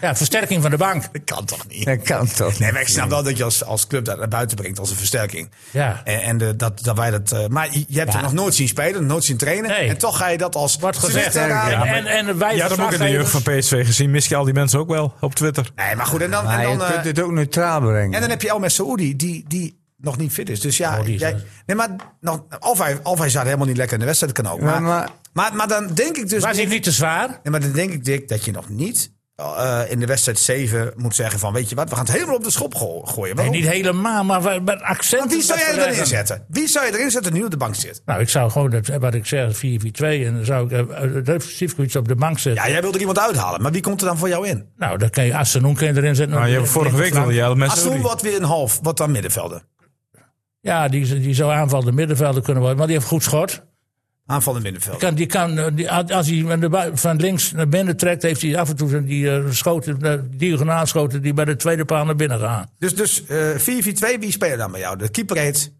Speaker 3: Ja, versterking van de bank.
Speaker 2: Dat kan toch niet?
Speaker 1: Dat kan toch
Speaker 2: Nee, maar ik snap wel dat je als, als club dat naar buiten brengt als een versterking.
Speaker 3: Ja.
Speaker 2: En, en de, dat, dat wij dat. eh, maar je je hebt hem nog nooit zien spelen, nog nooit zien trainen.
Speaker 3: Nee.
Speaker 2: En toch ga je dat als.
Speaker 3: Wordt gezegd.
Speaker 2: Twitter aan-
Speaker 3: en, en, en wij
Speaker 5: Ja, dat heb ik in de jeugd van
Speaker 3: verslaggevers-
Speaker 5: PSV gezien. Mis je al die mensen ook wel op Twitter.
Speaker 2: Nee, maar goed. En dan,
Speaker 1: Maar
Speaker 2: en
Speaker 1: je
Speaker 2: dan, eh,
Speaker 1: kunt dit ook neutraal brengen.
Speaker 2: en dan heb je Elmer Saoudi, die, die nog niet fit is. Dus ja.
Speaker 3: Oh, die is
Speaker 2: jij-
Speaker 3: uit.
Speaker 2: nee, maar nog, of, hij, of hij zat helemaal niet lekker in de wedstrijd, dat kan ook. Maar,
Speaker 1: Maar-
Speaker 2: maar,
Speaker 1: maar-
Speaker 2: maar, dan denk ik dus.
Speaker 3: Was
Speaker 2: Dick-
Speaker 3: ik niet te zwaar?
Speaker 2: nee, maar dan denk ik, Dick, dat je nog niet. eh, in de wedstrijd 7 moet zeggen van weet je wat, we gaan het helemaal op de schop go- gooien.
Speaker 3: Nee,
Speaker 2: Waarom?
Speaker 3: niet helemaal, maar wa- met accent.
Speaker 2: Want wie zou jij er dan inzetten? Wie zou je erin zetten die nu op de bank zit?
Speaker 3: Nou, ik zou gewoon, dat, wat ik zeg, 4-4-2. En dan zou ik eh, eh, defensief iets op de bank zetten.
Speaker 2: Ja, jij wilde er iemand uithalen, maar wie komt er dan voor jou in?
Speaker 3: Nou, dan kan je Assenoen kan je erin zetten.
Speaker 5: Nou, je hebt vorige week wilde je al mensen...
Speaker 2: Asloen wordt weer een half, wat dan middenvelder.
Speaker 3: Ja, die, die zou aanvallende middenvelder kunnen worden. Maar die heeft goed schot.
Speaker 2: Aanvallend middenvelder.
Speaker 3: Kan, die kan, eh, die, als hij van, de bui- van links naar binnen trekt, heeft hij af en toe zo'n die eh, schoten, eh, diagonaal schoten die bij de tweede paal naar binnen gaan.
Speaker 2: Dus, dus eh 4-4-2, wie spelen dan bij jou? De keeper heet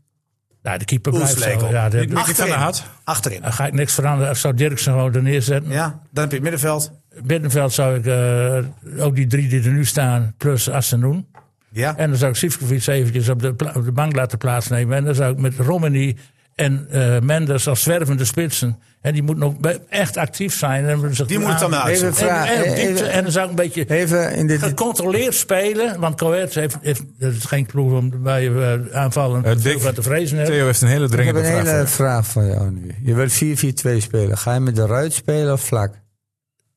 Speaker 3: Nou, de keeper blijft zo.
Speaker 2: Oelslekel.
Speaker 3: Ja, de-
Speaker 5: Mickey van der
Speaker 2: achterin.
Speaker 5: Hart.
Speaker 2: Achterin.
Speaker 3: dan ga ik niks veranderen. Zou Dirksen gewoon er neerzetten.
Speaker 2: Ja, dan heb je het middenveld.
Speaker 3: Middenveld zou ik eh, ook die drie die er nu staan, plus Assenoen.
Speaker 2: Ja.
Speaker 3: En dan zou ik Sivkovic eventjes op de, pla- op de bank laten plaatsnemen. En dan zou ik met Romani en eh, Mendes als zwervende spitsen. En die moeten ook be- echt actief zijn. En zich
Speaker 2: Die moet het dan
Speaker 3: aan-
Speaker 2: maar
Speaker 1: Even
Speaker 2: uitzoeken.
Speaker 3: en,
Speaker 1: vragen.
Speaker 3: en, op
Speaker 10: eh,
Speaker 3: diepte.
Speaker 1: even,
Speaker 3: en dan zou ik een beetje
Speaker 1: even in dit...
Speaker 3: gecontroleerd spelen. Want Coët heeft, heeft, dat is geen ploeg om bij eh, aanvallen
Speaker 5: Eh, Dick,
Speaker 3: veel van te vrezen hebben.
Speaker 5: Theo heeft een hele
Speaker 1: Ik heb
Speaker 5: dringende
Speaker 1: een
Speaker 5: vraag.
Speaker 1: hele
Speaker 5: voor
Speaker 1: vraag van jou nu. Je wilt 4-4-2 spelen. Ga je met de ruit spelen of vlak?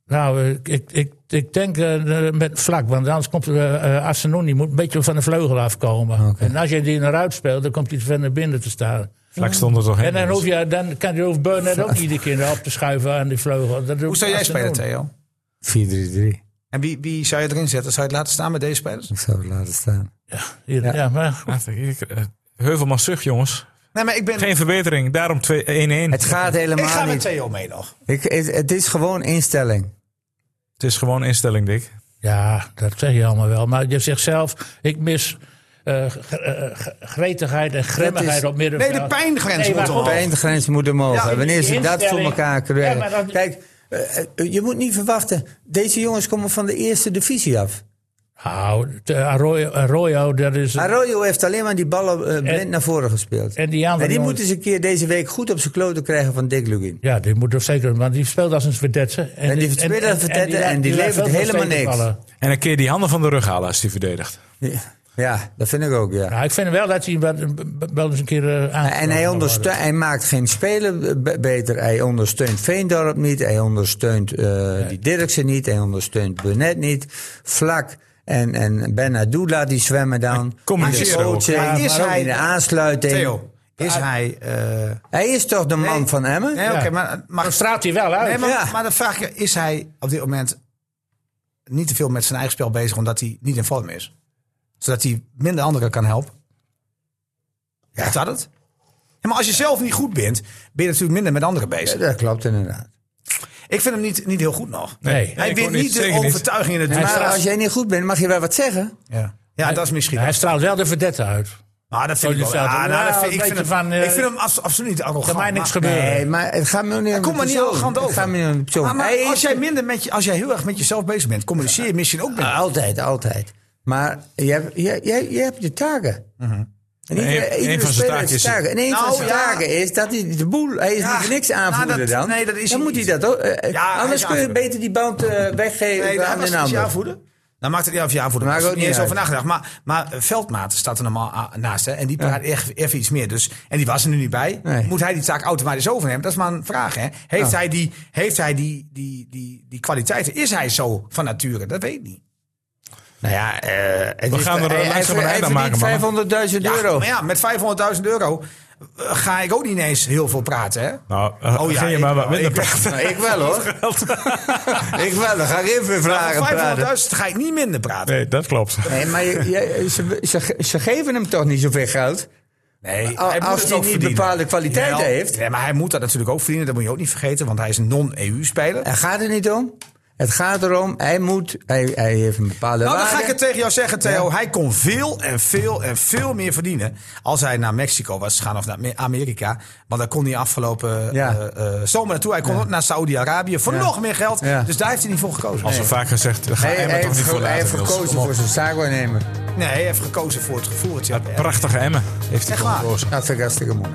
Speaker 3: Nou, eh, ik, ik, ik, ik denk eh, met vlak, want anders komt eh eh, Asenoen, die moet een beetje van de vleugel afkomen.
Speaker 1: Oké.
Speaker 3: En als je die naar uit speelt, dan komt hij te ver naar binnen te staan.
Speaker 5: je. Vlak stond er toch
Speaker 3: En dan,
Speaker 5: heen.
Speaker 3: hoef je, dan kan je hoeft Burnett ook iedere keer op te schuiven aan die vleugel. Dat
Speaker 2: Hoe zou jij spelen, Theo?
Speaker 1: 4-3-3.
Speaker 2: En wie, wie zou je erin zetten? Zou je het laten staan met deze spelers?
Speaker 1: Ik zou het laten staan.
Speaker 3: Ja, ja, maar goed.
Speaker 5: Ah, eh, Heuvelman zucht, jongens.
Speaker 2: Nee, maar ik ben...
Speaker 5: Geen verbetering, daarom 2-1-1.
Speaker 1: Het gaat
Speaker 2: Ik ga
Speaker 1: helemaal
Speaker 2: met
Speaker 1: niet.
Speaker 2: Theo mee nog.
Speaker 1: Ik, het, het is gewoon instelling.
Speaker 5: Het is gewoon instelling, Dick.
Speaker 3: ja, dat zeg je allemaal wel. Maar je zegt zelf, ik mis eh, gre- eh, gre- gretigheid en gremmigheid op middenveld.
Speaker 2: Nee, de pijngrens
Speaker 3: maar
Speaker 2: moet
Speaker 3: goed.
Speaker 2: omhoog.
Speaker 1: De grens moet omhoog.
Speaker 2: Ja,
Speaker 1: Wanneer ze dat voor
Speaker 3: instelling.
Speaker 1: elkaar
Speaker 3: Ja, maar
Speaker 1: krijgen.
Speaker 3: dat-
Speaker 1: Kijk, eh, eh, je moet niet verwachten. Deze jongens komen van de eerste divisie af.
Speaker 3: Nou, de Arroyo, Arroyo, dat is...
Speaker 1: Arroyo heeft alleen maar die ballen eh, blind naar voren gespeeld.
Speaker 3: en die andere
Speaker 1: En die
Speaker 3: jongens-
Speaker 1: moet eens een keer deze week goed op zijn kloten krijgen van Dick Lugin.
Speaker 3: Ja, die moet er zeker, want die speelt als een verdetse.
Speaker 1: En die speelt als verdette en die
Speaker 3: laat
Speaker 1: levert
Speaker 3: veel
Speaker 1: helemaal
Speaker 3: versteken
Speaker 1: niks.
Speaker 3: vallen.
Speaker 5: En een keer die handen van de rug halen als hij verdedigt.
Speaker 1: Ja, ja, dat vind ik ook, ja.
Speaker 3: Ja, Nou, ik vind wel dat hij wel, wel eens een keer eh, aangevallen
Speaker 1: En hij,
Speaker 3: mag
Speaker 1: ondersteunt,
Speaker 3: worden.
Speaker 1: hij maakt geen speler be- beter. Hij ondersteunt Veendorp niet. Hij ondersteunt eh, die Dirksen niet. Hij ondersteunt Burnett niet. Vlak en, en Benadou laat die zwemmen dan.
Speaker 5: communiceert
Speaker 1: In de
Speaker 5: ook.
Speaker 1: coaching,
Speaker 2: Maar is
Speaker 1: maar ook
Speaker 2: hij-
Speaker 1: in de aansluiting.
Speaker 2: Theo, is hij... eh,
Speaker 1: Hij is toch de man
Speaker 2: Nee.
Speaker 1: van Emmen?
Speaker 2: Nee, oké, maar... maar
Speaker 3: Dan straalt hij wel uit.
Speaker 2: Nee, maar,
Speaker 1: Ja.
Speaker 2: maar dan vraag je, is hij op dit moment niet te veel met zijn eigen spel bezig omdat hij niet in vorm is? Zodat hij minder anderen kan helpen? Ja. Is dat het? maar als je zelf niet goed bent, ben je natuurlijk minder met anderen bezig.
Speaker 1: Dat klopt inderdaad.
Speaker 2: Ik vind hem niet, niet heel goed nog.
Speaker 3: Nee. Nee,
Speaker 2: hij
Speaker 5: ik
Speaker 2: wint
Speaker 5: ook niet.
Speaker 2: niet de
Speaker 5: Zeker niet.
Speaker 2: overtuiging in het
Speaker 1: Maar
Speaker 2: duel.
Speaker 1: als jij niet goed bent, mag je wel wat zeggen.
Speaker 2: Ja, ja dat is misschien.
Speaker 3: Hij straalt wel de verdette uit.
Speaker 2: Ah, dat vind ik wel.
Speaker 3: Sollicitatie.
Speaker 2: Ah, nou,
Speaker 3: Ja,
Speaker 2: dat vind-
Speaker 3: een
Speaker 2: ik, vind
Speaker 3: beetje
Speaker 2: hem,
Speaker 3: van, eh,
Speaker 2: ik vind hem abso- absoluut niet arrogant.
Speaker 3: Kan mij niks
Speaker 2: maar-
Speaker 3: gebeuren.
Speaker 1: Nee, maar Eh, het gaat me niet om
Speaker 2: Kom maar niet
Speaker 1: persoon.
Speaker 2: arrogant
Speaker 1: Het
Speaker 2: over.
Speaker 1: gaat me niet om de persoon.
Speaker 2: Ah, maar
Speaker 1: Hij
Speaker 2: als
Speaker 1: is-
Speaker 2: jij, minder met je, als jij heel erg met jezelf bezig bent, communiceer je misschien ook met.
Speaker 1: Ah, altijd, altijd. Maar je hebt je, je, je, hebt je taken. En ieder-
Speaker 5: Een-
Speaker 1: iedere
Speaker 5: een van zijn
Speaker 1: speler
Speaker 5: taken
Speaker 1: heeft
Speaker 5: is-
Speaker 1: zijn taken. En een
Speaker 2: Mhm. Nou,
Speaker 1: van zijn
Speaker 2: ja.
Speaker 1: taken is dat hij de boel... Hij is
Speaker 2: Ja,
Speaker 1: niet voor niks
Speaker 2: nou,
Speaker 1: aanvoerder
Speaker 2: dat-
Speaker 1: dan.
Speaker 2: nee, dat is
Speaker 1: dan
Speaker 2: hij
Speaker 1: moet hij
Speaker 2: niet.
Speaker 1: dat ook. eh, eh,
Speaker 2: Ja, hij is
Speaker 1: anders kun je
Speaker 2: aanvoerder.
Speaker 1: beter die band eh, weggeven
Speaker 2: Nee,
Speaker 1: aan
Speaker 2: was
Speaker 1: een
Speaker 2: het
Speaker 1: ander.
Speaker 2: aanvoerder. Nou maakt het niet uit of je aanvoerder
Speaker 1: Maakt
Speaker 2: was.
Speaker 1: ook
Speaker 2: niet eens
Speaker 1: niet
Speaker 2: over
Speaker 1: uit.
Speaker 2: nagedacht. Maar, maar eh, Veldmaat staat er normaal a- naast. Hè? En die praat echt even iets meer. Dus, en die was er nu niet bij.
Speaker 1: Nee.
Speaker 2: Moet hij die taak automatisch overnemen? Dat is maar een vraag. Hè? Heeft hij, die, heeft hij die, die, die, die kwaliteiten? Is hij zo van nature? Dat weet ik niet.
Speaker 1: Nou ja, eh, het
Speaker 5: We
Speaker 1: is-
Speaker 5: gaan er
Speaker 1: hij-
Speaker 5: langzaam
Speaker 1: hij
Speaker 5: een
Speaker 1: ver-
Speaker 5: eind aan maken,
Speaker 1: Hij
Speaker 5: mannen.
Speaker 1: verdient 500.000
Speaker 2: Ja,
Speaker 1: euro.
Speaker 2: Maar ja, met 500.000 euro eh, ga ik ook niet ineens heel veel praten. Hè?
Speaker 5: Nou, eh,
Speaker 2: Oh ja,
Speaker 5: ging je
Speaker 2: ik
Speaker 5: maar wat
Speaker 2: wel,
Speaker 5: minder
Speaker 2: ik-
Speaker 5: praten.
Speaker 1: Nou, ik wel hoor. ik wel, dan ga ik even vragen
Speaker 2: Nou,
Speaker 1: praten.
Speaker 2: voor 500.000 ga ik niet minder praten.
Speaker 5: Nee, dat klopt.
Speaker 1: Nee, maar je, je- ze, ze, ze geven hem toch niet zoveel geld?
Speaker 2: Nee,
Speaker 1: Al-
Speaker 2: hij moet
Speaker 1: als
Speaker 2: het
Speaker 1: hij
Speaker 2: ook
Speaker 1: niet
Speaker 2: verdienen.
Speaker 1: bepaalde kwaliteiten
Speaker 2: Jawel.
Speaker 1: heeft.
Speaker 2: Nee, maar hij moet dat natuurlijk ook verdienen. Dat moet je ook niet vergeten, want hij is een non-EU-speler.
Speaker 1: Het gaat er niet om. Het gaat erom, hij moet, hij, hij heeft een bepaalde
Speaker 2: Nou, dan
Speaker 1: waarde.
Speaker 2: ga ik het tegen jou zeggen, Theo. Hij kon veel en veel en veel meer verdienen als hij naar Mexico was gegaan of naar Me- Amerika. Want daar kon hij afgelopen
Speaker 1: Ja.
Speaker 2: eh, eh, zomer naartoe. Hij kon ook naar Saudi-Arabië voor
Speaker 1: Ja.
Speaker 2: nog meer geld.
Speaker 1: Ja.
Speaker 2: Dus daar heeft hij niet voor gekozen.
Speaker 5: Als we vaak gezegd, daar ga
Speaker 1: Hij,
Speaker 5: je
Speaker 1: hij
Speaker 5: Emmen toch
Speaker 1: heeft,
Speaker 5: niet voor
Speaker 1: ge- hij
Speaker 5: laten.
Speaker 1: heeft
Speaker 5: Niels.
Speaker 1: gekozen voor zijn zaakwaarnemer.
Speaker 2: Nee, hij heeft gekozen voor het gevoel. Het, ja,
Speaker 5: Het prachtige Emmen heeft hij
Speaker 2: Echt
Speaker 5: voor
Speaker 2: waar?
Speaker 5: gekozen.
Speaker 1: Dat vind ik hartstikke mooi.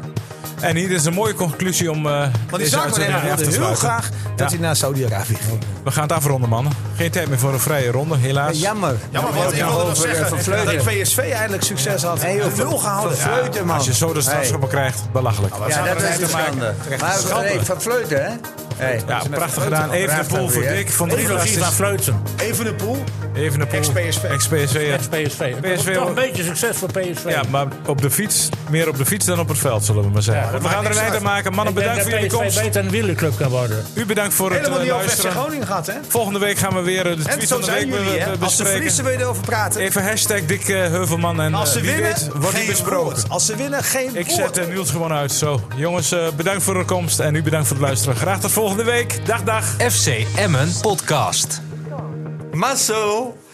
Speaker 5: En hier is een mooie conclusie om eh
Speaker 2: want die
Speaker 5: deze
Speaker 2: zaakwaarnemer
Speaker 5: uitzending af
Speaker 2: wilde
Speaker 5: te
Speaker 2: heel
Speaker 5: sluiten.
Speaker 2: graag dat hij naar Saudi-Arabië ging.
Speaker 5: We gaan het afronden, mannen. Geen tijd meer voor een vrije ronde, helaas.
Speaker 1: Jammer.
Speaker 2: Ja, maar wat ik eh, wilde nog zeggen dat PSV eindelijk succes had.
Speaker 1: Hey, joh,
Speaker 2: de nul gehouden.
Speaker 1: Van Vleuten, man.
Speaker 5: Als je zo de strafschoppen krijgt, belachelijk.
Speaker 1: Ja, dat is de schande. Maar
Speaker 5: Schande.
Speaker 1: hey, van Vleuten, hè? Hey.
Speaker 5: Ja, prachtig gedaan. Even de
Speaker 1: Graag
Speaker 5: pool
Speaker 1: gedaan,
Speaker 5: voor
Speaker 1: hè?
Speaker 5: Dick. Van drie
Speaker 3: Trilogie van Fleuten.
Speaker 2: Even de pool.
Speaker 5: Even de pool.
Speaker 2: Ex-PSV.
Speaker 5: Ex-PSV, ja.
Speaker 3: PSV.
Speaker 5: PSV
Speaker 3: Toch een beetje succes voor PSV.
Speaker 5: Ja, maar op de fiets. Meer op de fiets dan op het veld, zullen we maar zeggen.
Speaker 3: Ja, dat
Speaker 5: we gaan
Speaker 2: maakt
Speaker 5: er een
Speaker 2: niks
Speaker 5: eind aan
Speaker 2: uit.
Speaker 5: maken. Mannen,
Speaker 3: Ik denk dat
Speaker 5: bedankt voor jullie
Speaker 3: PSV
Speaker 5: komst.
Speaker 3: beter een wielerclub kan worden.
Speaker 5: U bedankt voor het
Speaker 2: Helemaal
Speaker 5: eh,
Speaker 2: niet over FC
Speaker 5: luisteren.
Speaker 2: Groningen gehad, hè?
Speaker 5: Volgende week gaan we weer eh, de
Speaker 2: En
Speaker 5: tweet
Speaker 2: zo
Speaker 5: van de week
Speaker 2: zijn jullie,
Speaker 5: be-
Speaker 2: hè?
Speaker 5: be-
Speaker 2: Als ze verliezen
Speaker 5: bespreken.
Speaker 2: wil je erover praten.
Speaker 5: Even hashtag Dick eh, Heuvelman en
Speaker 2: Als
Speaker 5: eh,
Speaker 2: ze
Speaker 5: wie
Speaker 2: winnen,
Speaker 5: weet wordt die
Speaker 2: geen
Speaker 5: besproken.
Speaker 2: woord. Als ze winnen, geen
Speaker 5: Ik
Speaker 2: woord.
Speaker 5: zet eh, Niels gewoon uit. Zo, jongens, eh, bedankt voor de komst en u bedankt voor het luisteren. Graag tot volgende week. Dag, dag.
Speaker 4: FC Emmen Podcast.
Speaker 1: Marcel.